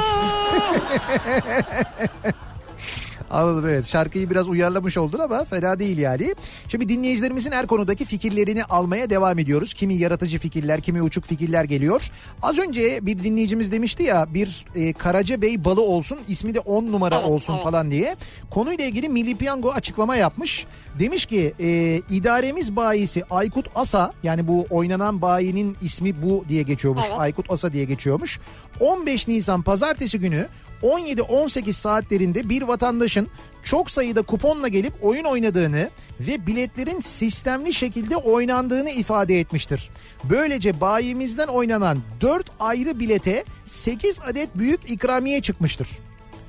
[SPEAKER 1] Anladım evet şarkıyı biraz uyarlamış oldun ama fena değil yani. Şimdi dinleyicilerimizin her konudaki fikirlerini almaya devam ediyoruz. Kimi yaratıcı fikirler kimi uçuk fikirler geliyor. Az önce bir dinleyicimiz demişti ya bir e, Karacabey balı olsun ismi de 10 numara olsun falan diye. Konuyla ilgili Milli Piyango açıklama yapmış. Demiş ki e, idaremiz bayisi Aykut Asa yani bu oynanan bayinin ismi bu diye geçiyormuş. Aykut Asa diye geçiyormuş. 15 Nisan pazartesi günü 17-18 saatlerinde bir vatandaşın çok sayıda kuponla gelip oyun oynadığını ve biletlerin sistemli şekilde oynandığını ifade etmiştir. Böylece bayimizden oynanan 4 ayrı bilete 8 adet büyük ikramiye çıkmıştır.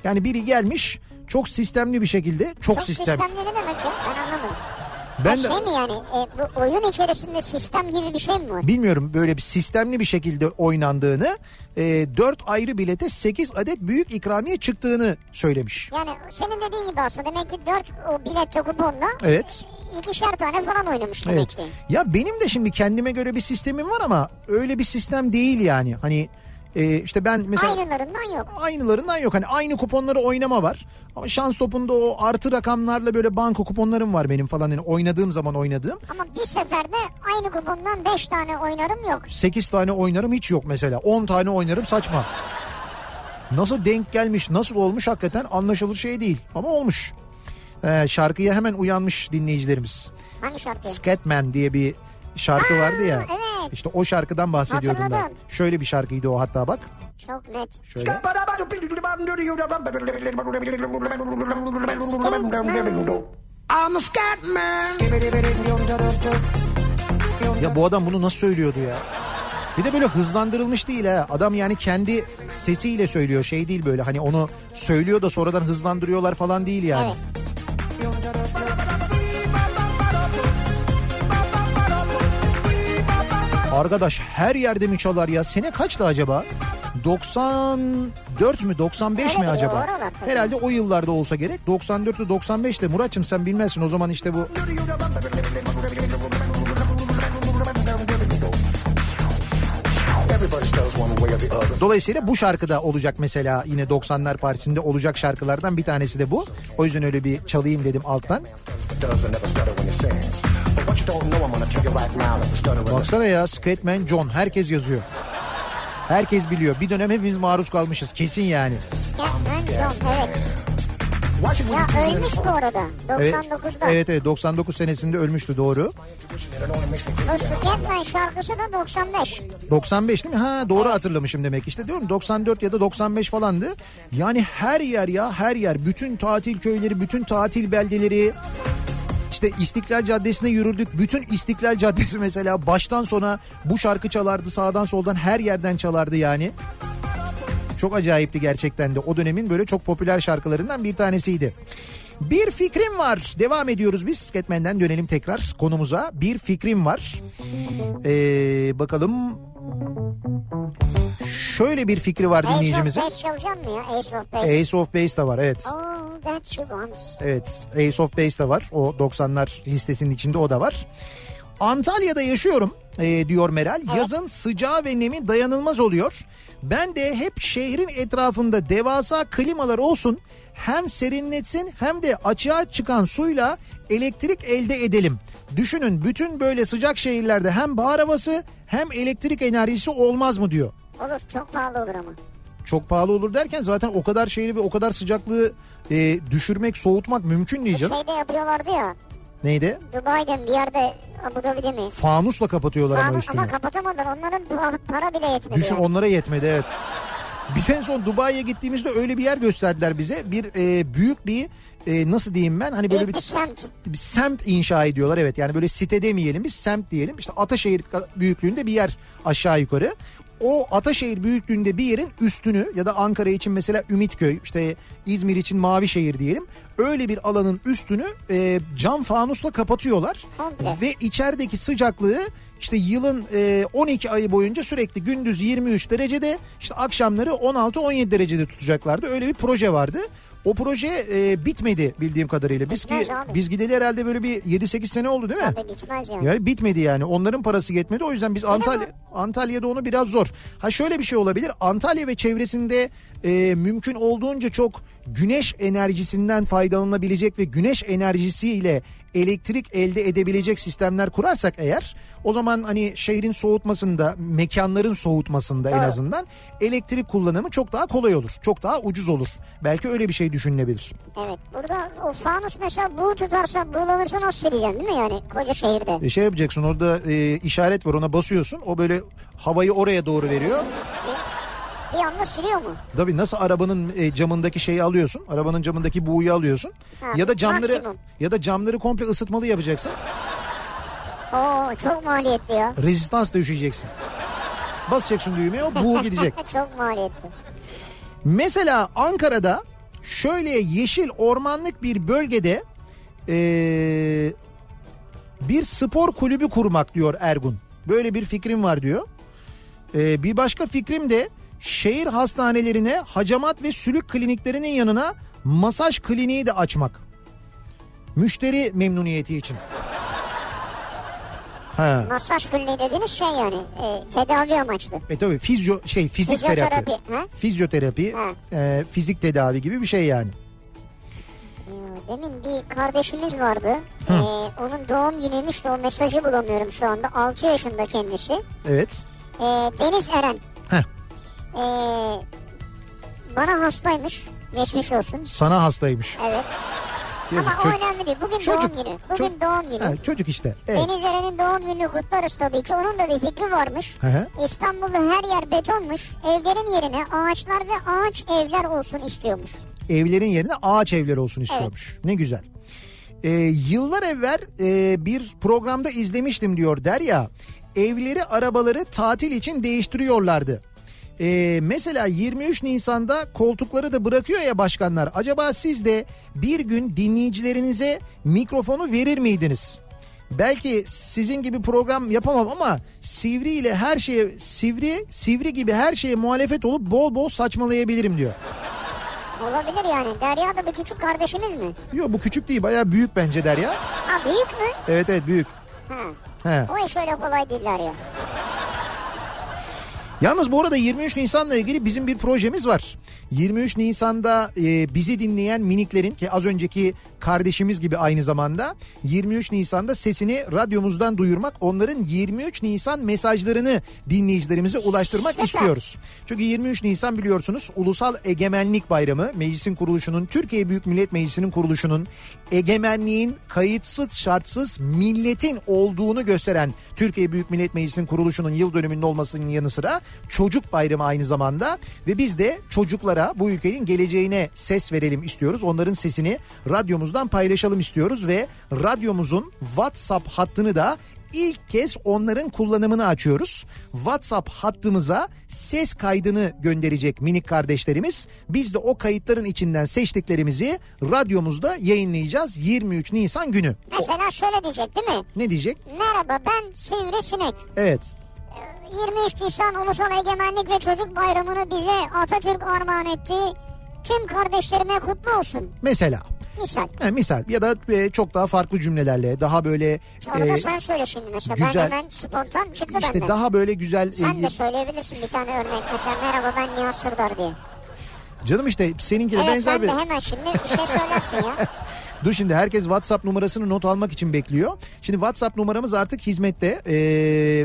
[SPEAKER 1] Yani biri gelmiş çok sistemli bir şekilde çok,
[SPEAKER 2] Çok
[SPEAKER 1] sistem.
[SPEAKER 2] sistemli ne demek ya? Ben anlamadım.
[SPEAKER 1] Ben de
[SPEAKER 2] şey mi yani e, bu oyun içerisinde sistem gibi bir şey mi var?
[SPEAKER 1] bilmiyorum böyle bir sistemli bir şekilde oynandığını, 4 ayrı bilete 8 adet büyük ikramiye çıktığını söylemiş.
[SPEAKER 2] Yani senin dediğin gibi aslında demek ki 4 o bilet kuponla
[SPEAKER 1] Evet.
[SPEAKER 2] ikişer tane falan oynamış demek
[SPEAKER 1] Evet.
[SPEAKER 2] ki.
[SPEAKER 1] Ya benim de şimdi kendime göre bir sistemim var ama öyle bir sistem değil yani. Hani e, işte ben mesela
[SPEAKER 2] Aynılarından yok.
[SPEAKER 1] aynılarından yok. Hani aynı kuponları oynama var. Ama şans topunda o artı rakamlarla böyle banka kuponlarım var benim falan. Yani oynadığım zaman oynadığım.
[SPEAKER 2] Ama bir seferde aynı kupondan 5 tane oynarım yok.
[SPEAKER 1] 8 tane oynarım hiç yok mesela. 10 tane oynarım saçma. Nasıl denk gelmiş, nasıl olmuş hakikaten anlaşılır şey değil. Ama olmuş. Ee, şarkıya hemen uyanmış dinleyicilerimiz.
[SPEAKER 2] Hangi şarkı?
[SPEAKER 1] Scatman diye bir şarkı
[SPEAKER 2] Aa,
[SPEAKER 1] vardı ya.
[SPEAKER 2] evet.
[SPEAKER 1] İşte o şarkıdan bahsediyordum ben.
[SPEAKER 2] Hatırladım.
[SPEAKER 1] Şöyle bir şarkıydı o hatta bak.
[SPEAKER 2] Çok net.
[SPEAKER 1] Şöyle.
[SPEAKER 5] I'm a scat man.
[SPEAKER 1] Ya bu adam bunu nasıl söylüyordu ya? Bir de böyle hızlandırılmış değil ha. Adam yani kendi sesiyle söylüyor. Şey değil böyle hani onu söylüyor da sonradan hızlandırıyorlar falan değil yani.
[SPEAKER 2] Evet.
[SPEAKER 1] Arkadaş her yerde mi çalar ya? Sene kaçtı acaba? 94 mü 95 mi
[SPEAKER 2] Öyle diyor,
[SPEAKER 1] acaba?
[SPEAKER 2] oralar tabii.
[SPEAKER 1] Herhalde o yıllarda olsa gerek. 94'te 95'te Muratçım sen bilmezsin o zaman işte bu
[SPEAKER 5] Everybody stutters one way or the other.
[SPEAKER 1] Dolayısıyla bu şarkıda olacak mesela yine 90'lar partisinde olacak şarkılardan bir tanesi de bu. O yüzden öyle bir çalayım dedim alttan.
[SPEAKER 5] Doesn't never stutter when it sings. But what you don't know, I'm gonna tell you right now that the stutter when it
[SPEAKER 1] Baksana ya Scatman John herkes yazıyor. Herkes biliyor. Bir dönem hepimiz maruz kalmışız kesin yani.
[SPEAKER 2] Scatman John evet.
[SPEAKER 5] Why should we
[SPEAKER 2] Ya
[SPEAKER 5] be using
[SPEAKER 2] ölmüş bu arada. 99'da.
[SPEAKER 1] Evet, evet evet 99 senesinde ölmüştü doğru.
[SPEAKER 5] it? It only makes me
[SPEAKER 2] O Scatman şarkısı da 95.
[SPEAKER 1] 95 değil mi? Ha doğru hatırlamışım demek işte diyorum 94 ya da 95 falandı. Yani her yer ya her yer bütün tatil köyleri bütün tatil beldeleri işte İstiklal Caddesi'ne yürürdük. Bütün İstiklal Caddesi mesela baştan sona bu şarkı çalardı sağdan soldan her yerden çalardı yani. Çok acayipti gerçekten de o dönemin böyle çok popüler şarkılarından bir tanesiydi. Bir fikrim var. Devam ediyoruz biz. Sketmen'den dönelim tekrar konumuza. Bir fikrim var. Ee, bakalım. Şöyle bir fikri var
[SPEAKER 2] Ace of
[SPEAKER 1] dinleyicimizin.
[SPEAKER 2] Base çalacaksın mı ya? Ace of Base. Oh,
[SPEAKER 1] Ace of Base de var evet.
[SPEAKER 2] All that she wants.
[SPEAKER 1] Evet Ace of Base de var. O 90'lar listesinin içinde o da var. Antalya'da yaşıyorum e, diyor Meral. Yazın sıcağı ve nemi dayanılmaz oluyor. Ben de hep şehrin etrafında devasa klimalar olsun. Hem serinletsin hem de açığa çıkan suyla elektrik elde edelim. Düşünün bütün böyle sıcak şehirlerde hem bahar havası hem elektrik enerjisi olmaz mı diyor.
[SPEAKER 2] Olur çok pahalı olur ama.
[SPEAKER 1] Çok pahalı olur derken zaten o kadar şehri ve o kadar sıcaklığı e, düşürmek, soğutmak mümkün değil canım.
[SPEAKER 2] Şeyde yapıyorlardı ya.
[SPEAKER 1] Neydi?
[SPEAKER 2] Dubai'de bir yerde Abu Dhabi'de mi?
[SPEAKER 1] Fanusla kapatıyorlar ama
[SPEAKER 2] Ama,
[SPEAKER 1] üstünü.
[SPEAKER 2] ama kapatamadılar. Onların pa- para bile yetmedi.
[SPEAKER 1] Düşün
[SPEAKER 2] ya.
[SPEAKER 1] onlara yetmedi evet. Biz en son Dubai'ye gittiğimizde öyle bir yer gösterdiler bize. Bir e, büyük bir e, nasıl diyeyim ben hani böyle bir,
[SPEAKER 2] Büyük bir semt.
[SPEAKER 1] bir semt inşa ediyorlar evet. Yani böyle site demeyelim biz semt diyelim. İşte Ataşehir ka- büyüklüğünde bir yer aşağı yukarı. O Ataşehir büyüklüğünde bir yerin üstünü ya da Ankara için mesela Ümitköy işte İzmir için Mavişehir diyelim. Öyle bir alanın üstünü e, cam fanusla kapatıyorlar
[SPEAKER 2] Komple.
[SPEAKER 1] ve içerideki sıcaklığı işte yılın e, 12 ayı boyunca sürekli gündüz 23 derecede işte akşamları 16-17 derecede tutacaklardı. Öyle bir proje vardı. O proje e, bitmedi bildiğim kadarıyla. Biz ki
[SPEAKER 2] Bitmez abi.
[SPEAKER 1] biz gideli herhalde böyle bir 7-8 sene oldu değil mi?
[SPEAKER 2] Tabii bitmez yani.
[SPEAKER 1] Ya bitmedi yani. Onların parası yetmedi. O yüzden biz Antalya
[SPEAKER 2] mi?
[SPEAKER 1] Antalya'da onu biraz zor. Ha şöyle bir şey olabilir. Antalya ve çevresinde e, mümkün olduğunca çok güneş enerjisinden faydalanabilecek ve güneş enerjisiyle elektrik elde edebilecek sistemler kurarsak eğer o zaman hani şehrin soğutmasında, mekanların soğutmasında en azından elektrik kullanımı çok daha kolay olur. Çok daha ucuz olur. Belki öyle bir şey düşünülebilir.
[SPEAKER 2] Evet. Burada o fanus mesela buğu tutarsa buğulanırsa nasıl sileceksin değil mi yani koca şehirde?
[SPEAKER 1] E, şey yapacaksın orada e, işaret var ona basıyorsun. O böyle havayı oraya doğru veriyor.
[SPEAKER 2] Bir anda siliyor mu?
[SPEAKER 1] Tabii nasıl arabanın e, camındaki şeyi alıyorsun? Arabanın camındaki buğuyu alıyorsun.
[SPEAKER 2] Ha,
[SPEAKER 1] ya da camları
[SPEAKER 2] maksimum.
[SPEAKER 1] ya da camları komple ısıtmalı yapacaksın.
[SPEAKER 2] Oo çok maliyetli ya.
[SPEAKER 1] Rezistans düşeceksin. Basacaksın düğmeye o buğu gidecek.
[SPEAKER 2] çok maliyetli.
[SPEAKER 1] Mesela Ankara'da şöyle yeşil ormanlık bir bölgede eee, bir spor kulübü kurmak diyor Ergun. Böyle bir fikrim var diyor. Eee, bir başka fikrim de şehir hastanelerine hacamat ve sülük kliniklerinin yanına masaj kliniği de açmak. Müşteri memnuniyeti için. Ha.
[SPEAKER 2] Masaj kliniği dediğiniz şey yani e, tedavi amaçlı.
[SPEAKER 1] E tabii fizyo şey fizik
[SPEAKER 2] Fizyoterapi,
[SPEAKER 1] terapi.
[SPEAKER 2] ha?
[SPEAKER 1] Fizyoterapi,
[SPEAKER 2] Ha.
[SPEAKER 1] e, fizik tedavi gibi bir şey yani.
[SPEAKER 2] Ya, Demin bir kardeşimiz vardı. E, onun doğum günüymüş de o mesajı bulamıyorum şu anda. 6 yaşında kendisi.
[SPEAKER 1] Evet.
[SPEAKER 2] E, Deniz Eren.
[SPEAKER 1] Heh.
[SPEAKER 2] E, bana hastaymış. Geçmiş olsun.
[SPEAKER 1] Sana hastaymış.
[SPEAKER 2] Evet.
[SPEAKER 1] Yazık,
[SPEAKER 2] Ama
[SPEAKER 1] çocuk-
[SPEAKER 2] o önemli değil. Bugün
[SPEAKER 1] çocuk-
[SPEAKER 2] doğum günü. Bugün
[SPEAKER 1] ço-
[SPEAKER 2] doğum günü.
[SPEAKER 1] Ha, şey- çocuk işte. Evet.
[SPEAKER 2] Deniz Eren'in doğum gününü kutlarız tabii ki. Onun da bir fikri varmış.
[SPEAKER 1] Hı hı.
[SPEAKER 2] İstanbul'da her yer betonmuş. Evlerin yerine ağaçlar ve ağaç evler olsun istiyormuş.
[SPEAKER 1] Evlerin yerine ağaç evleri olsun istiyormuş. Ne güzel. Ee, yıllar evvel e, bir programda izlemiştim diyor Derya. Evleri arabaları tatil için değiştiriyorlardı. Ee, mesela 23 Nisan'da koltukları da bırakıyor ya başkanlar. Acaba siz de bir gün dinleyicilerinize mikrofonu verir miydiniz? Belki sizin gibi program yapamam ama sivri ile her şeye sivri sivri gibi her şeye muhalefet olup bol bol saçmalayabilirim diyor.
[SPEAKER 2] Olabilir yani. Derya da bir küçük kardeşimiz mi?
[SPEAKER 1] Yok bu küçük değil bayağı büyük bence der ya.
[SPEAKER 2] Ha büyük mü?
[SPEAKER 1] Evet evet büyük.
[SPEAKER 2] Ha.
[SPEAKER 1] He.
[SPEAKER 2] O iş öyle kolay değil Derya.
[SPEAKER 1] Yalnız bu arada 23 Nisan'la ilgili bizim bir projemiz var. 23 Nisan'da e, bizi dinleyen miniklerin ki az önceki kardeşimiz gibi aynı zamanda 23 Nisan'da sesini radyomuzdan duyurmak, onların 23 Nisan mesajlarını dinleyicilerimize ulaştırmak
[SPEAKER 2] Süper.
[SPEAKER 1] istiyoruz. Çünkü 23 Nisan biliyorsunuz Ulusal Egemenlik Bayramı, meclisin kuruluşunun, Türkiye Büyük Millet Meclisi'nin kuruluşunun egemenliğin kayıtsız şartsız milletin olduğunu gösteren Türkiye Büyük Millet Meclisi'nin kuruluşunun yıl dönümünde olmasının yanı sıra çocuk bayramı aynı zamanda ve biz de çocuklara bu ülkenin geleceğine ses verelim istiyoruz. Onların sesini radyomuzdan paylaşalım istiyoruz ve radyomuzun WhatsApp hattını da İlk kez onların kullanımını açıyoruz. WhatsApp hattımıza ses kaydını gönderecek minik kardeşlerimiz. Biz de o kayıtların içinden seçtiklerimizi radyomuzda yayınlayacağız 23 Nisan günü.
[SPEAKER 2] Mesela şöyle diyecek değil mi?
[SPEAKER 1] Ne diyecek?
[SPEAKER 2] Merhaba ben Sivrisinek.
[SPEAKER 1] Evet.
[SPEAKER 2] 23 Nisan Ulusal Egemenlik ve Çocuk Bayramı'nı bize Atatürk armağan etti. Tüm kardeşlerime kutlu olsun.
[SPEAKER 1] Mesela.
[SPEAKER 2] Misal.
[SPEAKER 1] Yani misal ya da e, çok daha farklı cümlelerle daha böyle
[SPEAKER 2] Onu da
[SPEAKER 1] e,
[SPEAKER 2] sen söyle şimdi mesela.
[SPEAKER 1] güzel.
[SPEAKER 2] Ben hemen spontan çıktı
[SPEAKER 1] işte
[SPEAKER 2] benden.
[SPEAKER 1] daha böyle güzel e,
[SPEAKER 2] Sen de söyleyebilirsin bir tane örnek. Mesela merhaba ben Nihat Sırdar diye.
[SPEAKER 1] canım işte seninkine
[SPEAKER 2] Evet
[SPEAKER 1] benzer
[SPEAKER 2] sen
[SPEAKER 1] bir
[SPEAKER 2] de hemen şimdi bir şey söylersin ya.
[SPEAKER 1] Dur şimdi herkes WhatsApp numarasını not almak için bekliyor. Şimdi WhatsApp numaramız artık hizmette ee,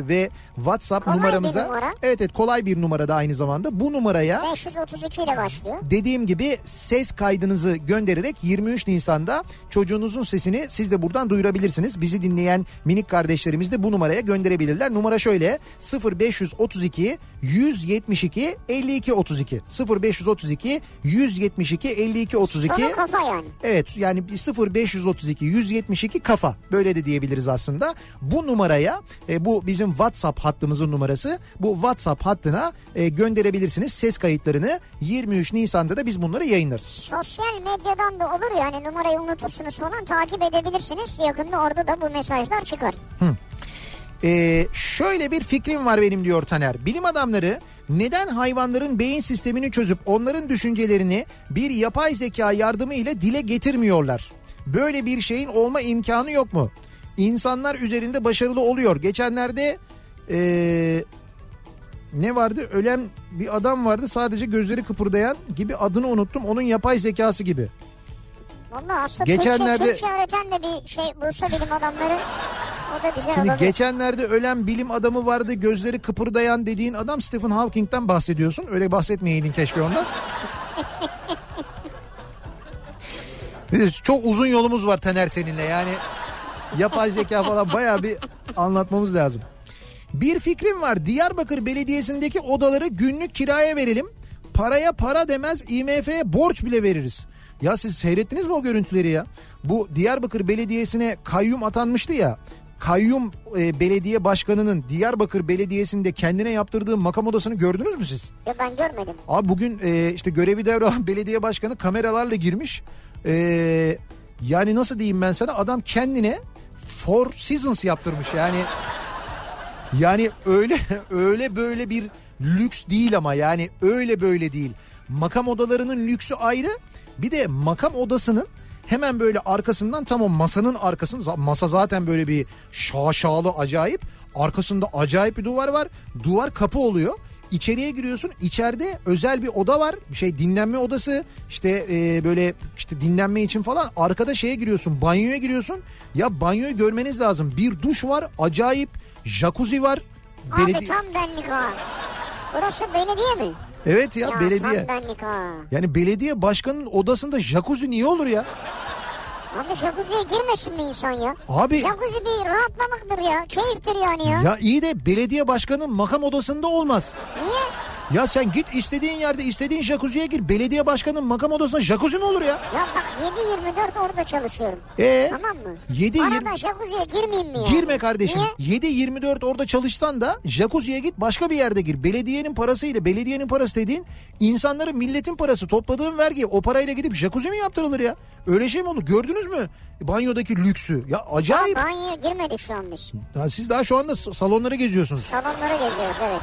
[SPEAKER 1] ve WhatsApp
[SPEAKER 2] Kolay bir
[SPEAKER 1] numaramıza
[SPEAKER 2] numara.
[SPEAKER 1] evet evet kolay bir numara da aynı zamanda. Bu numaraya
[SPEAKER 2] 532 ile başlıyor.
[SPEAKER 1] dediğim gibi ses kaydınızı göndererek 23 Nisan'da çocuğunuzun sesini siz de buradan duyurabilirsiniz. Bizi dinleyen minik kardeşlerimiz de bu numaraya gönderebilirler. Numara şöyle 0532 172 52 32 0532 172 52 32
[SPEAKER 2] Sonu kafa yani.
[SPEAKER 1] Evet yani 0532 172 kafa böyle de diyebiliriz aslında. Bu numaraya e, bu bizim WhatsApp hattımızın numarası bu WhatsApp hattına e, gönderebilirsiniz ses kayıtlarını 23 Nisan'da da biz bunları yayınlarız.
[SPEAKER 2] Sosyal medyadan da olur hani yani numarayı unutursunuz falan takip edebilirsiniz. Yakında orada da bu mesajlar çıkar.
[SPEAKER 1] Ee, şöyle bir fikrim var benim diyor Taner. Bilim adamları neden hayvanların beyin sistemini çözüp onların düşüncelerini bir yapay zeka yardımı ile dile getirmiyorlar? Böyle bir şeyin olma imkanı yok mu? İnsanlar üzerinde başarılı oluyor. Geçenlerde ee, ne vardı? Ölen bir adam vardı sadece gözleri kıpırdayan gibi adını unuttum. Onun yapay zekası gibi.
[SPEAKER 2] Valla aslında
[SPEAKER 1] Geçenlerde-
[SPEAKER 2] Türkçe, Türkçe öğreten de bir şey bulsa bilim adamları o da güzel
[SPEAKER 1] Şimdi
[SPEAKER 2] olabilir.
[SPEAKER 1] geçenlerde ölen bilim adamı vardı gözleri kıpırdayan dediğin adam Stephen Hawking'den bahsediyorsun. Öyle bahsetmeyeydin keşke ondan. Bir de Çok uzun yolumuz var Taner seninle yani yapay zeka falan bayağı bir anlatmamız lazım. Bir fikrim var Diyarbakır Belediyesi'ndeki odaları günlük kiraya verelim. Paraya para demez IMF'ye borç bile veririz. Ya siz seyrettiniz mi o görüntüleri ya? Bu Diyarbakır Belediyesi'ne kayyum atanmıştı ya. Kayyum e, belediye başkanının Diyarbakır Belediyesi'nde kendine yaptırdığı makam odasını gördünüz mü siz?
[SPEAKER 2] Yo, ben görmedim.
[SPEAKER 1] Abi bugün e, işte görevi devralan belediye başkanı kameralarla girmiş. E, yani nasıl diyeyim ben sana adam kendine Four Seasons yaptırmış yani. Yani öyle öyle böyle bir lüks değil ama yani öyle böyle değil. Makam odalarının lüksü ayrı. Bir de makam odasının hemen böyle arkasından tam o masanın arkasında masa zaten böyle bir şaşalı acayip. Arkasında acayip bir duvar var. Duvar kapı oluyor. İçeriye giriyorsun. İçeride özel bir oda var. Bir şey dinlenme odası. İşte e, böyle işte dinlenme için falan. Arkada şeye giriyorsun. Banyoya giriyorsun. Ya banyoyu görmeniz lazım. Bir duş var. Acayip Jacuzzi var.
[SPEAKER 2] Abi
[SPEAKER 1] Beledi-
[SPEAKER 2] tam benlik ha. Burası belediye mi?
[SPEAKER 1] evet ya,
[SPEAKER 2] Ya
[SPEAKER 1] belediye.
[SPEAKER 2] tam benlik ha.
[SPEAKER 1] Yani belediye başkanının odasında jacuzzi niye olur ya?
[SPEAKER 2] Abi jacuzziye girmesin mi insan ya?
[SPEAKER 1] Abi
[SPEAKER 2] Jacuzzi bir rahatlamaktır ya. Keyiftir yani ya.
[SPEAKER 1] ya iyi de belediye başkanının makam odasında olmaz.
[SPEAKER 2] Niye?
[SPEAKER 1] Ya sen git istediğin yerde istediğin jacuzziye gir. Belediye başkanının makam odasında jacuzzi mi olur ya?
[SPEAKER 2] Ya bak 7-24 orada çalışıyorum.
[SPEAKER 1] Ee?
[SPEAKER 2] Tamam mı?
[SPEAKER 1] 7
[SPEAKER 2] Arada jacuzziye girmeyeyim mi ya?
[SPEAKER 1] Girme kardeşim.
[SPEAKER 2] Niye?
[SPEAKER 1] 7-24 orada çalışsan da jacuzziye git başka bir yerde gir. Belediyenin parasıyla belediyenin parası dediğin insanların milletin parası topladığın vergi o parayla gidip jacuzzi mi yaptırılır ya? Öyle şey mi olur? Gördünüz mü? Banyodaki lüksü. Ya
[SPEAKER 2] Ya
[SPEAKER 1] acayip.
[SPEAKER 2] banyoya girmedik şu an biz.
[SPEAKER 1] Ya siz daha şu anda s- salonları geziyorsunuz.
[SPEAKER 2] Salonlara geziyoruz evet.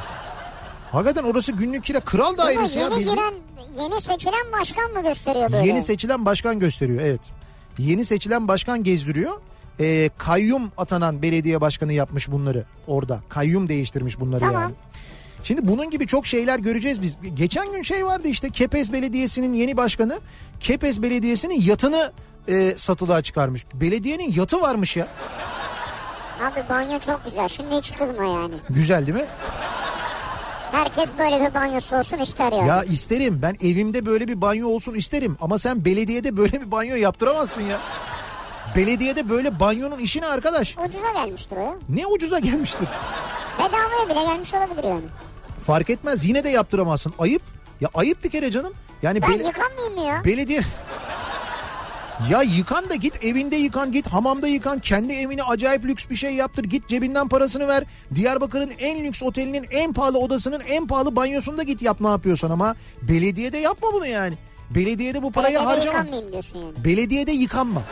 [SPEAKER 1] Hakikaten orası günlük kira. Kral
[SPEAKER 2] Ama
[SPEAKER 1] dairesi şey ya.
[SPEAKER 2] yeni
[SPEAKER 1] bildiğin.
[SPEAKER 2] giren, yeni seçilen başkan mı gösteriyor böyle?
[SPEAKER 1] Yeni seçilen başkan gösteriyor evet. Yeni seçilen başkan gezdiriyor. Ee, kayyum atanan belediye başkanı yapmış bunları orada. Kayyum değiştirmiş bunları
[SPEAKER 2] Tamam.
[SPEAKER 1] yani. Şimdi bunun gibi çok şeyler göreceğiz biz. Geçen gün şey vardı işte Kepez Belediyesi'nin yeni başkanı Kepez Belediyesi'nin yatını e, satılığa çıkarmış. Belediyenin yatı varmış ya.
[SPEAKER 2] Abi banyo çok güzel. Şimdi hiç kızma yani.
[SPEAKER 1] Güzel değil mi?
[SPEAKER 2] Herkes böyle bir banyosu olsun ister yani.
[SPEAKER 1] Ya isterim ben evimde böyle bir banyo olsun isterim ama sen belediyede böyle bir banyo yaptıramazsın ya. Belediyede böyle banyonun işine arkadaş.
[SPEAKER 2] Ucuza gelmiştir o ya.
[SPEAKER 1] Ne ucuza gelmiştir.
[SPEAKER 2] Bedavaya bile gelmiş olabilir yani.
[SPEAKER 1] Fark etmez yine de yaptıramazsın. Ayıp. Ya ayıp bir kere canım. Yani
[SPEAKER 2] Ben
[SPEAKER 1] bel-
[SPEAKER 2] yıkanmayayım mı ya?
[SPEAKER 1] belediye... Ya yıkan da git evinde yıkan git hamamda yıkan kendi evine acayip lüks bir şey yaptır git cebinden parasını ver Diyarbakır'ın en lüks otelinin en pahalı odasının en pahalı banyosunda git yap ne yapıyorsan ama belediyede yapma bunu yani belediyede bu parayı
[SPEAKER 2] Belediyede
[SPEAKER 1] harcama
[SPEAKER 2] yıkanmayayım diyorsun yani.
[SPEAKER 1] belediyede yıkanma.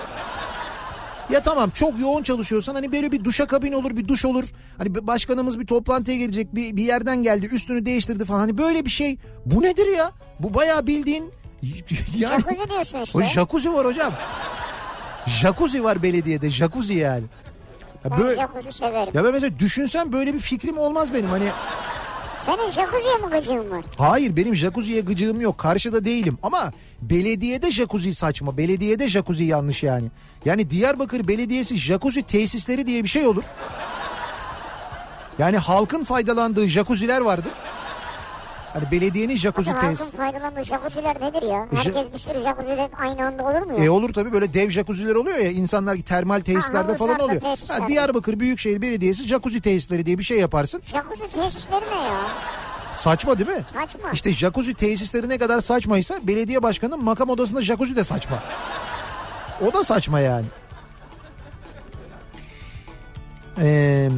[SPEAKER 1] Ya tamam çok yoğun çalışıyorsan hani böyle bir duşa kabin olur bir duş olur. Hani bir başkanımız bir toplantıya gelecek bir, bir yerden geldi üstünü değiştirdi falan. Hani böyle bir şey bu nedir ya? Bu bayağı bildiğin yani
[SPEAKER 2] Jacuzzi diyorsun işte.
[SPEAKER 1] o jacuzzi var hocam. Jacuzzi var belediyede jacuzzi yani. Ya
[SPEAKER 2] Ben
[SPEAKER 1] böyle,
[SPEAKER 2] jacuzzi severim.
[SPEAKER 1] ya ben mesela düşünsem böyle bir fikrim olmaz benim hani
[SPEAKER 2] Senin jacuzziye mi gıcığın var?
[SPEAKER 1] Hayır benim jacuzziye gıcığım yok. Karşıda değilim ama belediyede jacuzzi saçma. Belediyede jacuzzi yanlış yani. Yani Diyarbakır Belediyesi jacuzzi tesisleri diye bir şey olur. Yani halkın faydalandığı jacuzziler vardır. Hani belediyenin jacuzzi
[SPEAKER 2] Bizim
[SPEAKER 1] tesis.
[SPEAKER 2] halkın faydalandığı jacuzziler nedir ya?
[SPEAKER 1] Ja-
[SPEAKER 2] Herkes bir sürü jacuzzi'de aynı anda olur mu ya?
[SPEAKER 1] E olur tabii böyle dev jacuzziler oluyor ya insanlar termal tesislerde falan
[SPEAKER 2] havuzlarda,
[SPEAKER 1] oluyor. Ha,
[SPEAKER 2] tesislerde.
[SPEAKER 1] Diyarbakır Büyükşehir Belediyesi jacuzzi tesisleri diye bir şey yaparsın.
[SPEAKER 2] Jacuzzi tesisleri ne ya?
[SPEAKER 1] Saçma değil mi?
[SPEAKER 2] Saçma.
[SPEAKER 1] İşte jacuzzi tesisleri ne kadar saçmaysa belediye başkanının makam odasında jacuzzi de saçma. O da saçma yani. Ee,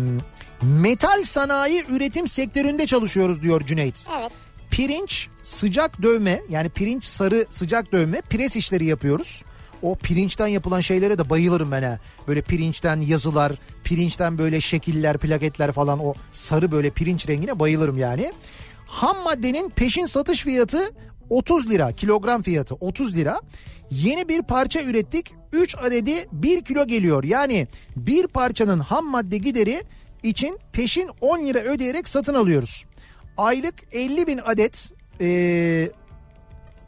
[SPEAKER 1] metal sanayi üretim sektöründe çalışıyoruz diyor Cüneyt.
[SPEAKER 2] Evet.
[SPEAKER 1] Pirinç sıcak dövme yani pirinç sarı sıcak dövme pres işleri yapıyoruz. o pirinçten yapılan şeylere de bayılırım ben ha. Böyle pirinçten yazılar, pirinçten böyle şekiller, plaketler falan o sarı böyle pirinç rengine bayılırım yani. Ham maddenin peşin satış fiyatı 30 lira, kilogram fiyatı 30 lira. Yeni bir parça ürettik. 3 adedi 1 kilo geliyor. Yani bir parçanın ham madde gideri için peşin 10 lira ödeyerek satın alıyoruz. Aylık 50 bin adet eee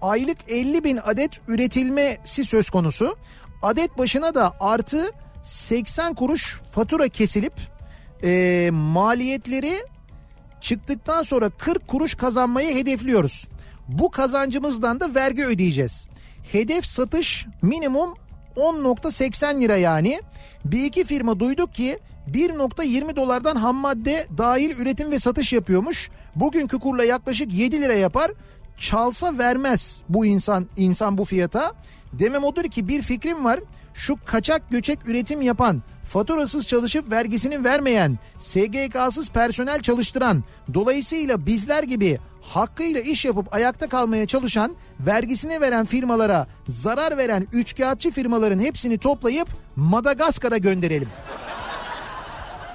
[SPEAKER 1] aylık 50 bin adet üretilmesi söz konusu. Adet başına da artı 80 kuruş fatura kesilip e, maliyetleri çıktıktan sonra 40 kuruş kazanmayı hedefliyoruz. Bu kazancımızdan da vergi ödeyeceğiz. Hedef satış minimum 10.80 lira yani. Bir iki firma duyduk ki 1.20 dolardan ham madde dahil üretim ve satış yapıyormuş. Bugünkü kurla yaklaşık 7 lira yapar çalsa vermez bu insan insan bu fiyata. Demem odur ki bir fikrim var. Şu kaçak göçek üretim yapan, faturasız çalışıp vergisini vermeyen, SGK'sız personel çalıştıran, dolayısıyla bizler gibi hakkıyla iş yapıp ayakta kalmaya çalışan, vergisini veren firmalara zarar veren üçkağıtçı firmaların hepsini toplayıp Madagaskar'a gönderelim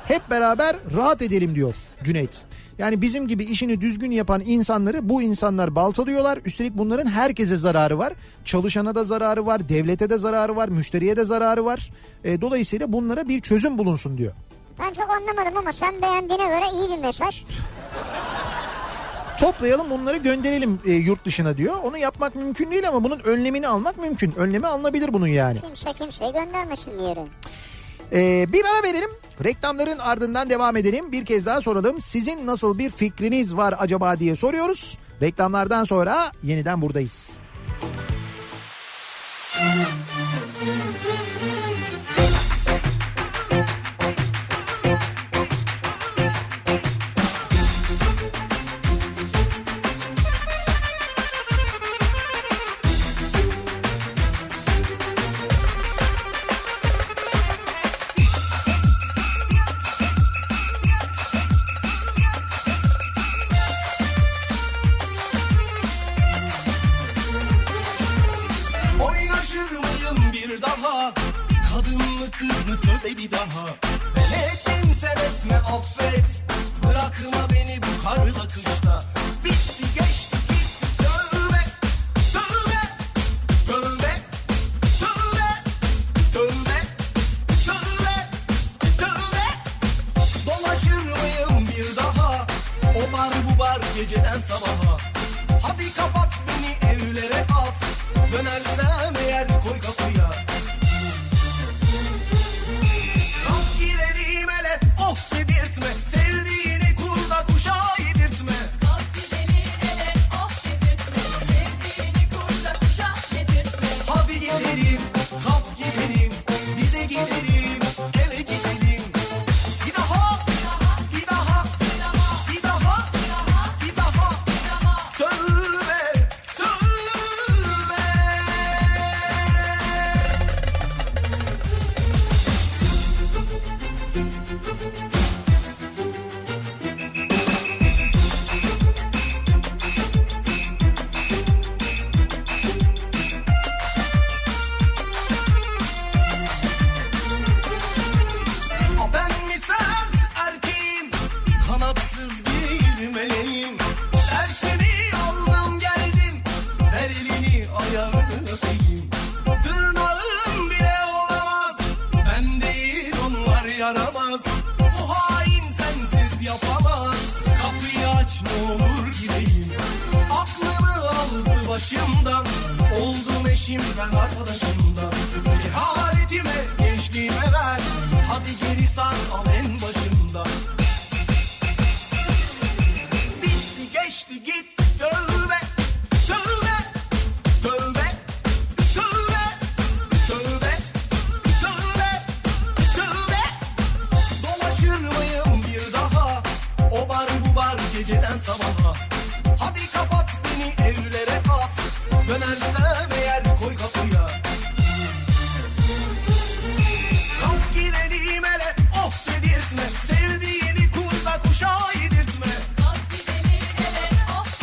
[SPEAKER 1] hep beraber rahat edelim diyor Cüneyt. Yani bizim gibi işini düzgün yapan insanları bu insanlar baltalıyorlar. Üstelik bunların herkese zararı var. Çalışana da zararı var, devlete de zararı var, müşteriye de zararı var. E, dolayısıyla bunlara bir çözüm bulunsun diyor.
[SPEAKER 2] Ben çok anlamadım ama sen beğendiğine göre iyi bir mesaj.
[SPEAKER 1] Toplayalım bunları gönderelim e, yurt dışına diyor. Onu yapmak mümkün değil ama bunun önlemini almak mümkün. Önlemi alınabilir bunun yani.
[SPEAKER 2] Kimse kimseye göndermesin diyorum.
[SPEAKER 1] Ee, bir ara verelim. Reklamların ardından devam edelim. Bir kez daha soralım. Sizin nasıl bir fikriniz var acaba diye soruyoruz. Reklamlardan sonra yeniden buradayız.
[SPEAKER 6] Oynaşır mıyım bir daha Kadın mı kız mı tövbe bir daha Ben ettim sen etme affet Bırakma beni bu karda kışta Bitti geçti gitti tövbe Tövbe Tövbe Tövbe Tövbe Tövbe Tövbe Dolaşır mıyım bir daha O bar bu bar geceden sabaha Hadi kapat beni evlere at Dönersem eğer koy kapıya Kalk gidelim hele of dedirtme Sevdiğini kurda kuşa yedirtme Hadi gidelim kalk gidelim Bize gidelim eve gidelim Bir daha bir daha bir daha bir daha Tövbe, tövbe. Ha Ben mi sert erkeğim Kanatsız bir meleğim Dersini aldım geldim Ver elini ayağını öpeyim Tırnağım bile olamaz Ben değil onlar yaramaz Bu hain sensiz yapamaz Kapıyı aç ne olur gideyim Aklımı aldı başımdan Oldum eşimden arkadaşımdan Cehaletime gençliğime ver Hadi geri sar al en başımdan Bitti geçti gitti tövbe Tövbe Tövbe Tövbe Tövbe Tövbe Tövbe Dolaşır mıyım bir daha O bar bu bar geceden sabaha Hadi kapat beni evlere at Dönersem eğer koy kapıya Kalk gidelim hele oh of dedirtme Sevdiğini kurda kuşa yedirtme
[SPEAKER 3] Kalk gidelim hele of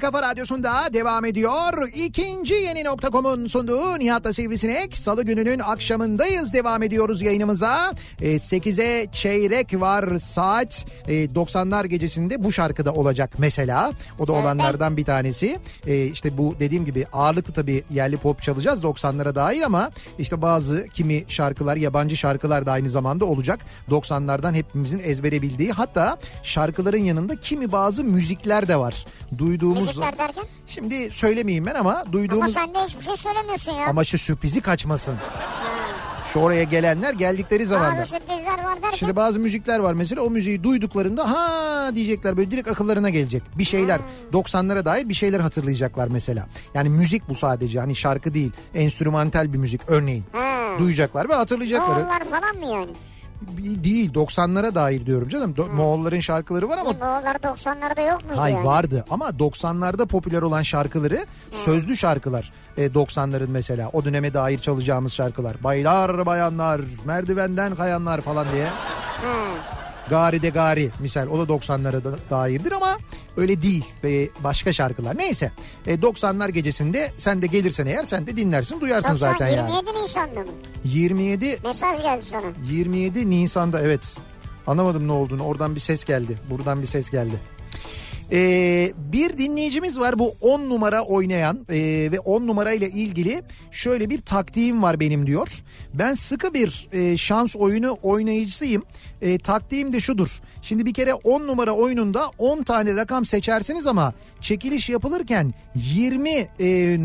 [SPEAKER 1] Kafa Radyosu'nda devam ediyor. İkinci yeni nokta.com'un sunduğu Nihat'la Sivrisinek. Salı gününün akşamındayız. Devam ediyoruz yayınımıza. E, 8'e çeyrek var saat. E, 90'lar gecesinde bu şarkıda olacak mesela. O da olanlardan bir tanesi. E, işte bu dediğim gibi ağırlıklı tabii yerli pop çalacağız 90'lara dair ama işte bazı kimi şarkılar yabancı şarkılar da aynı zamanda olacak. 90'lardan hepimizin ezbere bildiği hatta şarkıların yanında kimi bazı müzikler de var. Duyduğumuz
[SPEAKER 2] Müzikler derken?
[SPEAKER 1] Şimdi söylemeyeyim ben ama
[SPEAKER 2] Ama
[SPEAKER 1] duyduğumuz
[SPEAKER 2] sen de hiçbir şey söylemiyorsun ya.
[SPEAKER 1] ama şu sürprizi kaçmasın. Şu oraya gelenler geldikleri zaman da.
[SPEAKER 2] Bazı sürprizler var derken.
[SPEAKER 1] Şimdi bazı müzikler var mesela o müziği duyduklarında ha diyecekler böyle direkt akıllarına gelecek. Bir şeyler 90'lara dair bir şeyler hatırlayacaklar mesela. Yani müzik bu sadece hani şarkı değil enstrümantal bir müzik örneğin.
[SPEAKER 2] Ha.
[SPEAKER 1] Duyacaklar ve hatırlayacakları.
[SPEAKER 2] Moğollar falan mı yani?
[SPEAKER 1] Bir- Değil 90'lara dair diyorum canım. Do- Moğolların şarkıları var ama
[SPEAKER 2] Değil, Moğollar 90'larda yok muydu
[SPEAKER 1] Hayır
[SPEAKER 2] yani?
[SPEAKER 1] vardı ama 90'larda popüler olan şarkıları sözlü şarkılar. E, 90'ların mesela o döneme dair çalacağımız şarkılar. Baylar bayanlar merdivenden kayanlar falan diye. Gari de gari misal o da 90'lara da dairdir ama öyle değil ve başka şarkılar. Neyse e, 90'lar gecesinde sen de gelirsen eğer sen de dinlersin duyarsın
[SPEAKER 2] 90,
[SPEAKER 1] zaten
[SPEAKER 2] 27
[SPEAKER 1] yani.
[SPEAKER 2] Nisan'da mı?
[SPEAKER 1] 27
[SPEAKER 2] Mesaj geldi sana.
[SPEAKER 1] 27 Nisan'da evet. Anlamadım ne olduğunu. Oradan bir ses geldi. Buradan bir ses geldi. Ee, bir dinleyicimiz var bu 10 numara oynayan ee, ve 10 numarayla ilgili şöyle bir taktiğim var benim diyor. Ben sıkı bir e, şans oyunu oynayıcısıyım. E, taktiğim de şudur. Şimdi bir kere 10 numara oyununda 10 tane rakam seçersiniz ama çekiliş yapılırken 20 e,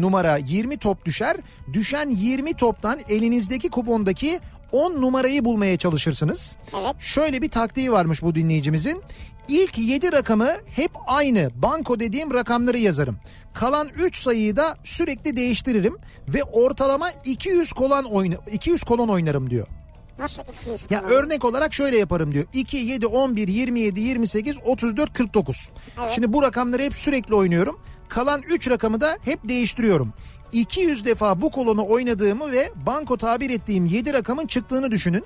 [SPEAKER 1] numara 20 top düşer. Düşen 20 toptan elinizdeki kupondaki 10 numarayı bulmaya çalışırsınız.
[SPEAKER 2] Evet.
[SPEAKER 1] Şöyle bir taktiği varmış bu dinleyicimizin. İlk 7 rakamı hep aynı banko dediğim rakamları yazarım. Kalan 3 sayıyı da sürekli değiştiririm ve ortalama 200 kolon oyna 200 kolon oynarım diyor.
[SPEAKER 2] Nasıl 200
[SPEAKER 1] Ya
[SPEAKER 2] falan?
[SPEAKER 1] örnek olarak şöyle yaparım diyor. 2, 7, 11, 27, 28, 34, 49. Şimdi bu rakamları hep sürekli oynuyorum. Kalan 3 rakamı da hep değiştiriyorum. 200 defa bu kolonu oynadığımı ve banko tabir ettiğim 7 rakamın çıktığını düşünün.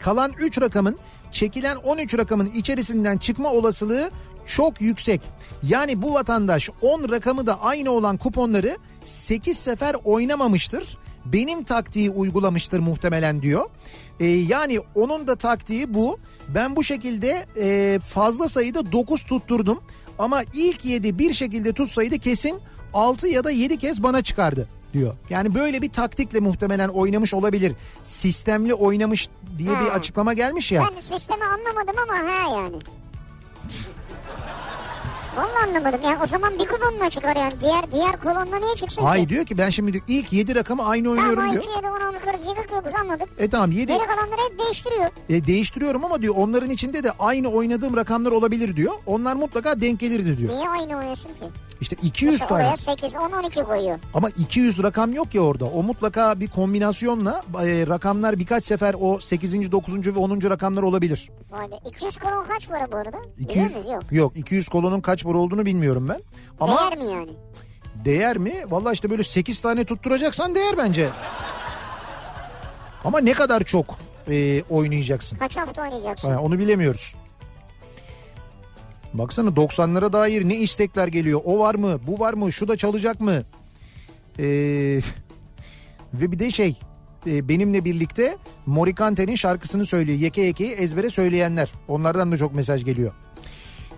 [SPEAKER 1] Kalan 3 rakamın çekilen 13 rakamın içerisinden çıkma olasılığı çok yüksek. Yani bu vatandaş 10 rakamı da aynı olan kuponları 8 sefer oynamamıştır. Benim taktiği uygulamıştır muhtemelen diyor. Ee, yani onun da taktiği bu. Ben bu şekilde e, fazla sayıda 9 tutturdum. Ama ilk 7 bir şekilde tutsaydı kesin 6 ya da 7 kez bana çıkardı diyor. Yani böyle bir taktikle muhtemelen oynamış olabilir. Sistemli oynamış diye bir açıklama gelmiş ya.
[SPEAKER 2] Ben sistemi anlamadım ama ha yani. Vallahi anlamadım. Yani o zaman bir kolonla çıkar yani. Diğer diğer kolonla niye çıksın
[SPEAKER 1] Ay
[SPEAKER 2] ki?
[SPEAKER 1] diyor ki ben şimdi diyor, ilk 7 rakamı aynı oynuyorum
[SPEAKER 2] Tamam
[SPEAKER 1] diyor.
[SPEAKER 2] 2, 7, 10, 11, 42, 49 anladık.
[SPEAKER 1] E tamam 7
[SPEAKER 2] Geri kalanları hep değiştiriyor.
[SPEAKER 1] e, değiştiriyorum ama diyor onların içinde de aynı oynadığım rakamlar olabilir diyor. Onlar mutlaka denk gelirdi diyor.
[SPEAKER 2] Niye aynı oynuyorsun ki?
[SPEAKER 1] İşte 200
[SPEAKER 2] Mesela
[SPEAKER 1] tane
[SPEAKER 2] oraya 8, 10, 12 koyuyor.
[SPEAKER 1] ama 200 rakam yok ya orada. O mutlaka bir kombinasyonla e, rakamlar birkaç sefer o 8. 9. ve 10. rakamlar olabilir.
[SPEAKER 2] Vay be. 200 kolon kaç para bu arada? 200...
[SPEAKER 1] 200
[SPEAKER 2] Biliyor muyuz? Yok.
[SPEAKER 1] yok 200 kolonun kaç var olduğunu bilmiyorum ben. Ama
[SPEAKER 2] Değer mi yani?
[SPEAKER 1] Değer mi? Valla işte böyle 8 tane tutturacaksan değer bence. Ama ne kadar çok e, oynayacaksın?
[SPEAKER 2] Kaç hafta oynayacaksın?
[SPEAKER 1] Ha, onu bilemiyoruz. Baksana 90'lara dair ne istekler geliyor. O var mı? Bu var mı? Şu da çalacak mı? Ee, ve bir de şey e, benimle birlikte Morikante'nin şarkısını söylüyor. Yeke yekeyi ezbere söyleyenler. Onlardan da çok mesaj geliyor.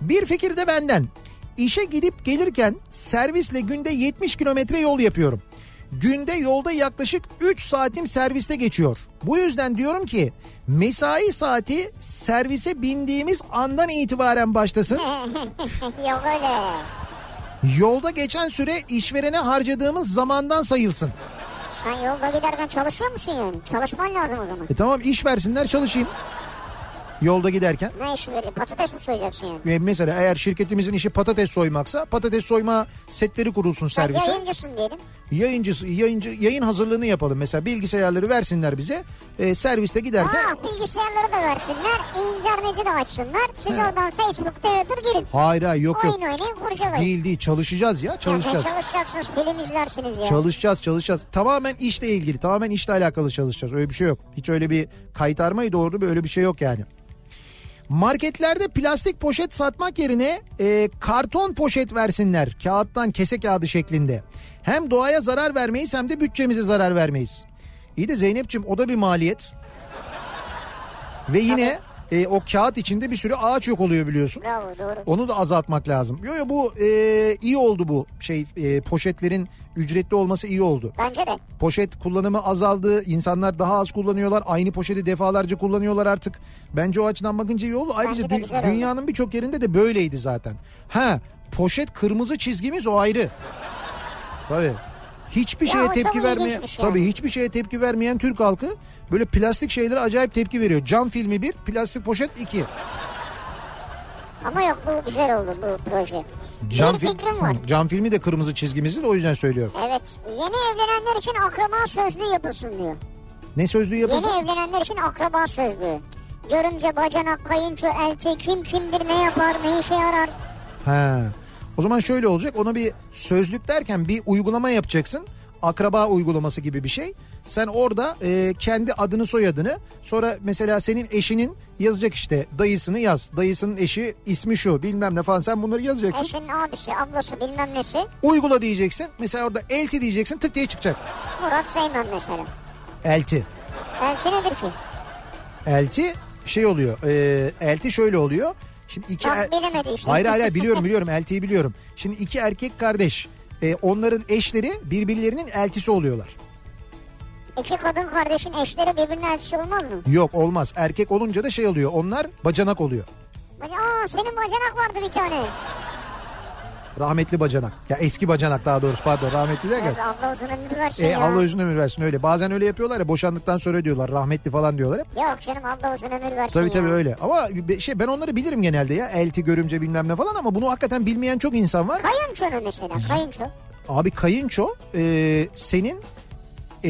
[SPEAKER 1] Bir fikir de benden. İşe gidip gelirken servisle günde 70 kilometre yol yapıyorum. Günde yolda yaklaşık 3 saatim serviste geçiyor. Bu yüzden diyorum ki mesai saati servise bindiğimiz andan itibaren başlasın.
[SPEAKER 2] Yok öyle.
[SPEAKER 1] Yolda geçen süre işverene harcadığımız zamandan sayılsın.
[SPEAKER 2] Sen yolda giderken çalışıyor musun yani? Çalışman lazım o zaman.
[SPEAKER 1] E tamam iş versinler çalışayım. Yolda giderken.
[SPEAKER 2] Ne işi veriyor? Patates mi soyacaksın yani?
[SPEAKER 1] E mesela eğer şirketimizin işi patates soymaksa patates soyma setleri kurulsun
[SPEAKER 2] Sen
[SPEAKER 1] servise.
[SPEAKER 2] yayıncısın diyelim.
[SPEAKER 1] yayıncısı yayıncı yayın hazırlığını yapalım mesela bilgisayarları versinler bize e, serviste giderken
[SPEAKER 2] Aa, bilgisayarları da versinler. interneti de açsınlar. Siz oradan Facebook'ta yadır girin.
[SPEAKER 1] hayır hayır yok yok
[SPEAKER 2] Oyun oynayın kurcalayın.
[SPEAKER 1] değil değil çalışacağız ya çalışacağız
[SPEAKER 2] Ya çalışacaksınız film izlersiniz ya.
[SPEAKER 1] çalışacağız çalışacağız tamamen işle ilgili tamamen işle alakalı çalışacağız öyle bir şey yok hiç öyle bir kaytarmayı doğru bir öyle bir şey yok yani Marketlerde plastik poşet satmak yerine e, karton poşet versinler. Kağıttan kese kağıdı şeklinde. Hem doğaya zarar vermeyiz hem de bütçemize zarar vermeyiz. İyi de Zeynep'ciğim o da bir maliyet. Ve yine e, o kağıt içinde bir sürü ağaç yok oluyor biliyorsun.
[SPEAKER 2] Bravo doğru.
[SPEAKER 1] Onu da azaltmak lazım. Yo yo bu e, iyi oldu bu şey e, poşetlerin ücretli olması iyi oldu.
[SPEAKER 2] Bence de.
[SPEAKER 1] Poşet kullanımı azaldı. İnsanlar daha az kullanıyorlar. Aynı poşeti defalarca kullanıyorlar artık. Bence o açıdan bakınca iyi oldu. Ayrıca
[SPEAKER 2] Bence de
[SPEAKER 1] dü-
[SPEAKER 2] güzel oldu.
[SPEAKER 1] dünyanın birçok yerinde de böyleydi zaten. Ha poşet kırmızı çizgimiz o ayrı. Tabii. Hiçbir
[SPEAKER 2] Ya o
[SPEAKER 1] şeye
[SPEAKER 2] çok
[SPEAKER 1] tepki vermeyen
[SPEAKER 2] ilginçmiş yani.
[SPEAKER 1] tabii hiçbir şeye tepki vermeyen Türk halkı böyle plastik şeylere acayip tepki veriyor. Cam filmi bir, plastik poşet iki.
[SPEAKER 2] Ama yok bu güzel oldu bu proje.
[SPEAKER 1] Cam
[SPEAKER 2] bir
[SPEAKER 1] fil-
[SPEAKER 2] fikrim var.
[SPEAKER 1] Cam filmi de kırmızı çizgimizin o yüzden söylüyorum.
[SPEAKER 2] Evet. Yeni evlenenler için akraba sözlüğü yapılsın diyor.
[SPEAKER 1] Ne sözlüğü yapılsın?
[SPEAKER 2] Yeni evlenenler için akraba sözlüğü. Görümce, bacanak, kayınço, elçi kim kimdir, ne yapar, ne işe yarar.
[SPEAKER 1] Ha. O zaman şöyle olacak. Ona bir sözlük derken bir uygulama yapacaksın. Akraba uygulaması gibi bir şey. Sen orada e, kendi adını soyadını sonra mesela senin eşinin yazacak işte dayısını yaz. Dayısının eşi ismi şu bilmem ne falan sen bunları yazacaksın.
[SPEAKER 2] Eşinin abisi, ablası bilmem nesi.
[SPEAKER 1] Uygula diyeceksin. Mesela orada elti diyeceksin tık diye çıkacak.
[SPEAKER 2] Murat Seymen mesela.
[SPEAKER 1] Elti.
[SPEAKER 2] Elçi nedir ki?
[SPEAKER 1] Elti şey oluyor. e, elti şöyle oluyor. Şimdi iki
[SPEAKER 2] Bak
[SPEAKER 1] el-
[SPEAKER 2] Ah, bilemedi işte.
[SPEAKER 1] Hayır hayır hayır, biliyorum biliyorum eltiyi biliyorum. Şimdi iki erkek kardeş e, onların eşleri birbirlerinin eltisi oluyorlar.
[SPEAKER 2] İki kadın kardeşin eşleri birbirine elçisi olmaz mı?
[SPEAKER 1] Yok olmaz erkek olunca da şey oluyor onlar bacanak oluyor.
[SPEAKER 2] Aa senin bacanak vardı bir tane.
[SPEAKER 1] Rahmetli bacanak. Ya eski bacanak daha doğrusu pardon rahmetli derken.
[SPEAKER 2] Evet. Allah uzun ömür versin
[SPEAKER 1] E,
[SPEAKER 2] ya.
[SPEAKER 1] Allah uzun ömür versin öyle. Bazen öyle yapıyorlar ya boşandıktan sonra diyorlar rahmetli falan diyorlar hep.
[SPEAKER 2] Yok canım Allah uzun ömür versin
[SPEAKER 1] Tabii
[SPEAKER 2] Şey ya.
[SPEAKER 1] tabii öyle. Ama be- şey ben onları bilirim genelde ya. Elti, görümce bilmem ne falan ama bunu hakikaten bilmeyen çok insan var.
[SPEAKER 2] Kayınçonu mesela kayınço.
[SPEAKER 1] Abi kayınço e, senin e,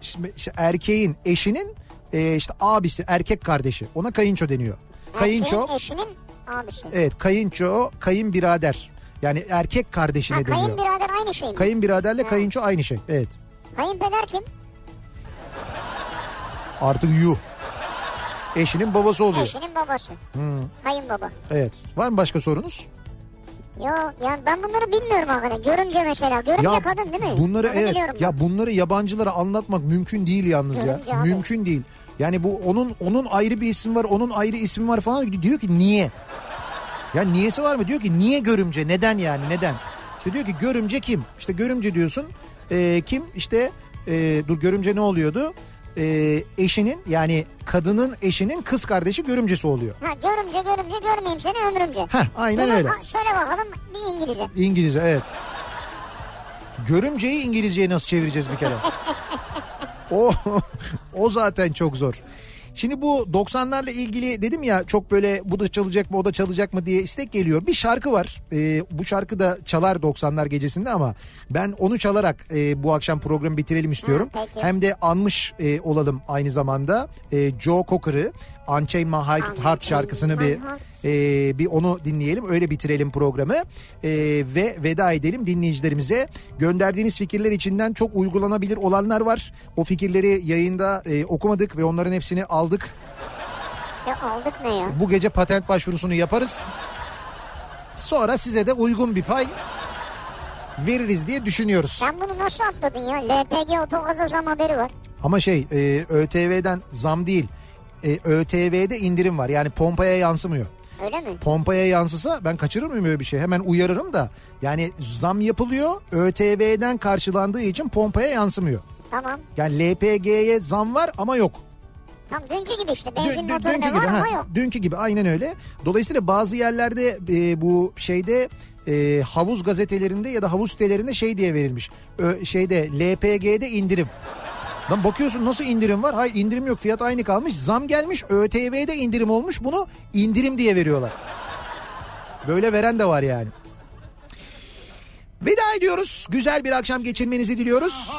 [SPEAKER 1] şimdi işte erkeğin eşinin e, işte abisi erkek kardeşi ona kayınço deniyor. Kayınço E,
[SPEAKER 2] Erkeğin eşinin abisi.
[SPEAKER 1] evet kayınço kayınbirader yani erkek kardeşine
[SPEAKER 2] ha,
[SPEAKER 1] deniyor.
[SPEAKER 2] kayınbirader aynı şey mi?
[SPEAKER 1] Kayınbiraderle kayınço aynı şey evet
[SPEAKER 2] Kayınpeder kim?
[SPEAKER 1] artık yuh eşinin babası oluyor.
[SPEAKER 2] Eşinin babası.
[SPEAKER 1] Hmm.
[SPEAKER 2] Kayınbaba.
[SPEAKER 1] Evet var mı başka sorunuz?
[SPEAKER 2] Yo ya ben bunları bilmiyorum hakikaten. Görümce mesela. Görümce kadın değil mi?
[SPEAKER 1] Bunları
[SPEAKER 2] Onu
[SPEAKER 1] evet.
[SPEAKER 2] biliyorum ben.
[SPEAKER 1] Ya bunları yabancılara anlatmak mümkün değil yalnız
[SPEAKER 2] Görümce
[SPEAKER 1] ya.
[SPEAKER 2] abi.
[SPEAKER 1] Mümkün değil. Yani bu onun onun ayrı bir isim var, onun ayrı ismi var falan diyor ki niye? Ya niyesi var mı? Diyor ki niye görümce? Neden yani? Neden? İşte diyor ki görümce kim? İşte görümce diyorsun. Ee, kim? İşte ee, dur görümce ne oluyordu? Ee, eşinin yani kadının eşinin kız kardeşi görümcesi oluyor.
[SPEAKER 2] Ha, görümce görümce görmeyeyim seni ömrümce.
[SPEAKER 1] Heh, aynen
[SPEAKER 2] Bunu
[SPEAKER 1] öyle.
[SPEAKER 2] ha- söyle bakalım bir İngilizce.
[SPEAKER 1] İngilizce evet. Görümceyi İngilizceye nasıl çevireceğiz bir kere? o, o zaten çok zor. Şimdi bu 90'larla ilgili dedim ya çok böyle bu da çalacak mı o da çalacak mı diye istek geliyor. Bir şarkı var. Ee, bu şarkı da çalar 90'lar gecesinde ama ben onu çalarak e, bu akşam programı bitirelim istiyorum.
[SPEAKER 2] Ha, peki.
[SPEAKER 1] Hem de anmış e, olalım aynı zamanda e, Joe Cocker'ı Unchain My Heart, Heart şarkısını bir e, bir onu dinleyelim öyle bitirelim programı E, ve veda edelim dinleyicilerimize gönderdiğiniz fikirler içinden çok uygulanabilir olanlar var o fikirleri yayında e, okumadık ve onların hepsini aldık
[SPEAKER 2] Ya aldık ne ya?
[SPEAKER 1] bu gece patent başvurusunu yaparız sonra size de uygun bir pay veririz diye düşünüyoruz.
[SPEAKER 2] Sen bunu nasıl atladın ya? LPG otogaza zam haberi var.
[SPEAKER 1] Ama şey e, ÖTV'den zam değil. E, ÖTV'de indirim var. Yani pompaya yansımıyor.
[SPEAKER 2] Öyle mi?
[SPEAKER 1] Pompaya yansısa ben kaçırır mıyım öyle bir şey? Hemen uyarırım da. Yani zam yapılıyor. ÖTV'den karşılandığı için pompaya yansımıyor.
[SPEAKER 2] Tamam.
[SPEAKER 1] Yani LPG'ye zam var ama yok.
[SPEAKER 2] Tam dünkü gibi işte.
[SPEAKER 1] Dün-
[SPEAKER 2] Benzin
[SPEAKER 1] dün-
[SPEAKER 2] motoru
[SPEAKER 1] dünkü
[SPEAKER 2] da var
[SPEAKER 1] gibi,
[SPEAKER 2] ama
[SPEAKER 1] ha,
[SPEAKER 2] yok.
[SPEAKER 1] Dünkü gibi aynen öyle. Dolayısıyla bazı yerlerde e, bu şeyde e, havuz gazetelerinde ya da havuz sitelerinde şey diye verilmiş. Ö, şeyde LPG'de indirim. Lan bakıyorsun nasıl indirim var? Hayır indirim yok fiyat aynı kalmış. Zam gelmiş ÖTV'de indirim olmuş bunu indirim diye veriyorlar. Böyle veren de var yani. Veda ediyoruz. Güzel bir akşam geçirmenizi diliyoruz.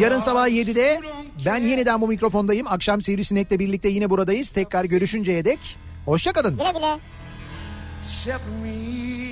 [SPEAKER 1] Yarın sabah 7'de ben yeniden bu mikrofondayım. Akşam Sivrisinek'le birlikte yine buradayız. Tekrar görüşünceye dek hoşçakalın.
[SPEAKER 2] Güle güle.
[SPEAKER 6] Accept me